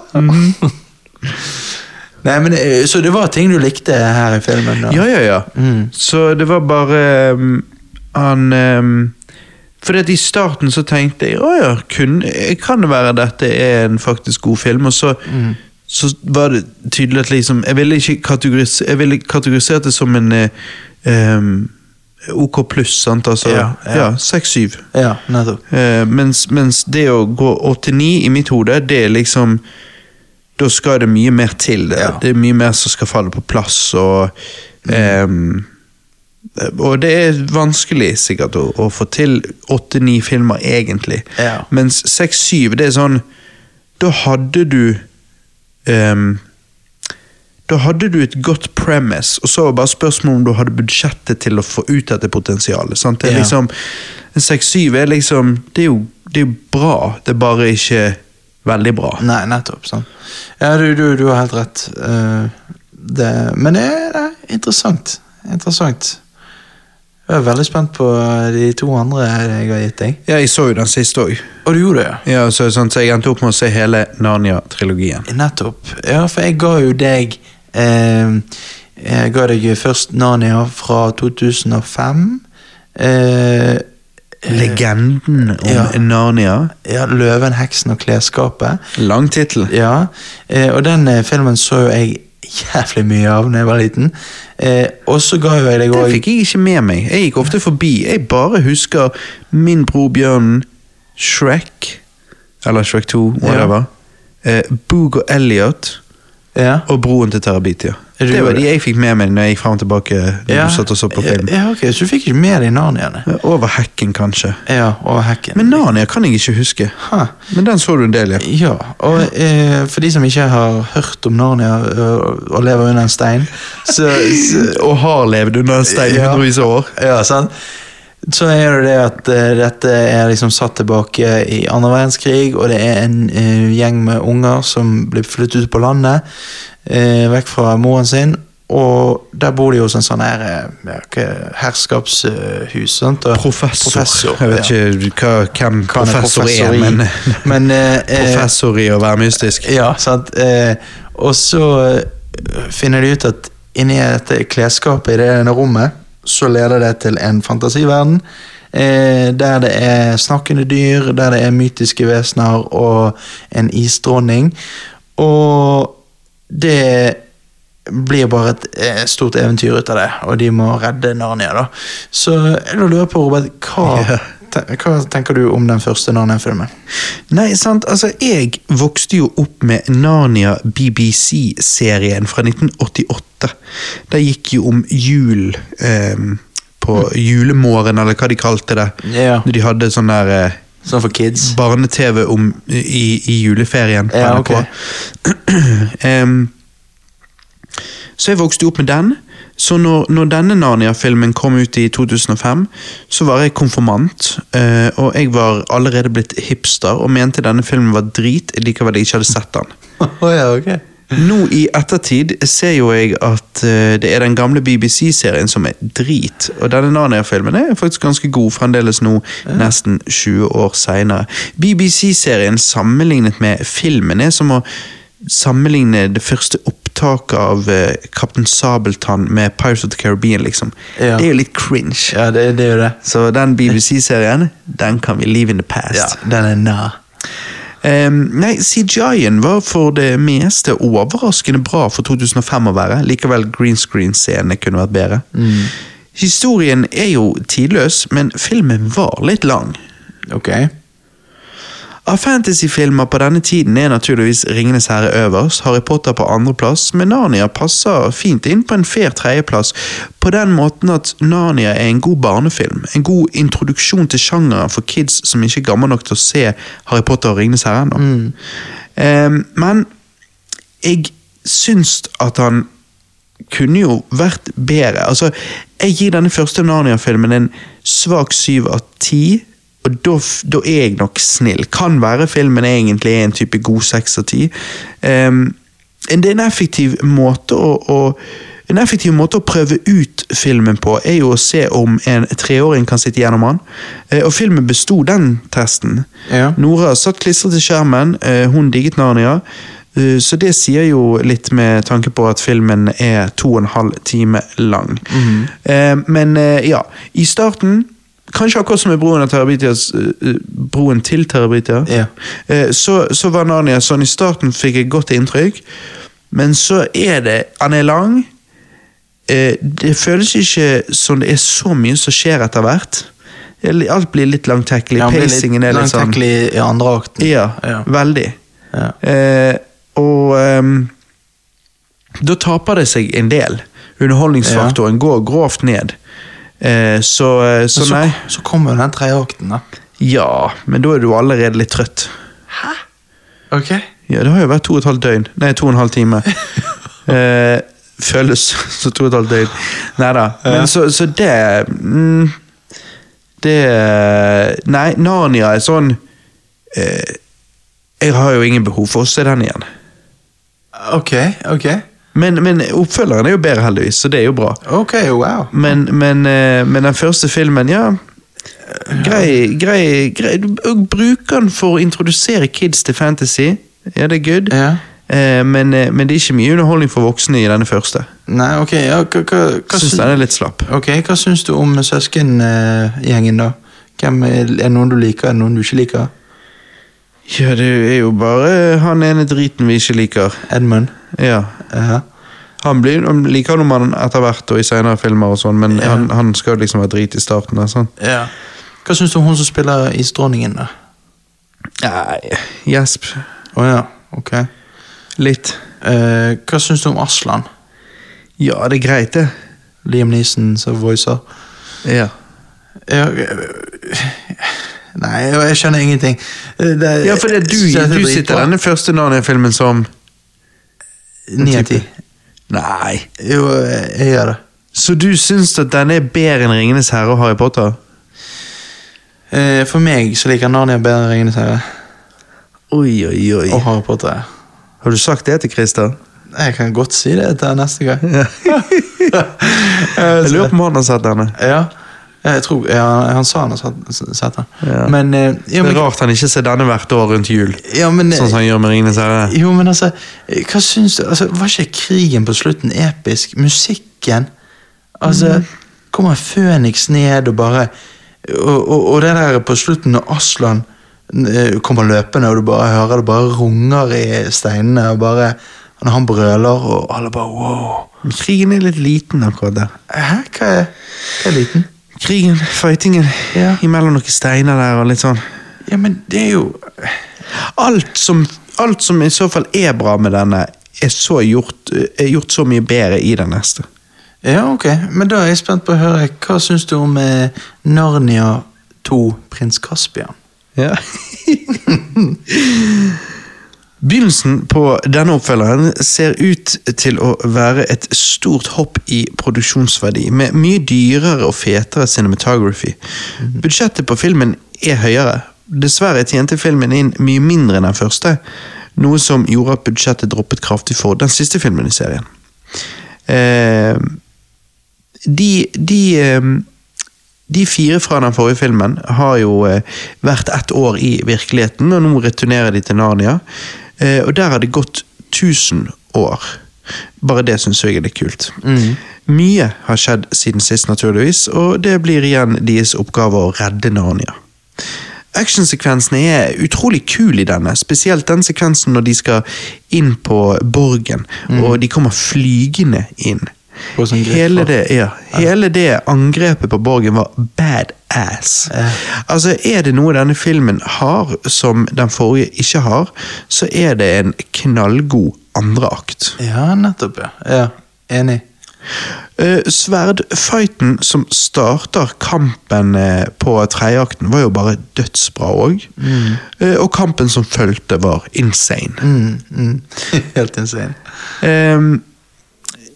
Speaker 2: Nei, men eh, Så det var ting du likte her i filmen? da?
Speaker 1: ja, ja, ja.
Speaker 2: Mm.
Speaker 1: Så det var bare um, han um, fordi at I starten så tenkte jeg at ja, kun, eh, kan det være dette er en faktisk god film. Og så,
Speaker 2: Mhm.
Speaker 1: så var det tydelig at liksom, jeg ville ikke kategoris, jeg ville kategorisert det som en eh, um, OK pluss. sant? Altså,
Speaker 2: Ja,
Speaker 1: ja,
Speaker 2: ja.
Speaker 1: 6-7.
Speaker 2: ja nettopp.
Speaker 1: Eh, mens, mens det å gå 89 i mitt hode, det er liksom Da skal det mye mer til. Det,
Speaker 2: Ja. Mm.
Speaker 1: det er mye mer som skal falle på plass, og ehm, Og det er vanskelig sikkert å, å få til 8-9 filmer, egentlig.
Speaker 2: Ja.
Speaker 1: Mens 6-7, det er sånn Da hadde du ehm, da hadde du et godt premise, og så var bare spørsmålet om du hadde budsjettet til å få ut dette potensialet. sant? Det er
Speaker 2: Ja.
Speaker 1: liksom, En 6-7 er liksom det er, jo, det er jo bra, det er bare ikke veldig bra.
Speaker 2: Nei, nettopp. Sånn. Ja, du, du, du har helt rett. Eh, det, men det er, det er interessant. Interessant. Jeg er veldig spent på eh, de to andre jeg har gitt deg.
Speaker 1: Ja, Jeg så jo den siste òg,
Speaker 2: Og du gjorde det, ja?
Speaker 1: ja, så, sånn, så jeg endte opp med å se hele Narnia-trilogien.
Speaker 2: Nettopp. Ja, for jeg ga jo deg eh, Jeg ga deg først Narnia fra 2005. Eh,
Speaker 1: Legenden om
Speaker 2: Ja.
Speaker 1: Narnia.
Speaker 2: ja, 'Løven, heksen og klesskapet'.
Speaker 1: Lang tittel.
Speaker 2: Ja, eh, og den eh, filmen så jo jeg jævlig mye av da jeg var liten. Eh, og så ga jo jeg deg
Speaker 1: Det
Speaker 2: òg
Speaker 1: fikk jeg ikke med meg. Jeg gikk ofte forbi. Jeg bare husker min bror Bjørn, Shrek, eller Shrek 2, whatever, eh, Boog og Elliot
Speaker 2: ja.
Speaker 1: og Broen til Terabitia.
Speaker 2: Er det
Speaker 1: Det var
Speaker 2: jo-
Speaker 1: de jeg fikk med meg når jeg gikk fram og tilbake når
Speaker 2: ja. Eh,
Speaker 1: du satt og så på film.
Speaker 2: Ja, ok, Så du fikk ikke med deg narniaene?
Speaker 1: Over hekken, Eh, kanskje.
Speaker 2: Ja, og hekken.
Speaker 1: Men Narnia kan jeg ikke huske.
Speaker 2: Ha.
Speaker 1: Men den så du en del, ja.
Speaker 2: Ja, og eh, for de som ikke har hørt om Narnia øh, og lever under en stein, så, så
Speaker 1: Eh, Og har levd under en stein i
Speaker 2: Ja.
Speaker 1: hundrevis av år.
Speaker 2: Ja, sant? Så er det det at eh, dette er liksom satt tilbake i andre verdenskrig, og det er en eh, gjeng med unger som blir flyttet ut på landet, eh, vekk fra moren sin, og der bor de hos en sånn her eh, ja, hva- herskapshus, eh, sant? Og-
Speaker 1: Professor. Jeg
Speaker 2: ja.
Speaker 1: vet ikke hva, hvem
Speaker 2: Hva han er
Speaker 1: professor
Speaker 2: professor
Speaker 1: er,
Speaker 2: i.
Speaker 1: men [LAUGHS]
Speaker 2: Men, eh, eh,
Speaker 1: professor i å være mystisk.
Speaker 2: Ja, sant. Eh, og så eh, finner de ut at inni dette klesskapet i det ene rommet, så leder det til en fantasiverden. Eh, der det er snakkende dyr, der det er mytiske vesener og en isdronning. Og det blir bare et eh, stort eventyr ut av det, og de må redde Narnia, da. Så jeg lurer på, Robert, hva, [LAUGHS]
Speaker 1: Ja.
Speaker 2: ten- hva tenker du om den første Narnia-filmen?
Speaker 1: Nei, sant, altså jeg vokste jo opp med Narnia BBC-serien fra 1988. Det gikk jo om jul eh, på julemorgen, eller hva de kalte det.
Speaker 2: Ja.
Speaker 1: De hadde sånn der eh,
Speaker 2: Sånn for kids?
Speaker 1: barne-TV om i, i juleferien på
Speaker 2: Ja,
Speaker 1: NRK.
Speaker 2: ok.
Speaker 1: [CLEARS THROAT] Em, så jeg vokste jo opp med den. Så når, når denne Narnia-filmen kom ut i 2005, så var jeg konfirmant. eh, og jeg var allerede blitt hipster og mente denne filmen var drit likevel jeg ikke hadde sett den.
Speaker 2: [LAUGHS] Å ja, ok.
Speaker 1: Nå i ettertid ser jo jeg at eh, det er den gamle BBC-serien som er drit, og denne Narnia-filmen er faktisk ganske god fremdeles nå, nesten 20 år senere. BBC-serien sammenlignet med filmen er som å sammenligne det første opptaket av eh, Kaptein Sabeltann med Pirates of the Caribbean, liksom.
Speaker 2: Ja.
Speaker 1: Det er jo litt cringe.
Speaker 2: Ja, det, det er jo det.
Speaker 1: Så den BBC-serien, den kan vi leave in the past.
Speaker 2: den er nær.
Speaker 1: Ehm, nei, CGI-en var for det meste overraskende bra for 2005 å være. Likevel green screen-scenene kunne vært bedre. Historien er jo tidløs, men filmen var litt lang.
Speaker 2: Ok.
Speaker 1: Av fantasyfilmer på denne tiden er naturligvis Ringenes herre øverst, Harry Potter på andreplass, men Narnia passer fint inn på en fair tredjeplass, på den måten at Narnia er en god barnefilm, en god introduksjon til sjangeren for kids som ikke er gammel nok til å se Harry Potter og Ringenes herre ennå. Ehm, men jeg syns at han kunne jo vært bedre. Altså, jeg gir denne første Narnia-filmen en svak syv av ti, og da, f- da er jeg nok snill. Kan være filmen egentlig er en type god seks av ti. Ehm, det er en effektiv måte å, å en effektiv måte å prøve ut filmen på er jo å se om en treåring kan sitte gjennom den. Eh, Og filmen besto den testen.
Speaker 2: Ja.
Speaker 1: Nora satt klistret til skjermen, eh, hun digget Narnia. eh, Så det sier jo litt med tanke på at filmen er to og en halv time lang.
Speaker 2: Mhm.
Speaker 1: Eh, Men eh, ja, i starten Kanskje akkurat som med broen, av Terabitias, eh, eh, broen til Terabitia,
Speaker 2: Ja.
Speaker 1: eh, så, så var Narnia sånn. I starten fikk jeg godt inntrykk, men så er det Han er lang. Eh, det føles ikke som det er så mye som skjer etter hvert. Alt blir litt langtekkelig.
Speaker 2: Ja, han blir litt
Speaker 1: Pacingen er litt sånn
Speaker 2: Langtekkelig i andre akten.
Speaker 1: ja,
Speaker 2: Ja.
Speaker 1: veldig.
Speaker 2: Ja.
Speaker 1: Eh, og ehm, da taper det seg en del. Underholdningsfaktoren går grovt ned. Eh, så, eh, så
Speaker 2: Men så,
Speaker 1: nei.
Speaker 2: så kommer jo den tredje akten, da.
Speaker 1: Ja, men da er du allerede litt trøtt.
Speaker 2: Ok.
Speaker 1: Ja, det har jo vært to og et halvt døgn. Nei, to og en halv
Speaker 2: [LAUGHS]
Speaker 1: time. eh, føles [LAUGHS] som to og et halvt døgn. Nei da. Men så, så det mm, Det Nei, Narnia er sånn eh, Jeg har jo ingen behov for å se den igjen.
Speaker 2: Ok, ok.
Speaker 1: Men, men oppfølgeren er jo bedre, heldigvis, så det er jo bra.
Speaker 2: Ok, wow.
Speaker 1: Men, men, eh, men den første filmen, ja Grei, grei, grei. Du bruker den for å introdusere kids til fantasy. Ja, det er good.
Speaker 2: Ja.
Speaker 1: Eh, men, eh, men det er ikke mye underholdning for voksne i denne første.
Speaker 2: Nei, ok, ja, hva, hva, hva,
Speaker 1: Syns
Speaker 2: syns-
Speaker 1: den er litt slapp.
Speaker 2: ok, hva syns du om søskengjengen, da? Hvem er er det noen du liker, er det noen du ikke liker?
Speaker 1: Ja, det er jo bare han ene driten vi ikke liker.
Speaker 2: Edmund? eh,
Speaker 1: Ja.
Speaker 2: Ja.
Speaker 1: Han, blir, han liker noe man etter hvert og i senere filmer og sånn, men
Speaker 2: Ja.
Speaker 1: han, han skal liksom ha drit i starten. altså. Der, sant?
Speaker 2: Hva syns du om hun som spiller Isdronningen, da?
Speaker 1: Nei, gjesp.
Speaker 2: Å ja, ok.
Speaker 1: Litt.
Speaker 2: Eh, hva syns du om Aslan?
Speaker 1: Ja, det er greit, det.
Speaker 2: Liam Neeson som voicer?
Speaker 1: Ja.
Speaker 2: Ja, øh, Nei, jeg jeg skjønner ingenting. Eh, Det,
Speaker 1: Ja, for det er
Speaker 2: jeg synes
Speaker 1: du,
Speaker 2: det er
Speaker 1: du
Speaker 2: dritbra.
Speaker 1: sitter denne første Narnia-filmen som
Speaker 2: Ni av ti.
Speaker 1: Nei.
Speaker 2: Jo, jeg jeg gjør det.
Speaker 1: Så du syns at denne er bedre enn Ringenes herre og Harry Potter?
Speaker 2: Eh, For meg så liker Narnia bedre enn Ringenes herre
Speaker 1: Oi, oi, oi.
Speaker 2: og Harry Potter.
Speaker 1: Har du sagt det til Christer?
Speaker 2: [LAUGHS] Jeg kan godt si det til
Speaker 1: [LAUGHS]
Speaker 2: neste gang.
Speaker 1: Jeg lurer på om han har sett denne.
Speaker 2: Ja, jeg tror, ja, han sa han har satt- sett den.
Speaker 1: Ja.
Speaker 2: Men, eh,
Speaker 1: Det
Speaker 2: ja, men,
Speaker 1: er rart han ikke ser denne hvert år rundt jul,
Speaker 2: ja, men,
Speaker 1: sånn som han gjør med Ringenes herre.
Speaker 2: Jo, men altså, hva syns du? Altså, var ikke krigen på slutten episk? Musikken? Altså, kommer Føniks ned og bare og, og, og det der på slutten når Aslan eh, kommer løpende, og du bare hører det bare runger i steinene, og bare når han brøler, og alle bare wow.
Speaker 1: Krigen er litt liten akkurat der.
Speaker 2: Hæ, hva er, hva er liten?
Speaker 1: Krigen, fightingen,
Speaker 2: Ja.
Speaker 1: imellom noen steiner der og litt sånn.
Speaker 2: Ja, men det er jo
Speaker 1: Alt som, alt som i så fall er bra med denne, er, så gjort, er gjort så mye bedre i den neste.
Speaker 2: Ja, ok. Men da er jeg spent på å høre. Hva syns du om eh, Narnia 2, prins Caspian?
Speaker 1: Ja. Begynnelsen på denne oppfølgeren ser ut til å være et stort hopp i produksjonsverdi, med mye dyrere og fetere cinematography. Budsjettet på filmen er høyere. Dessverre tjente filmen inn mye mindre enn den første, noe som gjorde at budsjettet droppet kraftig for den siste filmen i serien. Eh, de, de, ehm, de fire fra den forrige filmen har jo eh, vært ett år i virkeligheten, og nå returnerer de til Narnia. Eh, Og der har det gått 1000 år. Bare det syns jeg er litt kult. Mye har skjedd siden sist, naturligvis, og det blir igjen deres oppgave å redde Narnia. Actionsekvensene er utrolig kule i denne, spesielt den sekvensen når de skal inn på borgen, og de kommer flygende inn.
Speaker 2: Mm. På sånn grep,
Speaker 1: Hele
Speaker 2: da.
Speaker 1: det, ja, hele det angrepet på borgen var badass. Altså, er det noe denne filmen har som den forrige ikke har, så er det en knallgod andreakt.
Speaker 2: Ja, nettopp, ja. ja. Enig.
Speaker 1: Eh, Sverdfighten som starter kampen eh, på tredjeakten, var jo bare dødsbra òg. og kampen som fulgte, var insane.
Speaker 2: Mm, mm. [LAUGHS] Helt insane.
Speaker 1: Eh,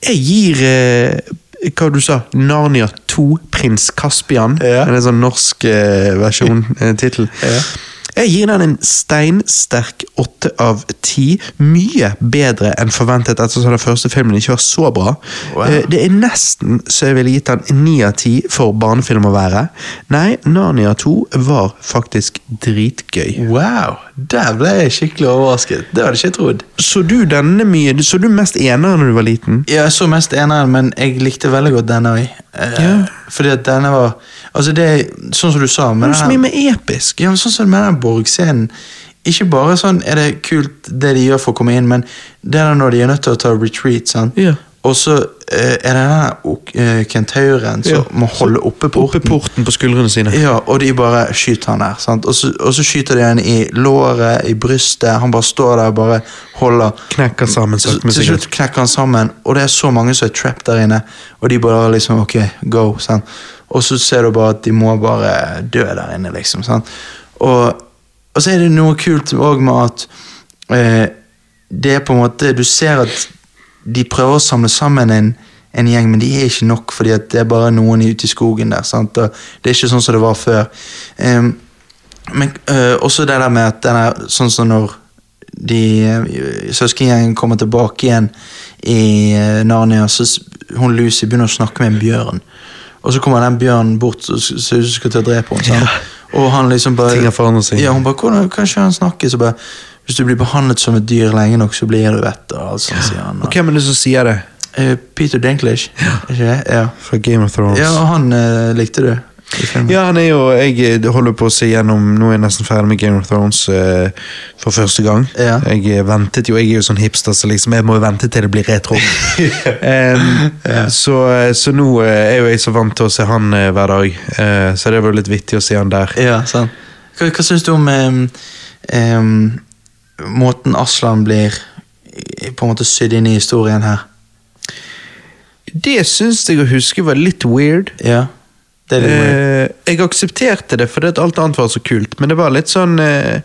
Speaker 1: jeg gir eh, hva du sa, Narnia 2, Prins Caspian.
Speaker 2: Ja.
Speaker 1: En sånn norsk eh,
Speaker 2: [LAUGHS]
Speaker 1: versjon, eh, tittel.
Speaker 2: Ja.
Speaker 1: Jeg gir den en steinsterk åtte av ti. Mye bedre enn forventet, ettersom den første filmen ikke var så bra.
Speaker 2: Wow.
Speaker 1: Eh, Det er nesten så jeg ville gitt den ni av ti for barnefilm å være. Nei, Narnia 2 var faktisk dritgøy.
Speaker 2: Wow! Der ble jeg skikkelig overrasket. Det hadde ikke jeg trodd.
Speaker 1: Så du denne mye? Så du mest enere når du var liten?
Speaker 2: Ja, Jeg så mest eneren, men jeg likte veldig godt denne òg.
Speaker 1: Ja.
Speaker 2: Fordi at denne var Altså, det er sånn som du sa
Speaker 1: Det
Speaker 2: med
Speaker 1: er jo så
Speaker 2: den-
Speaker 1: mye mer episk.
Speaker 2: Ja, men sånn som med den Borg-scenen. Ikke bare sånn er det kult det de gjør for å komme inn, men det er da når de er nødt til å ta retreat. sant?
Speaker 1: Ja.
Speaker 2: Og så eh, er det den ok- eh, kentauren som
Speaker 1: Ja.
Speaker 2: må holde oppe porten.
Speaker 1: Oppe porten på skuldrene sine.
Speaker 2: Ja, og de bare skyter han der. sant? Og så, og så skyter de han i låret, i brystet. Han bare står der og bare holder.
Speaker 1: Knekker sammen
Speaker 2: Så,
Speaker 1: sakte, men
Speaker 2: til
Speaker 1: sikkert.
Speaker 2: slutt knekker han sammen, og det er så mange som er trapped der inne. Og de bare liksom Ok, go. Sant? Og så ser du bare at de må bare dø der inne, liksom. Sant? Og, og så er det noe kult òg med at eh, det er på en måte Du ser at de prøver å samle sammen en, en gjeng, men de er ikke nok, fordi at det er bare noen ute i skogen der. Sant? Og det er ikke sånn som det var før. Em, men øh, også det der med at den er sånn som når de øh, søskengjengen kommer tilbake igjen i øh, Narnia, så s- hun Lucy begynner å snakke med en bjørn. Og så kommer den bjørnen bort og s- ser ut som skal til å drepe henne. sant? Og han liksom bare
Speaker 1: Ting har forandret seg.
Speaker 2: Ja, hun bare hvordan, 'Kanskje han snakker?' Så bare 'Hvis du blir behandlet som et dyr lenge nok, så blir du et' og alt sånt, sier han. Og,
Speaker 1: Og hvem er det som sier det?
Speaker 2: Eh, Peter Dinklage, er ikke det? Ja.
Speaker 1: Fra Game of Thrones.
Speaker 2: ja, og han eh, likte du i filmen.
Speaker 1: Ja, han er jo Jeg eh, holder på å se gjennom Nå er jeg nesten ferdig med Game of Thrones eh, for første gang.
Speaker 2: Ja.
Speaker 1: Jeg eh, ventet jo, jeg er jo sånn hipster, så liksom jeg må jo vente til det blir [LAUGHS] retro. Em, så, så nå eh, er jo jeg så vant til å se han eh, hver dag, eh, så det var jo litt vittig å se han der.
Speaker 2: Ja, sant. Hva, hva syns du om em, em, måten Aslan blir eh, på en måte sydd inn i historien her?
Speaker 1: Det syns jeg å huske var litt weird.
Speaker 2: Ja, det er litt weird.
Speaker 1: Eh, jeg aksepterte det fordi at alt annet var så kult, men det var litt sånn eh,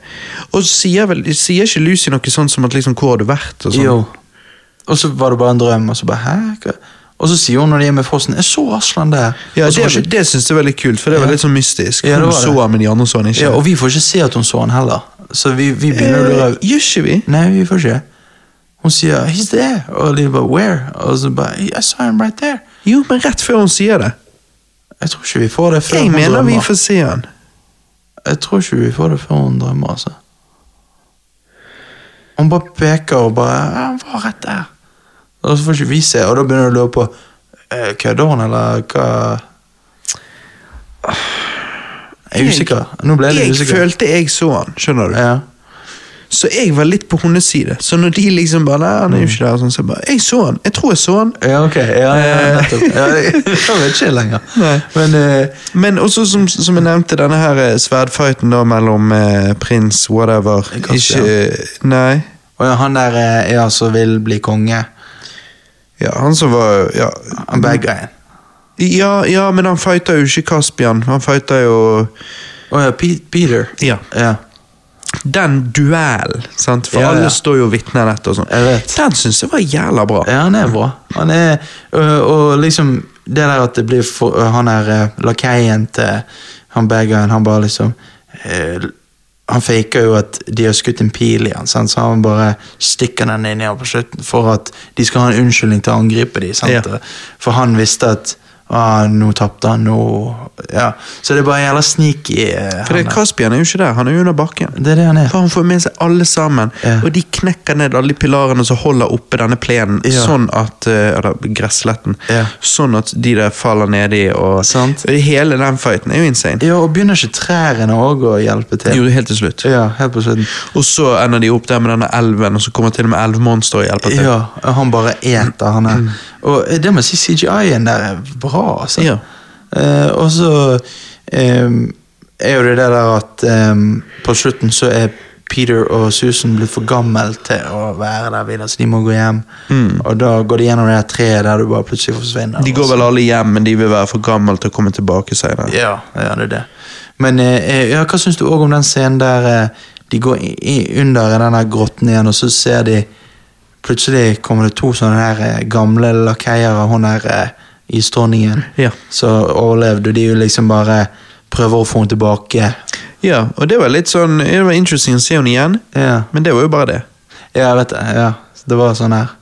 Speaker 1: Og så sier, vel, sier ikke Lucy noe sånn som at liksom, 'hvor har du vært?' og sånn?
Speaker 2: Jo. Og så var det bare en drøm, og så bare hæ? Hva? Og så sier hun når de er med fossen 'Jeg så Aslan der'.
Speaker 1: Ja,
Speaker 2: og, så
Speaker 1: det,
Speaker 2: var ikke-
Speaker 1: det syns jeg var litt kult, for det var
Speaker 2: Ja.
Speaker 1: litt sånn mystisk.
Speaker 2: Ja, det
Speaker 1: Hun
Speaker 2: var det.
Speaker 1: så han, men de andre så han ikke.
Speaker 2: ja, og vi får ikke se at hun så han heller. Så vi, vi begynner å
Speaker 1: eh,
Speaker 2: lure
Speaker 1: gjør ikke vi?
Speaker 2: Nei, vi får ikke. Hun sier 'He's there', og de bare 'Where?' Og så bare 'I saw him right there'.
Speaker 1: Jo, men rett før hun sier det.
Speaker 2: Jeg tror ikke vi får det før
Speaker 1: Jeg
Speaker 2: hun
Speaker 1: mener vi
Speaker 2: drømmer.
Speaker 1: får se han.
Speaker 2: Jeg tror ikke vi får det før hun drømmer, altså. Hun bare peker og bare ja, 'Han var rett der'. Og så får ikke vi se, og da begynner du å lure på eh, Kødder hun, eller hva Jeg er usikker. Nå ble jeg
Speaker 1: Jeg
Speaker 2: litt usikker.
Speaker 1: følte jeg så han, skjønner du.
Speaker 2: Ja.
Speaker 1: Så jeg var litt på hennes side. Så når de liksom bare Nei, han er jo ikke der, og sånn, så jeg bare Jeg så han! Jeg tror jeg så han.
Speaker 2: ja, ok. Ja, ja,
Speaker 1: Eh.
Speaker 2: nettopp. Ja, jeg vet ikke lenger.
Speaker 1: Nei.
Speaker 2: Men eh,
Speaker 1: Men også som, som jeg nevnte, denne her eh, sverdfighten da mellom eh, prins whatever
Speaker 2: Kastian.
Speaker 1: Ikke eh, Nei.
Speaker 2: og ja, han der eh, ja, som vil bli konge,
Speaker 1: Ja, han som var Ja,
Speaker 2: han bad guyen.
Speaker 1: Mm. ja, ja men han fighter jo ikke Kaspian. Han fighter jo
Speaker 2: Å ja, Pe- Peter.
Speaker 1: Ja.
Speaker 2: Ja.
Speaker 1: den duellen, sant? for
Speaker 2: Ja, ja.
Speaker 1: alle står jo og vitner dette og sånn.
Speaker 2: Jeg vet.
Speaker 1: Den syns jeg var jævla bra.
Speaker 2: Ja, han er bra. Han er, øh, og liksom det der at det blir for, øh, han er øh, lakeien til han baggeren, han bare liksom øh, Han faker jo at de har skutt en pil i han, sant? så han bare stikker den inn i han på slutten for at de skal ha en unnskyldning til å angripe dem.
Speaker 1: Ja.
Speaker 2: For han visste at ah, 'Nå tapte han, nå ja. Så det er bare jævla sneaky. øh,
Speaker 1: For det,
Speaker 2: han er.
Speaker 1: Caspian er jo ikke der, han er jo under bakken.
Speaker 2: det er det han er.
Speaker 1: For Han får med seg alle sammen,
Speaker 2: Ja.
Speaker 1: og de knekker ned alle de pilarene som holder oppe denne plenen,
Speaker 2: Ja.
Speaker 1: sånn at eh, Eller gressletten.
Speaker 2: Ja.
Speaker 1: Sånn at de der faller nedi, og
Speaker 2: Sant.
Speaker 1: Hele den fighten er jo insane.
Speaker 2: Ja, og begynner ikke trærne òg å hjelpe til?
Speaker 1: Jo, helt til slutt.
Speaker 2: Ja, helt på slutten.
Speaker 1: Og så ender de opp der med denne elven, og så kommer til og med elvmonster og hjelper til. Mm.
Speaker 2: Ja, han bare eter han her. Og det må jeg si, CGI-en der er bra, altså.
Speaker 1: Ja.
Speaker 2: Eh, og så eh, er jo det det der at eh, på slutten så er Peter og Susan blitt for gammel til å være der videre, så de må gå hjem. Og da går de gjennom det her treet der du bare plutselig forsvinner.
Speaker 1: Mm. De
Speaker 2: og
Speaker 1: går
Speaker 2: så-
Speaker 1: vel alle hjem, men de vil være for gamle til å komme tilbake senere.
Speaker 2: Ja, ja, det er det. Men eh, ja, hva syns du òg om den scenen der eh, de går i, i, under i denne grotten igjen, og så ser de Plutselig kommer det to sånne her eh, gamle lakeier av hun her eh, isdronningen
Speaker 1: Ja.
Speaker 2: som overlevde, og de jo liksom bare prøver å få henne tilbake.
Speaker 1: Ja, og det var litt sånn Det var interesting å se henne igjen,
Speaker 2: Ja,
Speaker 1: men det var jo bare det.
Speaker 2: ja jeg vet det. Ja. Så Det var sånn her.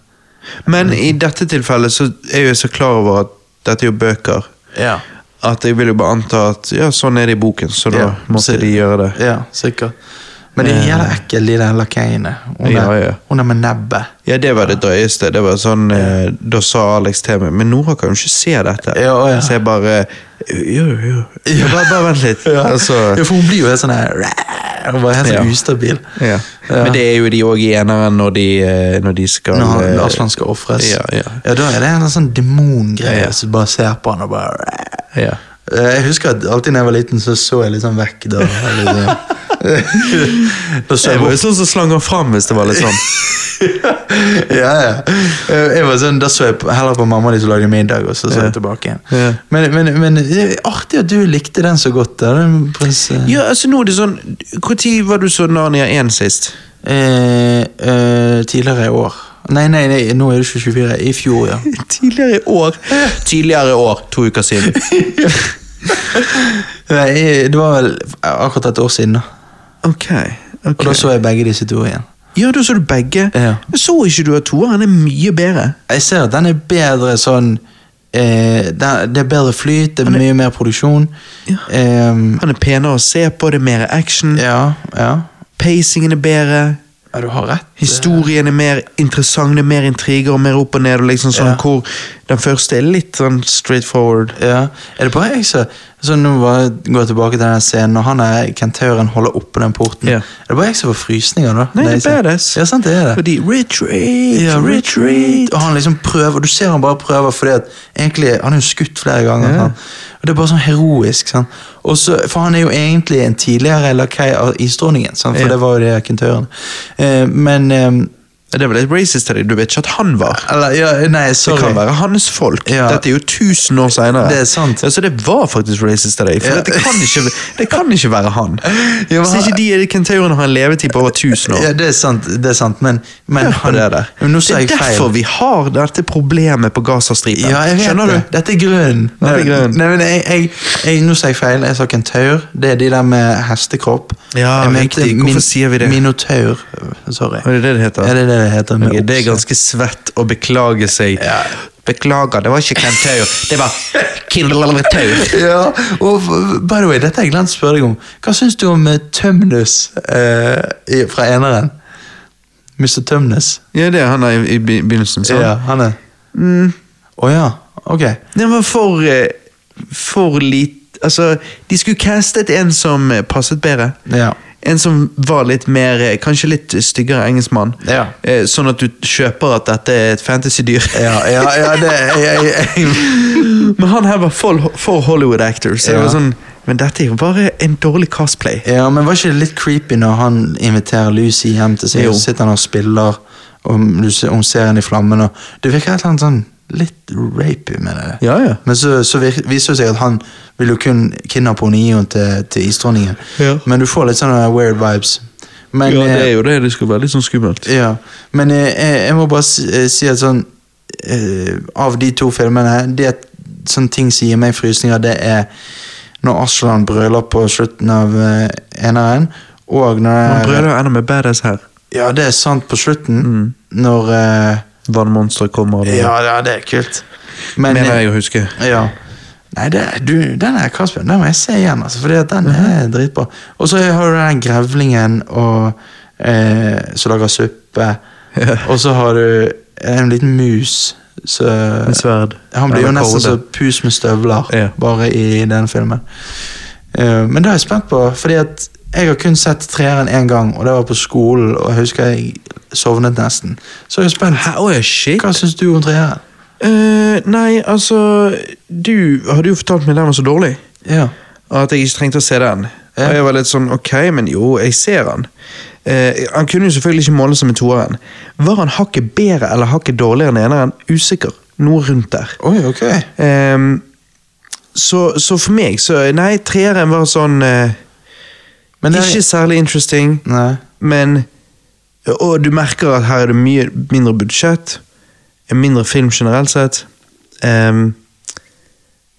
Speaker 1: Men i dette tilfellet så er jo jeg så klar over at dette er jo bøker,
Speaker 2: Ja,
Speaker 1: at jeg vil jo bare anta at ja, sånn er det i boken, så da
Speaker 2: Ja,
Speaker 1: måtte
Speaker 2: så-
Speaker 1: de gjøre det.
Speaker 2: ja sikkert. Men det er jævla ekkelt, de der lakeiene. Hun,
Speaker 1: Eh. Ja,
Speaker 2: der-
Speaker 1: ja.
Speaker 2: hun er med nebbet.
Speaker 1: Ja, det var det drøyeste. Det var sånn, eh, Da sa Alex til meg Men Nora kan jo ikke se dette.
Speaker 2: Ja, ja.
Speaker 1: Så jeg bare Jo, jo. [LAUGHS] Ja, bare, bare vent litt.
Speaker 2: Ja.
Speaker 1: Altså,
Speaker 2: ja, for hun blir jo helt sånn her Hun var helt sånn
Speaker 1: Ja.
Speaker 2: ustabil.
Speaker 1: ja. Men det er jo de òg i eneren når de, eh, når de skal
Speaker 2: Når han,
Speaker 1: eh,
Speaker 2: Aslan skal ofres.
Speaker 1: Ja, ja.
Speaker 2: da er det en sånn demongreie
Speaker 1: Ja.
Speaker 2: som bare ser på han og bare
Speaker 1: ja.
Speaker 2: Eh, Jeg husker at alltid da jeg var liten, så så jeg litt sånn vekk da. Liksom.
Speaker 1: [LAUGHS]
Speaker 2: da så
Speaker 1: Det
Speaker 2: jeg
Speaker 1: var
Speaker 2: bort.
Speaker 1: jo sånn som slang han fram, hvis det var litt sånn.
Speaker 2: ja, ja. Eh, Jeg var sånn, da så jeg på- heller på mamma og de som lagde middag, og så så
Speaker 1: Ja.
Speaker 2: jeg tilbake igjen.
Speaker 1: Ja.
Speaker 2: Men, men, men det er artig at du likte den så godt. da, den prins... eh.
Speaker 1: [LAUGHS] Ja, altså nå er det sånn Når var du så Narnia 1 sist?
Speaker 2: Eh, eh, tidligere i år. Nei, nei, nei, nå er det 2024. I fjor, ja.
Speaker 1: Tidligere i år. Tidligere i år, to uker siden.
Speaker 2: Nei, det var vel akkurat et år siden, da.
Speaker 1: Ok.
Speaker 2: Og
Speaker 1: ok.
Speaker 2: da så jeg begge disse to igjen.
Speaker 1: Ja, da så du begge.
Speaker 2: Ja.
Speaker 1: Men Så ikke du at toeren er mye bedre?
Speaker 2: Jeg ser at den er bedre sånn eh, den, Det er bedre flyt, det er mye mer produksjon.
Speaker 1: Ja.
Speaker 2: Ehm,
Speaker 1: Han er penere å se på, det er mer action,
Speaker 2: ja, ja.
Speaker 1: pacingen er bedre.
Speaker 2: Ja, du har rett.
Speaker 1: Historien er mer interessant, det er mer intriger og mer opp og ned. og liksom sånn
Speaker 2: Ja.
Speaker 1: Hvor den første er litt sånn straight forward.
Speaker 2: Ja. Er det bare jeg som så Nå bare går jeg tilbake til den scenen når han er kentauren holder oppe den porten.
Speaker 1: Ja.
Speaker 2: Er det bare jeg som får frysninger, da?
Speaker 1: Nei,
Speaker 2: Når
Speaker 1: det
Speaker 2: jeg ser-
Speaker 1: er badass.
Speaker 2: Ja, sant, det er det.
Speaker 1: Fordi retreat,
Speaker 2: Ja,
Speaker 1: retreat.
Speaker 2: Og han liksom prøver, og du ser han bare prøver, fordi at egentlig, han er jo skutt flere ganger.
Speaker 1: Ja.
Speaker 2: sant? Og det er bare sånn heroisk. sant? Og så, for han er jo egentlig en tidligere lakei av isdronningen, sant? for
Speaker 1: Ja.
Speaker 2: det var jo de her kentørene. Eh, men eh,
Speaker 1: Ja, Det er vel litt racist av deg, du vet ikke at han var.
Speaker 2: Eller, ja, nei,
Speaker 1: Det
Speaker 2: sorry.
Speaker 1: kan være hans folk.
Speaker 2: Ja.
Speaker 1: Dette er jo 1000 år senere.
Speaker 2: Det er sant.
Speaker 1: Ja, så det var faktisk racist av deg, for
Speaker 2: Ja.
Speaker 1: det, kan ikke, det kan ikke være han.
Speaker 2: Ja, men
Speaker 1: Hvis ikke de er kentaurene har en levetid på over 1000 år.
Speaker 2: Ja, det er sant, det er sant, men, men
Speaker 1: Hør på
Speaker 2: han,
Speaker 1: det der.
Speaker 2: Men nå sa jeg
Speaker 1: det er
Speaker 2: feil.
Speaker 1: derfor vi har dette problemet på Gazastripen.
Speaker 2: Ja, jeg vet
Speaker 1: Skjønner
Speaker 2: det.
Speaker 1: du?
Speaker 2: Dette er grunnen.
Speaker 1: Dette er grunnen.
Speaker 2: Nei, men jeg, jeg, jeg, nå sa jeg feil. Jeg sa kentaur. Det er de der med hestekropp.
Speaker 1: Ja,
Speaker 2: jeg
Speaker 1: riktig. Hvorfor sier vi det?
Speaker 2: Minotaur. Sorry.
Speaker 1: Er det det det heter?
Speaker 2: Ja, det er det det heter. med
Speaker 1: Ok, det er
Speaker 2: okse.
Speaker 1: ganske svett å beklage seg.
Speaker 2: Ja.
Speaker 1: Beklager, det var ikke kentaur. Det var killertaur.
Speaker 2: [LAUGHS] ja, og f- by the way, dette har jeg glemt å spørre deg om. Hva syns du om eh, Tømnes eh, i- fra eneren? Mr. Tømnes.
Speaker 1: [LAUGHS] Ja, det er han der i, i be- begynnelsen, sa
Speaker 2: Ja,
Speaker 1: han.
Speaker 2: han er Mm. Å ja, ok.
Speaker 1: Den var for eh, For lite Altså, de skulle castet en som eh, passet bedre.
Speaker 2: Ja.
Speaker 1: En som var litt mer eh, Kanskje litt styggere engelskmann.
Speaker 2: Ja.
Speaker 1: Eh, Sånn at du kjøper at dette er et fantasydyr.
Speaker 2: Ja, ja, ja det jeg, jeg, jeg,
Speaker 1: Men han her var for, for Hollywood actor, så det
Speaker 2: Ja.
Speaker 1: var sånn Men dette er jo bare en dårlig cosplay.
Speaker 2: Ja, men var ikke det litt creepy når han inviterer Lucy hjem til seg,
Speaker 1: Jo.
Speaker 2: og så sitter han og spiller, og du ser- hun ser henne i flammen, og det virker helt annet sånn litt rapey med det.
Speaker 1: Ja, ja.
Speaker 2: Men så, så vir- viser det seg at han vil jo kun kidnappe henne og gi henne til, til isdronningen.
Speaker 1: Ja.
Speaker 2: Men du får litt sånne weird vibes. Men,
Speaker 1: ja, det
Speaker 2: eh,
Speaker 1: er jo det. Det skulle være litt sånn skummelt.
Speaker 2: ja, men eh, jeg, jeg må bare si, eh, si at sånn eh, Av de to filmene Det er sånne ting som gir meg frysninger, det er når Aslan brøler på slutten av eh, eneren, og når
Speaker 1: Man brøler Mm. jo enda med badass her.
Speaker 2: Ja, det er sant på slutten. Når eh,
Speaker 1: Vannmonsteret kommer og det
Speaker 2: ja, ja, det er kult. Men
Speaker 1: mener jeg å huske.
Speaker 2: ja. Nei, det, du, den er Kasper, den må jeg se igjen, altså, fordi at
Speaker 1: Mhm.
Speaker 2: den er dritbra. Og så har du den grevlingen og, eh, som lager suppe, og så har du en liten mus. Så,
Speaker 1: Med sverd.
Speaker 2: han blir jo
Speaker 1: Eller
Speaker 2: nesten
Speaker 1: kåle.
Speaker 2: så pus med støvler,
Speaker 1: Ja.
Speaker 2: bare i den filmen. Eh, men det er jeg spent på, fordi at jeg har kun sett treeren én gang, og det var på skolen, og jeg husker jeg sovnet nesten. Så jeg er spent.
Speaker 1: Hæ, åja, shit.
Speaker 2: Hva syns du om treeren?
Speaker 1: Eh, nei, altså Du hadde jo fortalt meg den var så dårlig.
Speaker 2: Ja.
Speaker 1: At jeg ikke trengte å se den.
Speaker 2: Ja.
Speaker 1: Og jeg var litt sånn ok, men jo, jeg ser han. Eh, han kunne jo selvfølgelig ikke måle seg med toeren. Var han hakket bedre eller hakket dårligere enn eneren? Usikker. Noe rundt der.
Speaker 2: Oi, ok.
Speaker 1: Ehm, så, så for meg, så Nei, treeren var sånn eh,
Speaker 2: Men det er-
Speaker 1: Ikke særlig interesting,
Speaker 2: Nei.
Speaker 1: men Og du merker at her er det mye mindre budsjett. En mindre film generelt sett. Ehm,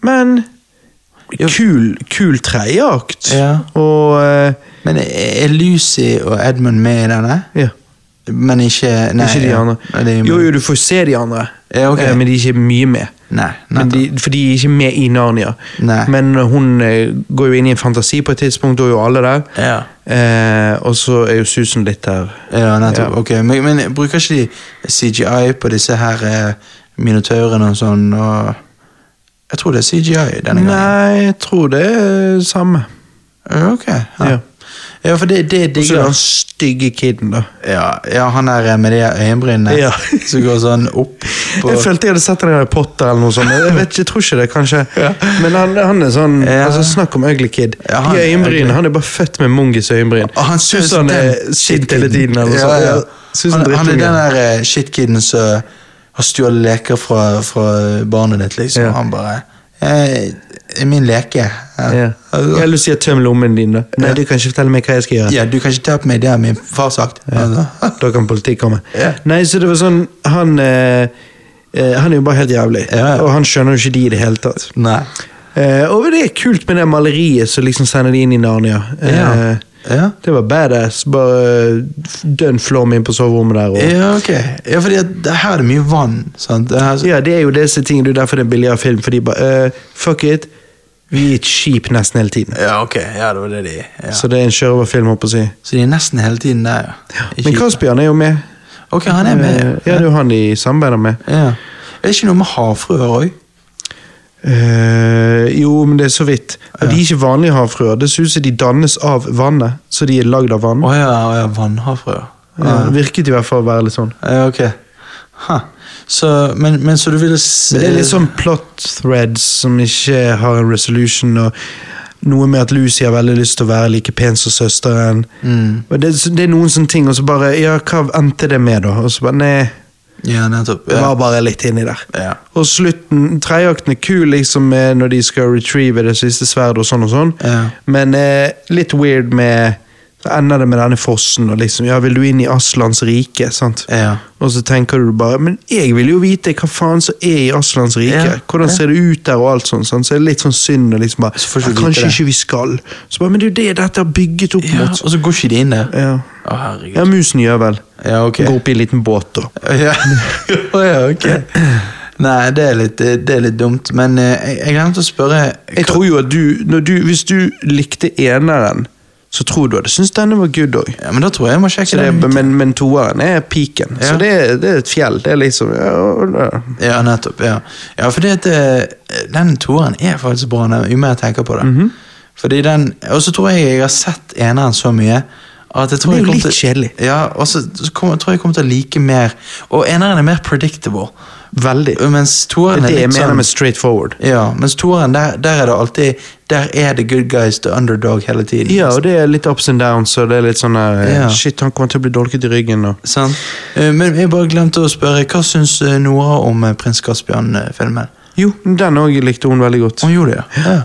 Speaker 1: men kul, kul tredjeakt.
Speaker 2: Ja.
Speaker 1: Og eh,
Speaker 2: Men er Lucy og Edmund med i denne?
Speaker 1: ja.
Speaker 2: Men ikke nei,
Speaker 1: ikke de
Speaker 2: ja.
Speaker 1: andre.
Speaker 2: Nei, de er med.
Speaker 1: jo, jo, du får se de andre,
Speaker 2: Ja, ok.
Speaker 1: eh, men de er ikke mye med.
Speaker 2: Nei,
Speaker 1: Men
Speaker 2: nettopp.
Speaker 1: de, for de er ikke med i Narnia.
Speaker 2: Nei.
Speaker 1: Men hun eh, går jo inn i en fantasi på et tidspunkt, da er jo alle der.
Speaker 2: Ja.
Speaker 1: Eh, og så er jo Susan litt der.
Speaker 2: Ja, nettopp.
Speaker 1: Ja.
Speaker 2: Ok, men, men bruker ikke de CGI på disse her eh, minotaurene og sånn? Og jeg tror det er CGI denne gangen.
Speaker 1: Nei, jeg tror det er samme.
Speaker 2: Ja, Ok.
Speaker 1: Ja.
Speaker 2: Ja, ja for det, det
Speaker 1: Og så er
Speaker 2: digger
Speaker 1: det han stygge kiden, da.
Speaker 2: ja, ja, han der eh, med de øyenbrynene
Speaker 1: Ja.
Speaker 2: [LAUGHS] som går sånn opp på
Speaker 1: Jeg følte jeg hadde sett den i Potter eller noe sånt. Jeg, vet ikke, jeg tror ikke det, kanskje. Men han, han er sånn
Speaker 2: Ja.
Speaker 1: altså, Snakk om ugly kid.
Speaker 2: Ja, han
Speaker 1: De
Speaker 2: er
Speaker 1: øyenbrynene.
Speaker 2: ugly.
Speaker 1: Han er bare født med mungis øyenbryn.
Speaker 2: Og han synes
Speaker 1: Susan
Speaker 2: den
Speaker 1: er sint hele
Speaker 2: shitkiden-
Speaker 1: tiden. Eller noe
Speaker 2: ja,
Speaker 1: sånt.
Speaker 2: ja.
Speaker 1: Ja, Susan
Speaker 2: Han, han er
Speaker 1: drittungen.
Speaker 2: den der eh, shitkiden som har stjålet leker fra, fra barnet ditt, liksom.
Speaker 1: Ja.
Speaker 2: Han bare eh, er Min leke. Ja.
Speaker 1: Ja.
Speaker 2: Altså,
Speaker 1: Eller si at tøm lommen din, da. Nei,
Speaker 2: Ja.
Speaker 1: du kan ikke fortelle meg hva jeg skal gjøre.
Speaker 2: ja, du kan ikke ta på meg det har min far sagt. Altså.
Speaker 1: Da kan politiet komme.
Speaker 2: Ja.
Speaker 1: Nei, så det var sånn Han, eh, eh, han er jo bare helt jævlig,
Speaker 2: Ja.
Speaker 1: og han skjønner jo ikke de i det hele tatt.
Speaker 2: [LAUGHS] Nei.
Speaker 1: Eh, og det er kult med det maleriet som liksom sender de inn i Narnia. Eh,
Speaker 2: Ja. Ja.
Speaker 1: Det var badass. Bare eh, dønn flom inn på soverommet der. Og,
Speaker 2: ja, ok. Ja, fordi at det her er det mye vann. Sant? Det her,
Speaker 1: Ja, det er jo disse tingene, det er derfor det er en billigere film. Fordi bare eh, Fuck it. Vi er et skip nesten hele tiden.
Speaker 2: Ja, ok. Ja, det var det de ja.
Speaker 1: Så det er en sjørøverfilm, holdt på å si.
Speaker 2: Så de er nesten hele tiden der, ja. I
Speaker 1: Men
Speaker 2: skipet.
Speaker 1: Caspian er jo med.
Speaker 2: Ok, han er med.
Speaker 1: Eh, Ja, det er jo han de samarbeider med.
Speaker 2: Ja. Er det ikke noe med havfruer òg?
Speaker 1: Eh, jo, men det er så vidt. Og De er ikke vanlige havfruer. Det ser ut som de dannes av vannet, så de er lagd av vann.
Speaker 2: Å ja, å ja, vannhavfruer. Ja.
Speaker 1: Eh, virket i hvert fall å være litt sånn.
Speaker 2: ja, ok. Ha. Så, men, men så du ville se
Speaker 1: Men det er litt sånn plot threads som ikke har en resolution, og noe med at Lucy har veldig lyst til å være like pen som søsteren.
Speaker 2: Mm.
Speaker 1: Og det, det er noen sånne ting, og så bare Ja, hva endte det med, da? Og så bare Nei,
Speaker 2: Ja, nettopp.
Speaker 1: det
Speaker 2: Ja.
Speaker 1: var bare litt inni der.
Speaker 2: Ja.
Speaker 1: Og slutten, tredjeakten er kul, liksom, med når de skal retrieve det siste sverdet og sånn og sånn.
Speaker 2: Ja.
Speaker 1: Men eh, litt weird med Så ender det med denne fossen og liksom Ja, vil du inn i Aslans rike, sant?
Speaker 2: Ja.
Speaker 1: Og så tenker du bare Men jeg vil jo vite hva faen som er i Aslans rike.
Speaker 2: Ja,
Speaker 1: Hvordan ser det ut der og alt sånn, sant? Så er det litt sånn synd og liksom bare
Speaker 2: Så får ikke
Speaker 1: ja,
Speaker 2: du vite
Speaker 1: Kanskje
Speaker 2: det.
Speaker 1: ikke vi skal. Så bare Men det er jo det dette har bygget opp
Speaker 2: ja,
Speaker 1: mot.
Speaker 2: Og så går ikke de inn der?
Speaker 1: Ja.
Speaker 2: Å, herregud.
Speaker 1: ja, musen gjør vel.
Speaker 2: Ja, ok.
Speaker 1: Går opp i en liten båt, da.
Speaker 2: [LAUGHS] Ja. Å ja, ok. Nei, det er litt, det er litt dumt, men eh, jeg, jeg glemte å spørre
Speaker 1: Jeg tror jo at du, når du Hvis du likte eneren, så tror du at du syns denne var good òg.
Speaker 2: ja, Men da tror jeg jeg må sjekke den ut.
Speaker 1: Men, men toeren er piken.
Speaker 2: Ja.
Speaker 1: Så det er, det er et fjell. Det er liksom ja, ja.
Speaker 2: Ja, nettopp. Ja, ja for den toeren er faktisk bra, den- jo mer jeg tenker på det.
Speaker 1: Mhm.
Speaker 2: Fordi den, Og så tror jeg jeg har sett eneren så mye at jeg tror
Speaker 1: Det er
Speaker 2: jeg
Speaker 1: jo
Speaker 2: kommer
Speaker 1: litt
Speaker 2: til-
Speaker 1: kjedelig.
Speaker 2: Ja, og så så kommer- tror jeg jeg kommer til å like mer Og eneren er mer predictable.
Speaker 1: Veldig.
Speaker 2: Mens
Speaker 1: Det er
Speaker 2: toeren er
Speaker 1: det jeg
Speaker 2: litt
Speaker 1: mener
Speaker 2: sånn
Speaker 1: med straight forward.
Speaker 2: Ja, mens toeren, der, der er det alltid Der er the good guys the underdog hele tiden.
Speaker 1: Ja, og det er litt ups and downs, og det er litt sånn der, eh,
Speaker 2: Ja.
Speaker 1: Shit, han kommer til å bli dolket i ryggen. Og.
Speaker 2: Sant? Eh, Men jeg bare glemte å spørre, hva syns eh, Nora om eh, prins Caspian-filmen?
Speaker 1: Jo, den òg likte hun veldig godt.
Speaker 2: Hun gjorde det, ja. ja.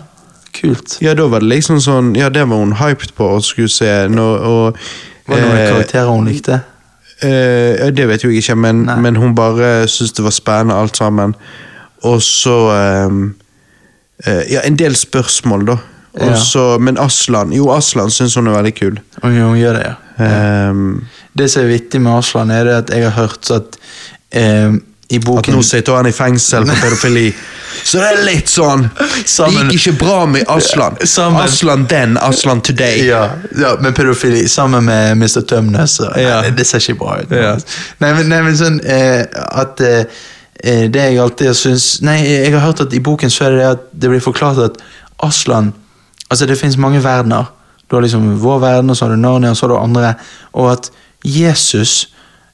Speaker 2: Kult.
Speaker 1: Ja, da var det liksom sånn Ja, det var hun hyped på og skulle se. Når, og,
Speaker 2: Var det noen
Speaker 1: eh,
Speaker 2: karakterer hun likte?
Speaker 1: Eh, ja, det vet jo jeg ikke, men,
Speaker 2: Nei.
Speaker 1: men hun bare syntes det var spennende alt sammen. Og så ehm, eh, eh, Ja, en del spørsmål, da. Og
Speaker 2: Ja.
Speaker 1: så- men Aslan Jo, Aslan syns hun er veldig kul.
Speaker 2: Hun, hun gjør det, ja.
Speaker 1: Ehm,
Speaker 2: Det som er vittig med Aslan, er det at jeg har hørt at eh, i
Speaker 1: at
Speaker 2: boken
Speaker 1: nå sitter han i fengsel for pedofili. Så det er litt sånn
Speaker 2: Sammen-
Speaker 1: Det gikk ikke bra med Aslan.
Speaker 2: Sammen-
Speaker 1: Aslan den, Aslan today.
Speaker 2: ja, ja, med pedofili, sammen med Mr. Tømnes. og-
Speaker 1: Ja.
Speaker 2: Nei, det- det ser ikke bra ut.
Speaker 1: Ja.
Speaker 2: Nei, men, nei, men sånn eh, at eh, eh, Det jeg alltid har syns Nei, jeg har hørt at i boken så er det det at det blir forklart at Aslan Altså, det fins mange verdener. Du har liksom vår verden, og så har du Narnia, og så har du andre. Og at Jesus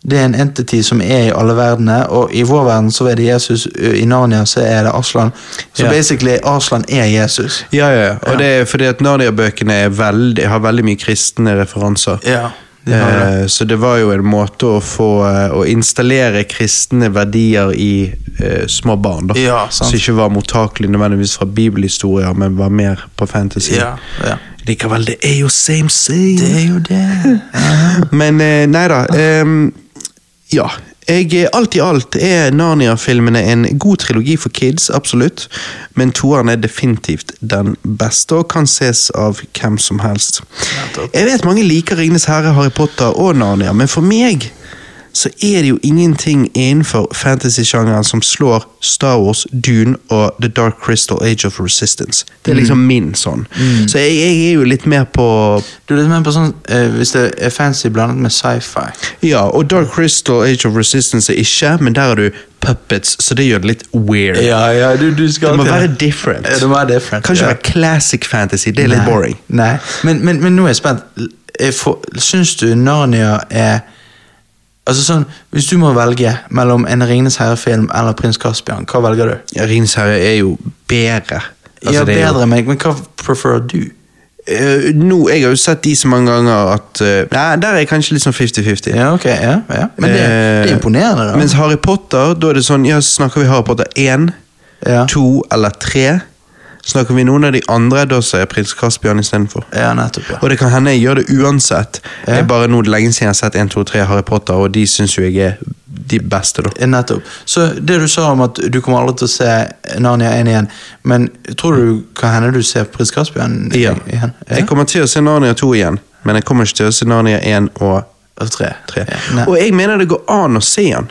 Speaker 2: det er en entity som er i alle verdenene, og i vår verden så er det Jesus, ø, i Narnia så er det Aslan. Så
Speaker 1: Ja.
Speaker 2: basically, Aslan er Jesus.
Speaker 1: Ja, ja, ja. Og det er fordi at Narnia-bøkene er veldig, har veldig mye kristne referanser.
Speaker 2: Ja, de har det.
Speaker 1: Eh, Så det var jo en måte å få eh, å installere kristne verdier i eh, små barn. da.
Speaker 2: Ja, sant.
Speaker 1: Som ikke var mottakelig nødvendigvis fra bibelhistorier, men var mer på fantasy.
Speaker 2: Ja, ja.
Speaker 1: Likevel, det er jo same same.
Speaker 2: Det er jo [LAUGHS]
Speaker 1: [LAUGHS]
Speaker 2: det.
Speaker 1: Men eh, nei da. ehm, ja. Jeg, eh, alt i alt er Narnia-filmene en god trilogi for kids, absolutt. Men toeren er definitivt den beste og kan ses av hvem som helst.
Speaker 2: Nettopp.
Speaker 1: Jeg vet mange liker Ringenes herre, Harry Potter og Narnia, men for meg så er det jo ingenting innenfor fantasy-sjangeren som slår Star Wars, Dune og The Dark Crystal Age of Resistance. Det er liksom min sånn. Så jeg, jeg er jo litt mer på,
Speaker 2: Du er litt mer på sånn eh, Hvis det er fancy blandet med sci-fi.
Speaker 1: Ja, og Dark Crystal Age of Resistance er ikke, men der er du puppets, så det gjør det litt weird.
Speaker 2: ja, du,
Speaker 1: Det må være different.
Speaker 2: Ja, det må være different.
Speaker 1: Kan ikke
Speaker 2: ja.
Speaker 1: være classic fantasy, det er litt
Speaker 2: Nei,
Speaker 1: boring.
Speaker 2: Nei, men, men, men nå er jeg spent. Jeg får- Syns du Narnia er Altså sånn, Hvis du må velge mellom en Ringenes herre-film eller Prins Caspian, hva velger du?
Speaker 1: Ja, Ringens herre er jo bedre.
Speaker 2: ja,
Speaker 1: det er jo-
Speaker 2: bedre enn meg, men hva preferer du?
Speaker 1: Eh, nå, Jeg har jo sett de så mange ganger at eh, Nei, der er jeg kanskje litt sånn 50-50.
Speaker 2: Ja, ok, ja, ja. Men det, det er
Speaker 1: Eh,
Speaker 2: imponerende, da.
Speaker 1: Mens Harry Potter, da er det sånn Ja, snakker vi Harry Potter 1,
Speaker 2: Ja.
Speaker 1: 2 eller 3? Snakker vi noen av de andre, da sier jeg Prins Caspian istedenfor.
Speaker 2: ja, nettopp, ja.
Speaker 1: Og det kan hende jeg gjør det uansett.
Speaker 2: Ja.
Speaker 1: Jeg bare nå lenge siden jeg har sett 1, 2, 3 Harry Potter, og de syns jo jeg er de beste, da.
Speaker 2: Eh, Nettopp. Så det du sa om at du kommer aldri til å se Narnia 1 igjen, men tror du kan hende du ser Prins Caspian
Speaker 1: Ja.
Speaker 2: igjen? Ja.
Speaker 1: Jeg kommer til å se Narnia 2 igjen, men jeg kommer ikke til å se Narnia 1 og
Speaker 2: Av tre. Ja. Nei. Mm.
Speaker 1: Og jeg mener det går an å se han.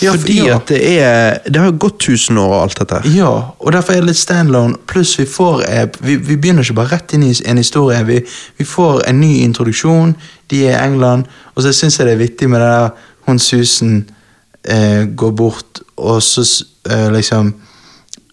Speaker 2: Ja, for-
Speaker 1: Fordi
Speaker 2: ja.
Speaker 1: at det er Det har gått tusen år og alt dette. her.
Speaker 2: Ja, og derfor er det litt standalone. Pluss vi får eh, vi, vi begynner ikke bare rett inn i en historie. Vi, vi får en ny introduksjon. De er i England. Og så syns jeg det er vittig med det der hun Susan eh, går bort, og så s- eh, liksom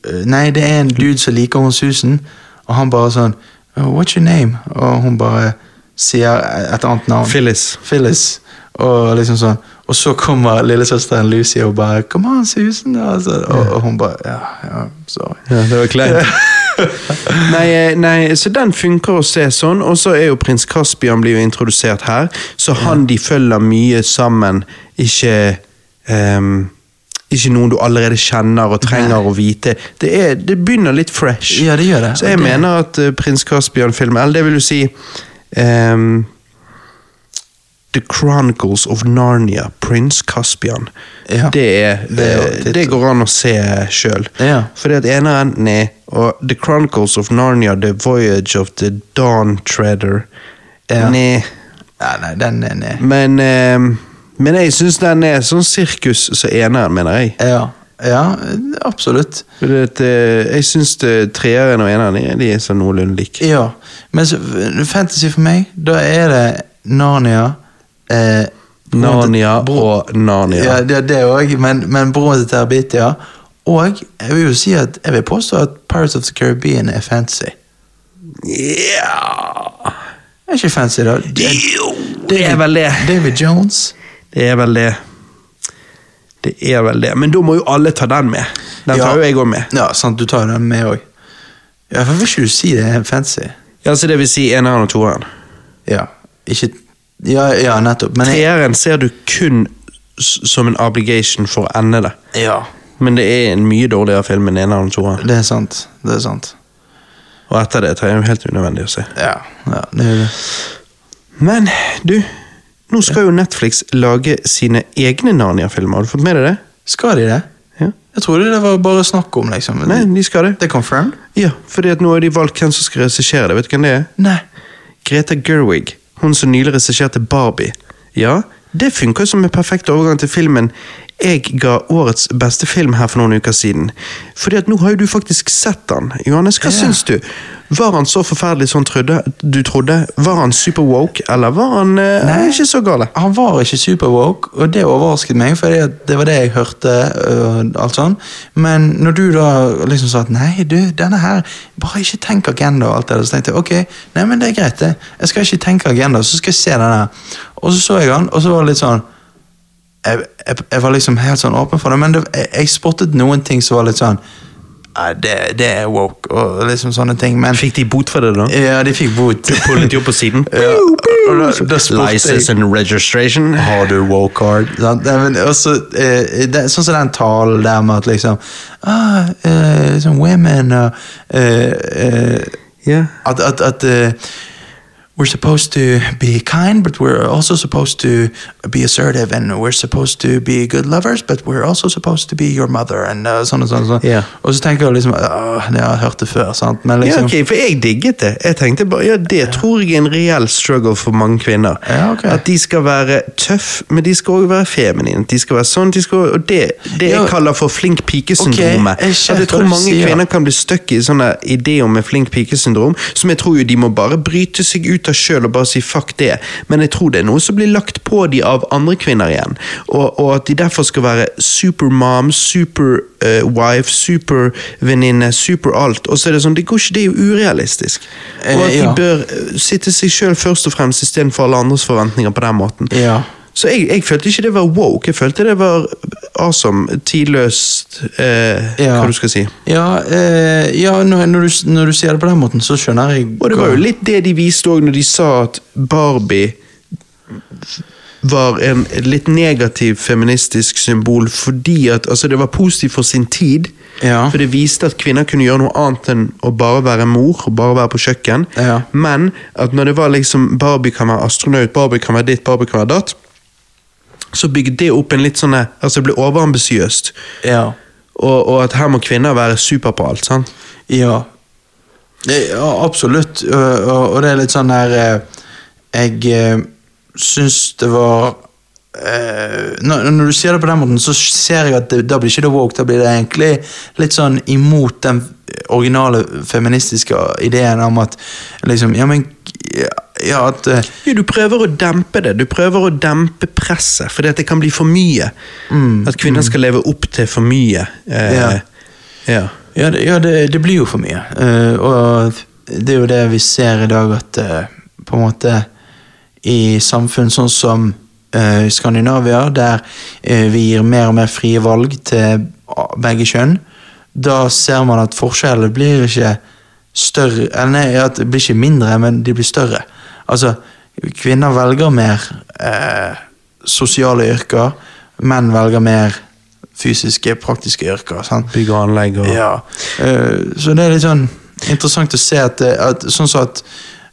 Speaker 2: eh, Nei, det er en dude som liker hun Susan, og han bare sånn «Oh, What's your name? Og hun bare sier et annet navn.
Speaker 1: Phyllis.
Speaker 2: Phyllis. Og liksom sånn Og så kommer lillesøsteren Lucy og bare 'Come on, Susan'. Og, så, og, og hun bare Ja, ja, sorry.
Speaker 1: det var kleint. [LAUGHS] nei, eh, nei, så den funker å se sånn. Og så er jo prins Caspian blir jo introdusert her, så han de følger mye sammen. Ikke ehm, Ikke noen du allerede kjenner og trenger å vite. Det, er, det begynner litt fresh.
Speaker 2: Ja, det gjør det.
Speaker 1: Så jeg
Speaker 2: Og det-
Speaker 1: mener at eh, prins Caspian-filmen Eller det vil jo si ehm, The Chronicles of Narnia, prins Caspian.
Speaker 2: Ja.
Speaker 1: Det, er, eh,
Speaker 2: Det er jo
Speaker 1: det, det
Speaker 2: tittelen.
Speaker 1: går an å se sjøl.
Speaker 2: Ja.
Speaker 1: Fordi at eneren er og The Chronicles of Narnia, The Voyage of the Dawn Treader.
Speaker 2: Ja.
Speaker 1: Nei,
Speaker 2: Nei, nei, den er ned.
Speaker 1: men, ehm, men jeg syns den er sånn sirkus som eneren, mener jeg.
Speaker 2: Ja, ja, absolutt.
Speaker 1: Fordi at, eh, jeg syns treeren og eneren er- de er sånn noenlunde like.
Speaker 2: Ja. Men så, fantasy for meg, da er det Narnia eh,
Speaker 1: Narnia
Speaker 2: Bro-
Speaker 1: og Narnia.
Speaker 2: Ja, det, det også, men, men broren til Terbitia. Og jeg vil jo si at jeg vil påstå at Pirates of the Caribbean er fancy.
Speaker 1: Ja
Speaker 2: Er ikke fancy, da. Det-
Speaker 1: Det er vel det.
Speaker 2: David Jones.
Speaker 1: Det er vel det. Det er vel det. Men da må jo alle ta den med. Den tar jo jeg òg med.
Speaker 2: Ja, sant, du tar jo den med òg. Ja, hvorfor vil ikke du si det er fancy?
Speaker 1: Ja, så det vil si eneren og toeren.
Speaker 2: Ja, ikke Ja, ja nettopp. Men jeg,
Speaker 1: Treeren ser du kun s- som en obligation for å ende det.
Speaker 2: ja,
Speaker 1: Men det er en mye dårligere film enn eneren og toeren.
Speaker 2: det er sant. Det er sant.
Speaker 1: Og etter det tar jeg jo helt unødvendig å se.
Speaker 2: Ja, ja det er det.
Speaker 1: Men du, nå skal jo Netflix lage sine egne Narnia-filmer. Har du fått med deg det?
Speaker 2: Skal de det?
Speaker 1: Ja.
Speaker 2: Jeg trodde det var bare snakk om, liksom.
Speaker 1: Nei, de skal det.
Speaker 2: Det er confirmed?
Speaker 1: Ja, fordi at nå har de valgt hvem som skal regissere det. Vet du hvem det er?
Speaker 2: Nei.
Speaker 1: Greta Gerwig, hun som nylig regisserte Barbie. Ja, det funker jo som en perfekt overgang til filmen jeg ga årets beste film her for noen uker siden. Fordi at nå har jo du faktisk sett den. Johannes, hva
Speaker 2: Ja.
Speaker 1: syns du? Var han så forferdelig som trodde, du trodde? Var han super woke, eller var han eh,
Speaker 2: Nei.
Speaker 1: ikke så gale?
Speaker 2: Han var ikke superwoke, og det overrasket meg, for det var det jeg hørte. og alt sånn. Men når du da liksom sa at nei, du, denne her Bare ikke tenk agenda og alt det der, så tenkte jeg ok, nei, men det er greit, det. Jeg skal ikke tenke agenda, så skal jeg se den her. Og så så jeg han, og så var det litt sånn Jeg, jeg, jeg var liksom helt sånn åpen for det, men det, jeg, jeg spottet noen ting som var litt sånn «Nei, det, det er woke, og liksom sånne ting, men
Speaker 1: Fikk de bot for det, [LAUGHS] da?
Speaker 2: Ja, de fikk bot.
Speaker 1: Du pullet de opp på siden.
Speaker 2: Ja, og da, da spurte jeg
Speaker 1: License and registration.
Speaker 2: Har du wokehard? Sånn som den talen der med at liksom ah, eh, liksom Women og eh, eh,
Speaker 1: Ja.
Speaker 2: At, at, at eh, We're supposed to be kind, but we're also supposed to be assertive, and we're supposed to be good lovers, but we're also supposed to be your mother, and eh, sånn og sånn. og sånn.
Speaker 1: Ja.
Speaker 2: Og så tenker jeg liksom ah, Det har jeg hørt det før, sant? Men
Speaker 1: Ja,
Speaker 2: liksom
Speaker 1: ok, for jeg digget det. Jeg tenkte bare, ja, Det tror jeg er en reell struggle for mange kvinner.
Speaker 2: Ja, ok.
Speaker 1: At de skal være tøff, men de skal også være feminine. De skal være sånn, de skal, og Det, det
Speaker 2: Ja.
Speaker 1: jeg kaller for flink pike-syndromet.
Speaker 2: Ok, jeg skjønner
Speaker 1: At jeg tror
Speaker 2: hva du
Speaker 1: mange
Speaker 2: sier.
Speaker 1: kvinner kan bli stuck i sånne ideer om en flink pike-syndrom, som jeg tror jo de må bare bryte seg ut av sjøl og bare si fuck det. Men jeg tror det er noe som blir lagt på de av andre kvinner igjen. Og, og at de derfor skal være supermom, eh, superwife, supervenninne, super alt. Og så er det sånn, det går ikke, det er jo urealistisk. Og at de
Speaker 2: Eh, ja.
Speaker 1: bør eh, sitte seg sjøl først og fremst istedenfor alle andres forventninger på den måten.
Speaker 2: Ja.
Speaker 1: Så jeg, jeg følte ikke det var woke, jeg følte det var awesome, tidløst, eh,
Speaker 2: Ja.
Speaker 1: hva du skal si.
Speaker 2: Ja, eh, ja når, når, du, når du sier det på den måten, så skjønner jeg
Speaker 1: Og det var
Speaker 2: hva-
Speaker 1: jo litt det de viste òg når de sa at Barbie var en litt negativ feministisk symbol fordi at Altså, det var positivt for sin tid.
Speaker 2: Ja.
Speaker 1: For det viste at kvinner kunne gjøre noe annet enn å bare være mor og bare være på kjøkken.
Speaker 2: Ja.
Speaker 1: Men at når det var liksom Barbie kan være astronaut, Barbie kan være ditt, Barbie kan være datt, så bygde det opp en litt sånn Altså, det ble overambisiøst.
Speaker 2: Ja.
Speaker 1: Og, og at her må kvinner være super på alt, sant?
Speaker 2: ja. Det, ja absolutt. Og, og, og det er litt sånn der eh, Jeg eh, syns det var eh, når, når du sier det på den måten, så ser jeg at det, da blir ikke det woke. Da blir det egentlig litt sånn imot den originale feministiske ideen om at liksom Ja, men Ja, at eh,
Speaker 1: Ja, du prøver å dempe det. Du prøver å dempe presset, fordi at det kan bli for mye. At kvinner skal leve opp til for mye. Eh,
Speaker 2: Ja.
Speaker 1: ja.
Speaker 2: Ja, det, ja det, det blir jo for mye. Eh, og det er jo det vi ser i dag, at eh, på en måte i samfunn sånn som eh, Skandinavia, der eh, vi gir mer og mer frie valg til a- begge kjønn, da ser man at forskjellene blir ikke større eller Nei, at det blir ikke mindre, men de blir større. Altså, kvinner velger mer eh, sosiale yrker, menn velger mer fysiske, praktiske yrker. Sant?
Speaker 1: Bygg og anlegg og
Speaker 2: Ja. eh, så det er litt sånn interessant å se at, det- at sånn så at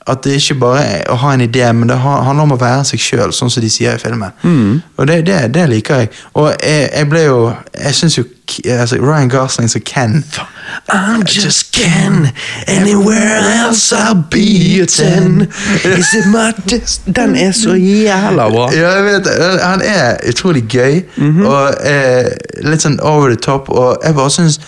Speaker 2: at det ikke bare er å ha en idé, men det ha- handler om å være seg sjøl, sånn som de sier i filmen. Og det, det, det liker jeg. Og jeg, jeg ble jo Jeg syns jo K- altså, Ryan Gosling som Ken
Speaker 1: I just can anywhere else I'll be a ten. Is it my dis- Den er så jævla bra.
Speaker 2: Ja, jeg vet det. Han er utrolig gøy og eh, litt sånn over the top. Og jeg bare syns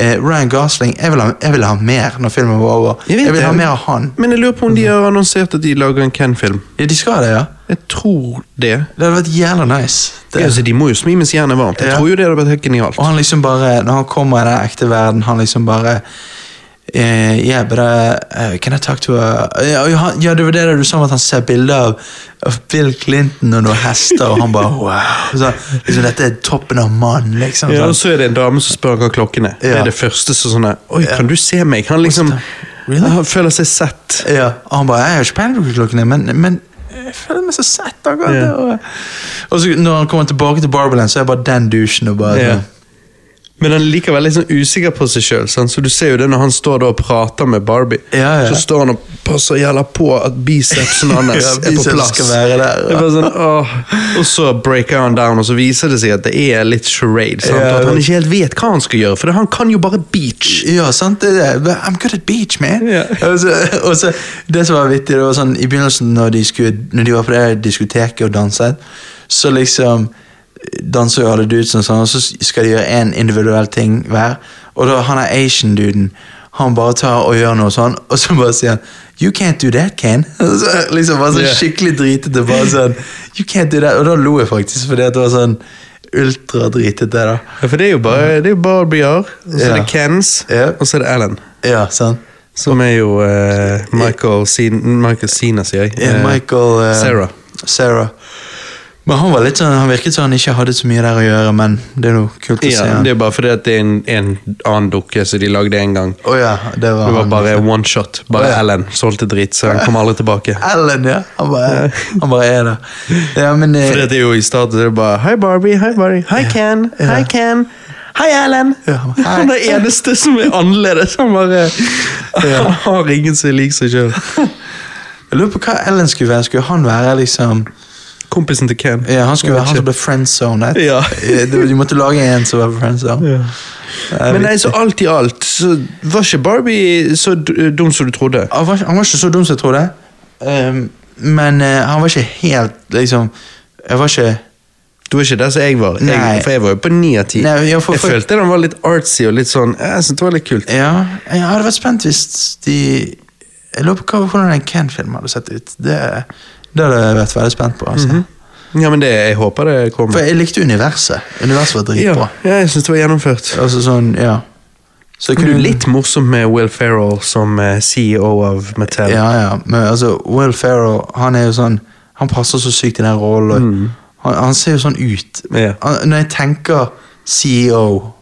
Speaker 2: eh, Ryan Gosling jeg vil, ha, jeg vil ha mer når filmen var over.
Speaker 1: Jeg
Speaker 2: Jeg,
Speaker 1: vet
Speaker 2: vil ha
Speaker 1: det.
Speaker 2: mer av han.
Speaker 1: Men jeg lurer på om de har annonsert at de lager en Ken-film.
Speaker 2: Ja, de skal det, ja.
Speaker 1: Jeg tror det.
Speaker 2: Det hadde vært jævla nice.
Speaker 1: det. Altså, de må jo smi mens jernet er varmt. Jeg
Speaker 2: Ja.
Speaker 1: tror jo det hadde vært helt genialt.
Speaker 2: Og han liksom bare, når han kommer i den ekte verden, han liksom bare eh, yeah, but, uh, uh, Can I talk to a ja, og han- ja, det var det du sa om at han ser bilder av, av Bill Clinton og noen hester, og han bare wow. Så, liksom, dette er toppen av mann, liksom.
Speaker 1: Ja, og
Speaker 2: sånn.
Speaker 1: så er det en dame som spør hva klokken er. Det
Speaker 2: Ja.
Speaker 1: er det første som sånn er, Oi, kan du se meg? Han liksom
Speaker 2: Really?
Speaker 1: han føler seg sett.
Speaker 2: ja, og han bare Jeg har ikke peiling på hva klokken er, men, men jeg føler meg så sett akkurat
Speaker 1: Ja.
Speaker 2: det, Og, og så når han kommer tilbake til Barberland, så er jeg bare den douchen og bare sånn,
Speaker 1: Ja. Men han er likevel litt sånn usikker på seg sjøl, så du ser jo det når han står da og prater med Barbie.
Speaker 2: Ja, ja.
Speaker 1: Så står han og passer jævla på at [LAUGHS] bicepsen hans
Speaker 2: Ja,
Speaker 1: er på
Speaker 2: biceps
Speaker 1: plass.
Speaker 2: skal være der,
Speaker 1: Det er bare sånn, åh. Og så breaker han down, og så viser det seg at det er litt charade. Sant?
Speaker 2: Ja,
Speaker 1: og at han
Speaker 2: det-
Speaker 1: ikke helt vet hva han skal gjøre, for han kan jo bare beach.
Speaker 2: Ja, sant? Det er, det. I'm good at beach, man.
Speaker 1: Ja.
Speaker 2: Og, så, og så, det som var vittig, det var sånn, i begynnelsen når de, skulle, når de var på det diskoteket og danset, så liksom danser jo alle dudes og sånn, og så skal de gjøre en individuell ting hver. Og da han er Asian-duden, han bare tar og gjør noe sånn, og så bare sier han You can't do that, Ken. [LAUGHS] Og så, liksom bare
Speaker 1: Ja.
Speaker 2: sånn skikkelig dritete. bare sånn, you can't do that, Og da lo jeg faktisk, fordi at det var sånn ultradritete. da.
Speaker 1: Ja, for det er jo bare, det er jo Barbier, og så
Speaker 2: Ja.
Speaker 1: er det Kens,
Speaker 2: Ja.
Speaker 1: og så er det Alan.
Speaker 2: Ja, sant?
Speaker 1: Som er jo eh, Michael Cena, Michael Cena sier jeg.
Speaker 2: Ja,
Speaker 1: Eh,
Speaker 2: Michael eh,
Speaker 1: Sarah.
Speaker 2: Sarah. Men han var litt sånn, han virket som han ikke hadde så mye der å gjøre, men det er noe kult å
Speaker 1: Ja,
Speaker 2: se. han.
Speaker 1: det er bare fordi at det er en, en annen dukke som de lagde en gang.
Speaker 2: Å Ah, ja, det var,
Speaker 1: Det var
Speaker 2: han.
Speaker 1: bare one shot. Bare
Speaker 2: Ja.
Speaker 1: Alan solgte drit, så han kom aldri tilbake.
Speaker 2: Ellen, ja. Han bare, han bare er der. Ja, men eh,
Speaker 1: Fordi at det er jo i starten så er det bare Hei, Barbie. Hei, Barbie. Hei, Ken. Hei, Ken. Hei, Alan.
Speaker 2: Ja, hei.
Speaker 1: [LAUGHS] Han er den eneste som er annerledes. Han bare [LAUGHS] Han har ingen som er lik seg sjøl.
Speaker 2: Jeg lurer på hva Ellen skulle være. Skulle han være liksom
Speaker 1: Kompisen til Ken.
Speaker 2: Ja, han skulle være han
Speaker 1: Jeg vet
Speaker 2: som ble friendzonet.
Speaker 1: Ja.
Speaker 2: Eh, det- De måtte lage en som var friendzone.
Speaker 1: Ja. Men nei, så alt i alt så var ikke Barbie så d- dum som du trodde.
Speaker 2: Han var, han var ikke så dum som jeg trodde. Ehm, men eh, han var ikke helt liksom Jeg var ikke
Speaker 1: Du var ikke der som jeg var. Jeg,
Speaker 2: Nei.
Speaker 1: for jeg var jo på ni av ti.
Speaker 2: Nei, ja, for-
Speaker 1: Jeg
Speaker 2: for-
Speaker 1: følte den var litt artsy og litt sånn Jeg syntes det var litt kult.
Speaker 2: Ja, jeg hadde vært spent hvis de Jeg lurer på hva- hvordan en Ken-film hadde sett ut. Det, det hadde jeg vært veldig spent på. Altså.
Speaker 1: Mhm. Ja, men det, jeg håper det
Speaker 2: For
Speaker 1: kommer.
Speaker 2: jeg likte universet. Universet var
Speaker 1: Ja,
Speaker 2: dritbra.
Speaker 1: ja, jeg syns det var gjennomført.
Speaker 2: Altså sånn, ja. Så
Speaker 1: Det er jo litt morsomt med Will Ferrell som eh, CEO av Mattel.
Speaker 2: Ja, ja. Men altså, Will Ferrell, han er jo sånn Han passer så sykt i den rollen. Han, han ser jo sånn ut.
Speaker 1: Mhm. Ja.
Speaker 2: Han, når jeg tenker CEO,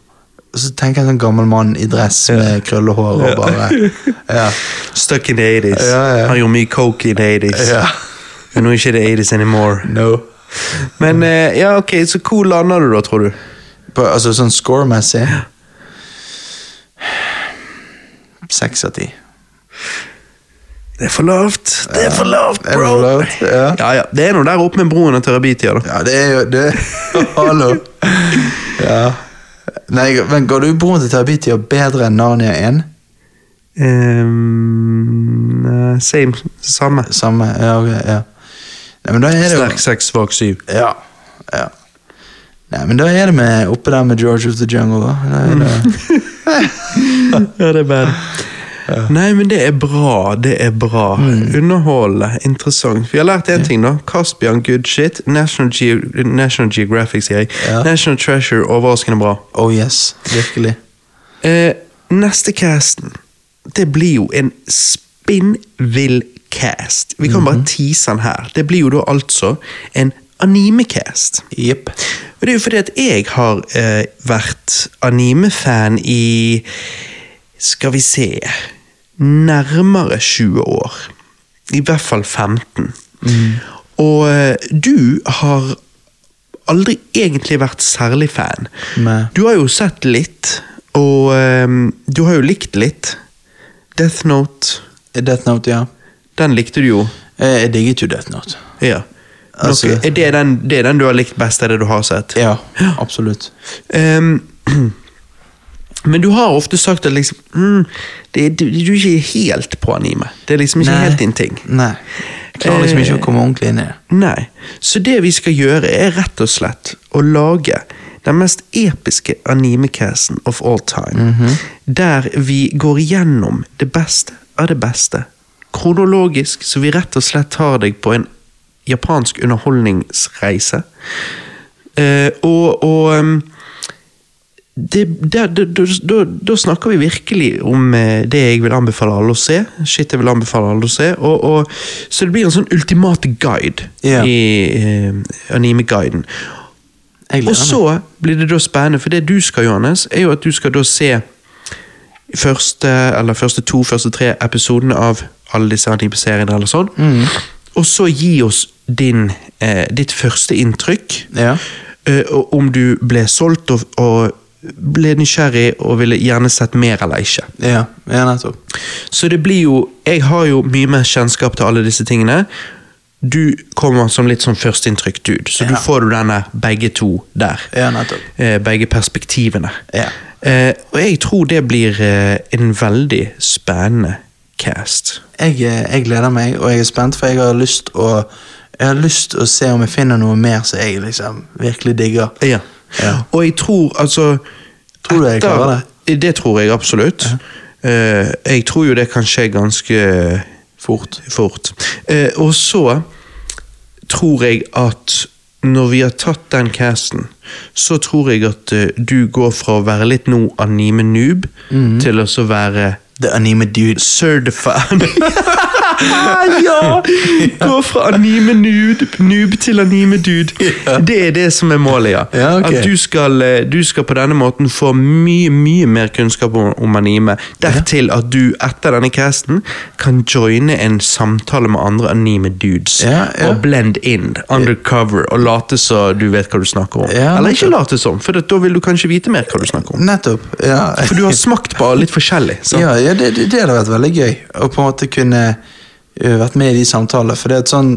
Speaker 2: så tenker jeg en sånn gammel mann i dress med krøllehår og bare
Speaker 1: [LAUGHS]
Speaker 2: Ja.
Speaker 1: Stuck in the 80s.
Speaker 2: Ja, ja.
Speaker 1: Han gjorde mye coke in the 80s.
Speaker 2: Ja.
Speaker 1: Men nå er ikke det 80s anymore.
Speaker 2: No.
Speaker 1: Men eh, ja, ok, så hvor lander du da, tror du?
Speaker 2: På, altså sånn score-messig Seks av ti.
Speaker 1: Det er for lavt. Det er for lavt,
Speaker 2: Er det
Speaker 1: bro!
Speaker 2: lavt? Ja.
Speaker 1: Ja, ja. Det er nå der oppe med broen og Terabithia, da.
Speaker 2: Ja, det er jo det. [LAUGHS] Hallo. Ja. Nei, men Går du broren til Tabitya bedre enn Narnia 1?
Speaker 1: Ehm, nei, same. Samme.
Speaker 2: Samme? Ja, ok. ja. Nei, men da er det jo
Speaker 1: Sterk seks, svak syv.
Speaker 2: Ja. ja. Nei, men da er det med, oppe der med George of the Jungle, da. da er det,
Speaker 1: Ja, det er bad. Nei, men det er bra. Det er bra. Underholdende. Interessant. Vi har lært én ting, da. Caspian, good shit. National, Ge National Geographic, sier jeg.
Speaker 2: Ja.
Speaker 1: National Treasure, overraskende bra.
Speaker 2: oh yes, virkelig.
Speaker 1: Eh, neste casten, det blir jo en spinnvill cast. Vi kan bare tease den her. Det blir jo da altså en anime-cast.
Speaker 2: Jepp.
Speaker 1: Og det er jo fordi at jeg har eh, vært anime-fan i Skal vi se Nærmere 20 år. I hvert fall 15.
Speaker 2: Mm.
Speaker 1: Og eh, du har aldri egentlig vært særlig fan.
Speaker 2: Nei.
Speaker 1: Du har jo sett litt, og ehm, du har jo likt litt. Death Note,
Speaker 2: Death Note, ja.
Speaker 1: den likte du jo.
Speaker 2: Eh, Jeg digget jo Death Note.
Speaker 1: Ja. Nok,
Speaker 2: Altså-
Speaker 1: er det, den, det er den du har likt best, er det du har sett?
Speaker 2: Ja, absolutt.
Speaker 1: Ehm, [CLEARS THROAT] men du har ofte sagt at liksom, mm, det, du, du er ikke helt på anime. Det er liksom ikke
Speaker 2: Nei.
Speaker 1: helt din ting. Eh,
Speaker 2: Nei. Klarer liksom ikke å komme ordentlig inn i det.
Speaker 1: Nei. Så det vi skal gjøre, er rett og slett å lage den mest episke animecasten of all time. Der vi går igjennom det beste av det beste. Kronologisk, så vi rett og slett tar deg på en japansk underholdningsreise. Eh, og og em, det, da- da- da- da, da snakker vi virkelig om eh, det jeg vil anbefale alle å se. Shit jeg vil anbefale alle å se. Og, og, så det blir en sånn ultimate guide
Speaker 2: Ja.
Speaker 1: i eh, anime-guiden.
Speaker 2: Jeg gleder
Speaker 1: Og så blir det da spennende, for det du skal, Johannes, er jo at du skal da se første, eller første to, første tre episodene av alle disse anime-seriene eller sånn.
Speaker 2: Mm.
Speaker 1: Og så gi oss din, eh, ditt første inntrykk.
Speaker 2: meg. Ja.
Speaker 1: Eh, og om du ble solgt og, og ble nysgjerrig og ville gjerne sett mer eller ikke.
Speaker 2: Ja, ja nettopp.
Speaker 1: Så det blir jo Jeg har jo mye mer kjennskap til alle disse tingene. Du kommer som litt sånn førsteinntrykk dude, så du
Speaker 2: Ja.
Speaker 1: får jo denne begge to der.
Speaker 2: Ja, nettopp.
Speaker 1: Eh, begge perspektivene.
Speaker 2: Ja.
Speaker 1: Eh, og jeg tror det blir eh, en veldig spennende cast.
Speaker 2: Jeg, eh, jeg gleder meg, og jeg er spent, for jeg har lyst å jeg har lyst å se om jeg finner noe mer som jeg liksom virkelig digger.
Speaker 1: Ja.
Speaker 2: Ja.
Speaker 1: Og jeg tror altså
Speaker 2: Tror du jeg
Speaker 1: etter-
Speaker 2: klarer
Speaker 1: Det tror jeg absolutt. Eh, jeg tror jo det kan skje ganske
Speaker 2: Fort.
Speaker 1: fort. Eh, og så tror jeg at når vi har tatt den casten, så tror jeg at eh, du går fra å være litt nå anime noob
Speaker 2: Mhm.
Speaker 1: til også å være
Speaker 2: The anime dude.
Speaker 1: certified [LAUGHS] Ja! Gå fra anime nude, noob til anime dude. Det er det som er målet, ja.
Speaker 2: Ja, ok.
Speaker 1: At du skal, eh, du skal på denne måten få mye, mye mer kunnskap om, om anime. Dertil at du etter denne casten kan joine en samtale med andre anime dudes.
Speaker 2: Ja, ja.
Speaker 1: Og blend in, undercover, og late som du vet hva du snakker om.
Speaker 2: Ja,
Speaker 1: Eller ikke
Speaker 2: nettopp.
Speaker 1: late som, for da vil du kanskje vite mer hva du snakker om.
Speaker 2: [LAUGHS] Nettopp. Ja.
Speaker 1: For du har smakt på litt forskjellig. sant?
Speaker 2: Ja, ja det, det, det hadde vært veldig gøy å på en måte kunne ø, vært med i de samtalene. For det er et sånn,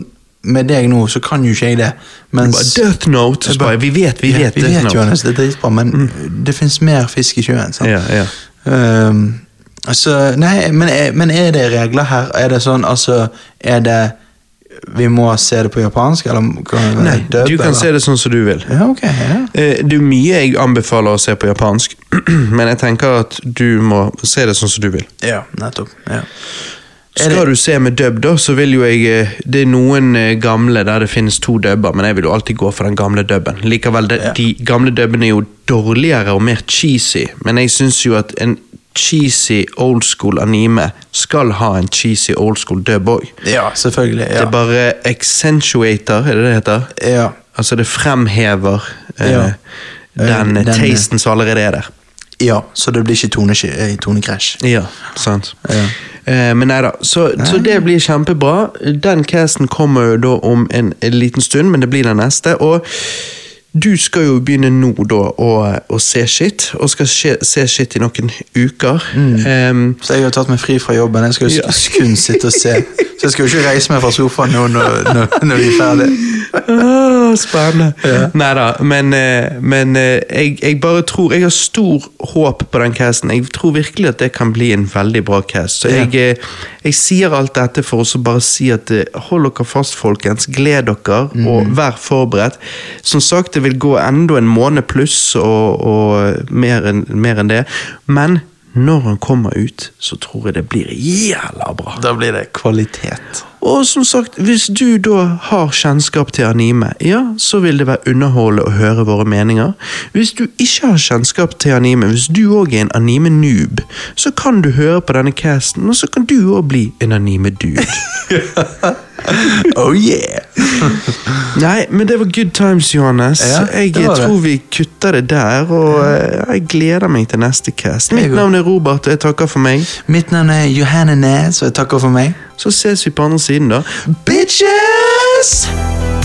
Speaker 2: med deg nå, så kan jo ikke jeg det.
Speaker 1: Bare
Speaker 2: Mens,
Speaker 1: Death Note. så bare, vi vet, vi
Speaker 2: Ja,
Speaker 1: vet
Speaker 2: vi
Speaker 1: Death
Speaker 2: vet
Speaker 1: Note.
Speaker 2: jo Johannes, det er dritbra, men det fins mer fisk i sjøen. sant?
Speaker 1: Ja, ja.
Speaker 2: Ehm, så, nei, men, er- men er det regler her? Er det sånn, altså Er det Vi må se det på japansk, eller kan vi
Speaker 1: Nei, du kan se det sånn som du vil.
Speaker 2: Ja, ok. Ja.
Speaker 1: Eh, Det er mye jeg anbefaler å se på japansk, [CLEARS THROAT] men jeg tenker at du må se det sånn som du vil.
Speaker 2: ja, nettopp. Ja. Er det-
Speaker 1: Skal du se med dubb, da, så vil jo jeg eh, Det er noen eh, gamle der det finnes to dubber, men jeg vil jo alltid gå for den gamle dubben. Likevel, de,
Speaker 2: Ja.
Speaker 1: de gamle dubbene er jo dårligere og mer cheesy, men jeg syns jo at en cheesy old school anime skal ha en cheesy old school dub òg.
Speaker 2: ja, selvfølgelig. Ja.
Speaker 1: Det er bare accentuator, er det det heter?
Speaker 2: ja.
Speaker 1: Altså, det fremhever eh,
Speaker 2: Ja.
Speaker 1: den,
Speaker 2: Eh, den-
Speaker 1: tasten som allerede er der.
Speaker 2: ja, så det blir ikke tonekrasj. Tone eh, tonekrasj.
Speaker 1: Ja, sant.
Speaker 2: Ja.
Speaker 1: Eh, men nei da, så, så det blir kjempebra. Den casten kommer jo da om en, en liten stund, men det blir den neste. Og du skal jo begynne nå da å, å se shit, og skal se, se shit i noen uker.
Speaker 2: Mm.
Speaker 1: Ehm, Em,
Speaker 2: Så jeg har tatt meg fri fra jobben. Jeg skal jo sk- kun sitte og se. Så jeg skal jo ikke reise meg fra sofaen nå når, når, når vi er ferdig.
Speaker 1: Ah, Spennende. Nei da, men, eh, men eh, jeg, jeg bare tror Jeg har stor håp på den casten. Jeg tror virkelig at det kan bli en veldig bra cast. Så
Speaker 2: Ja.
Speaker 1: jeg, eh, jeg sier alt dette for å så bare si at eh, hold dere fast, folkens. Gled dere, og vær forberedt. Som sagt, det vil gå enda en måned pluss og, og eh, mer, enn, mer enn det. Men når han kommer ut, så tror jeg det blir jævla bra.
Speaker 2: Da blir det kvalitet.
Speaker 1: Og som sagt, hvis du da har kjennskap til anime, ja, så vil det være underholdende å høre våre meninger. Hvis du ikke har kjennskap til anime, hvis du òg er en anime-noob, så kan du høre på denne casten, og så kan du òg bli en
Speaker 2: [LAUGHS]
Speaker 1: anime-dude.
Speaker 2: Oh yeah!
Speaker 1: Nei, men det var good times, Johannes.
Speaker 2: Ja,
Speaker 1: jeg
Speaker 2: det var det.
Speaker 1: tror vi kutter det der, og eh, jeg gleder meg til neste cast.
Speaker 2: Jeg
Speaker 1: Mitt
Speaker 2: går.
Speaker 1: navn er Robert, og jeg takker for meg.
Speaker 2: Mitt navn er Johanne Næs, og jeg takker for meg.
Speaker 1: Så ses vi på andre siden, da.
Speaker 2: Bitches!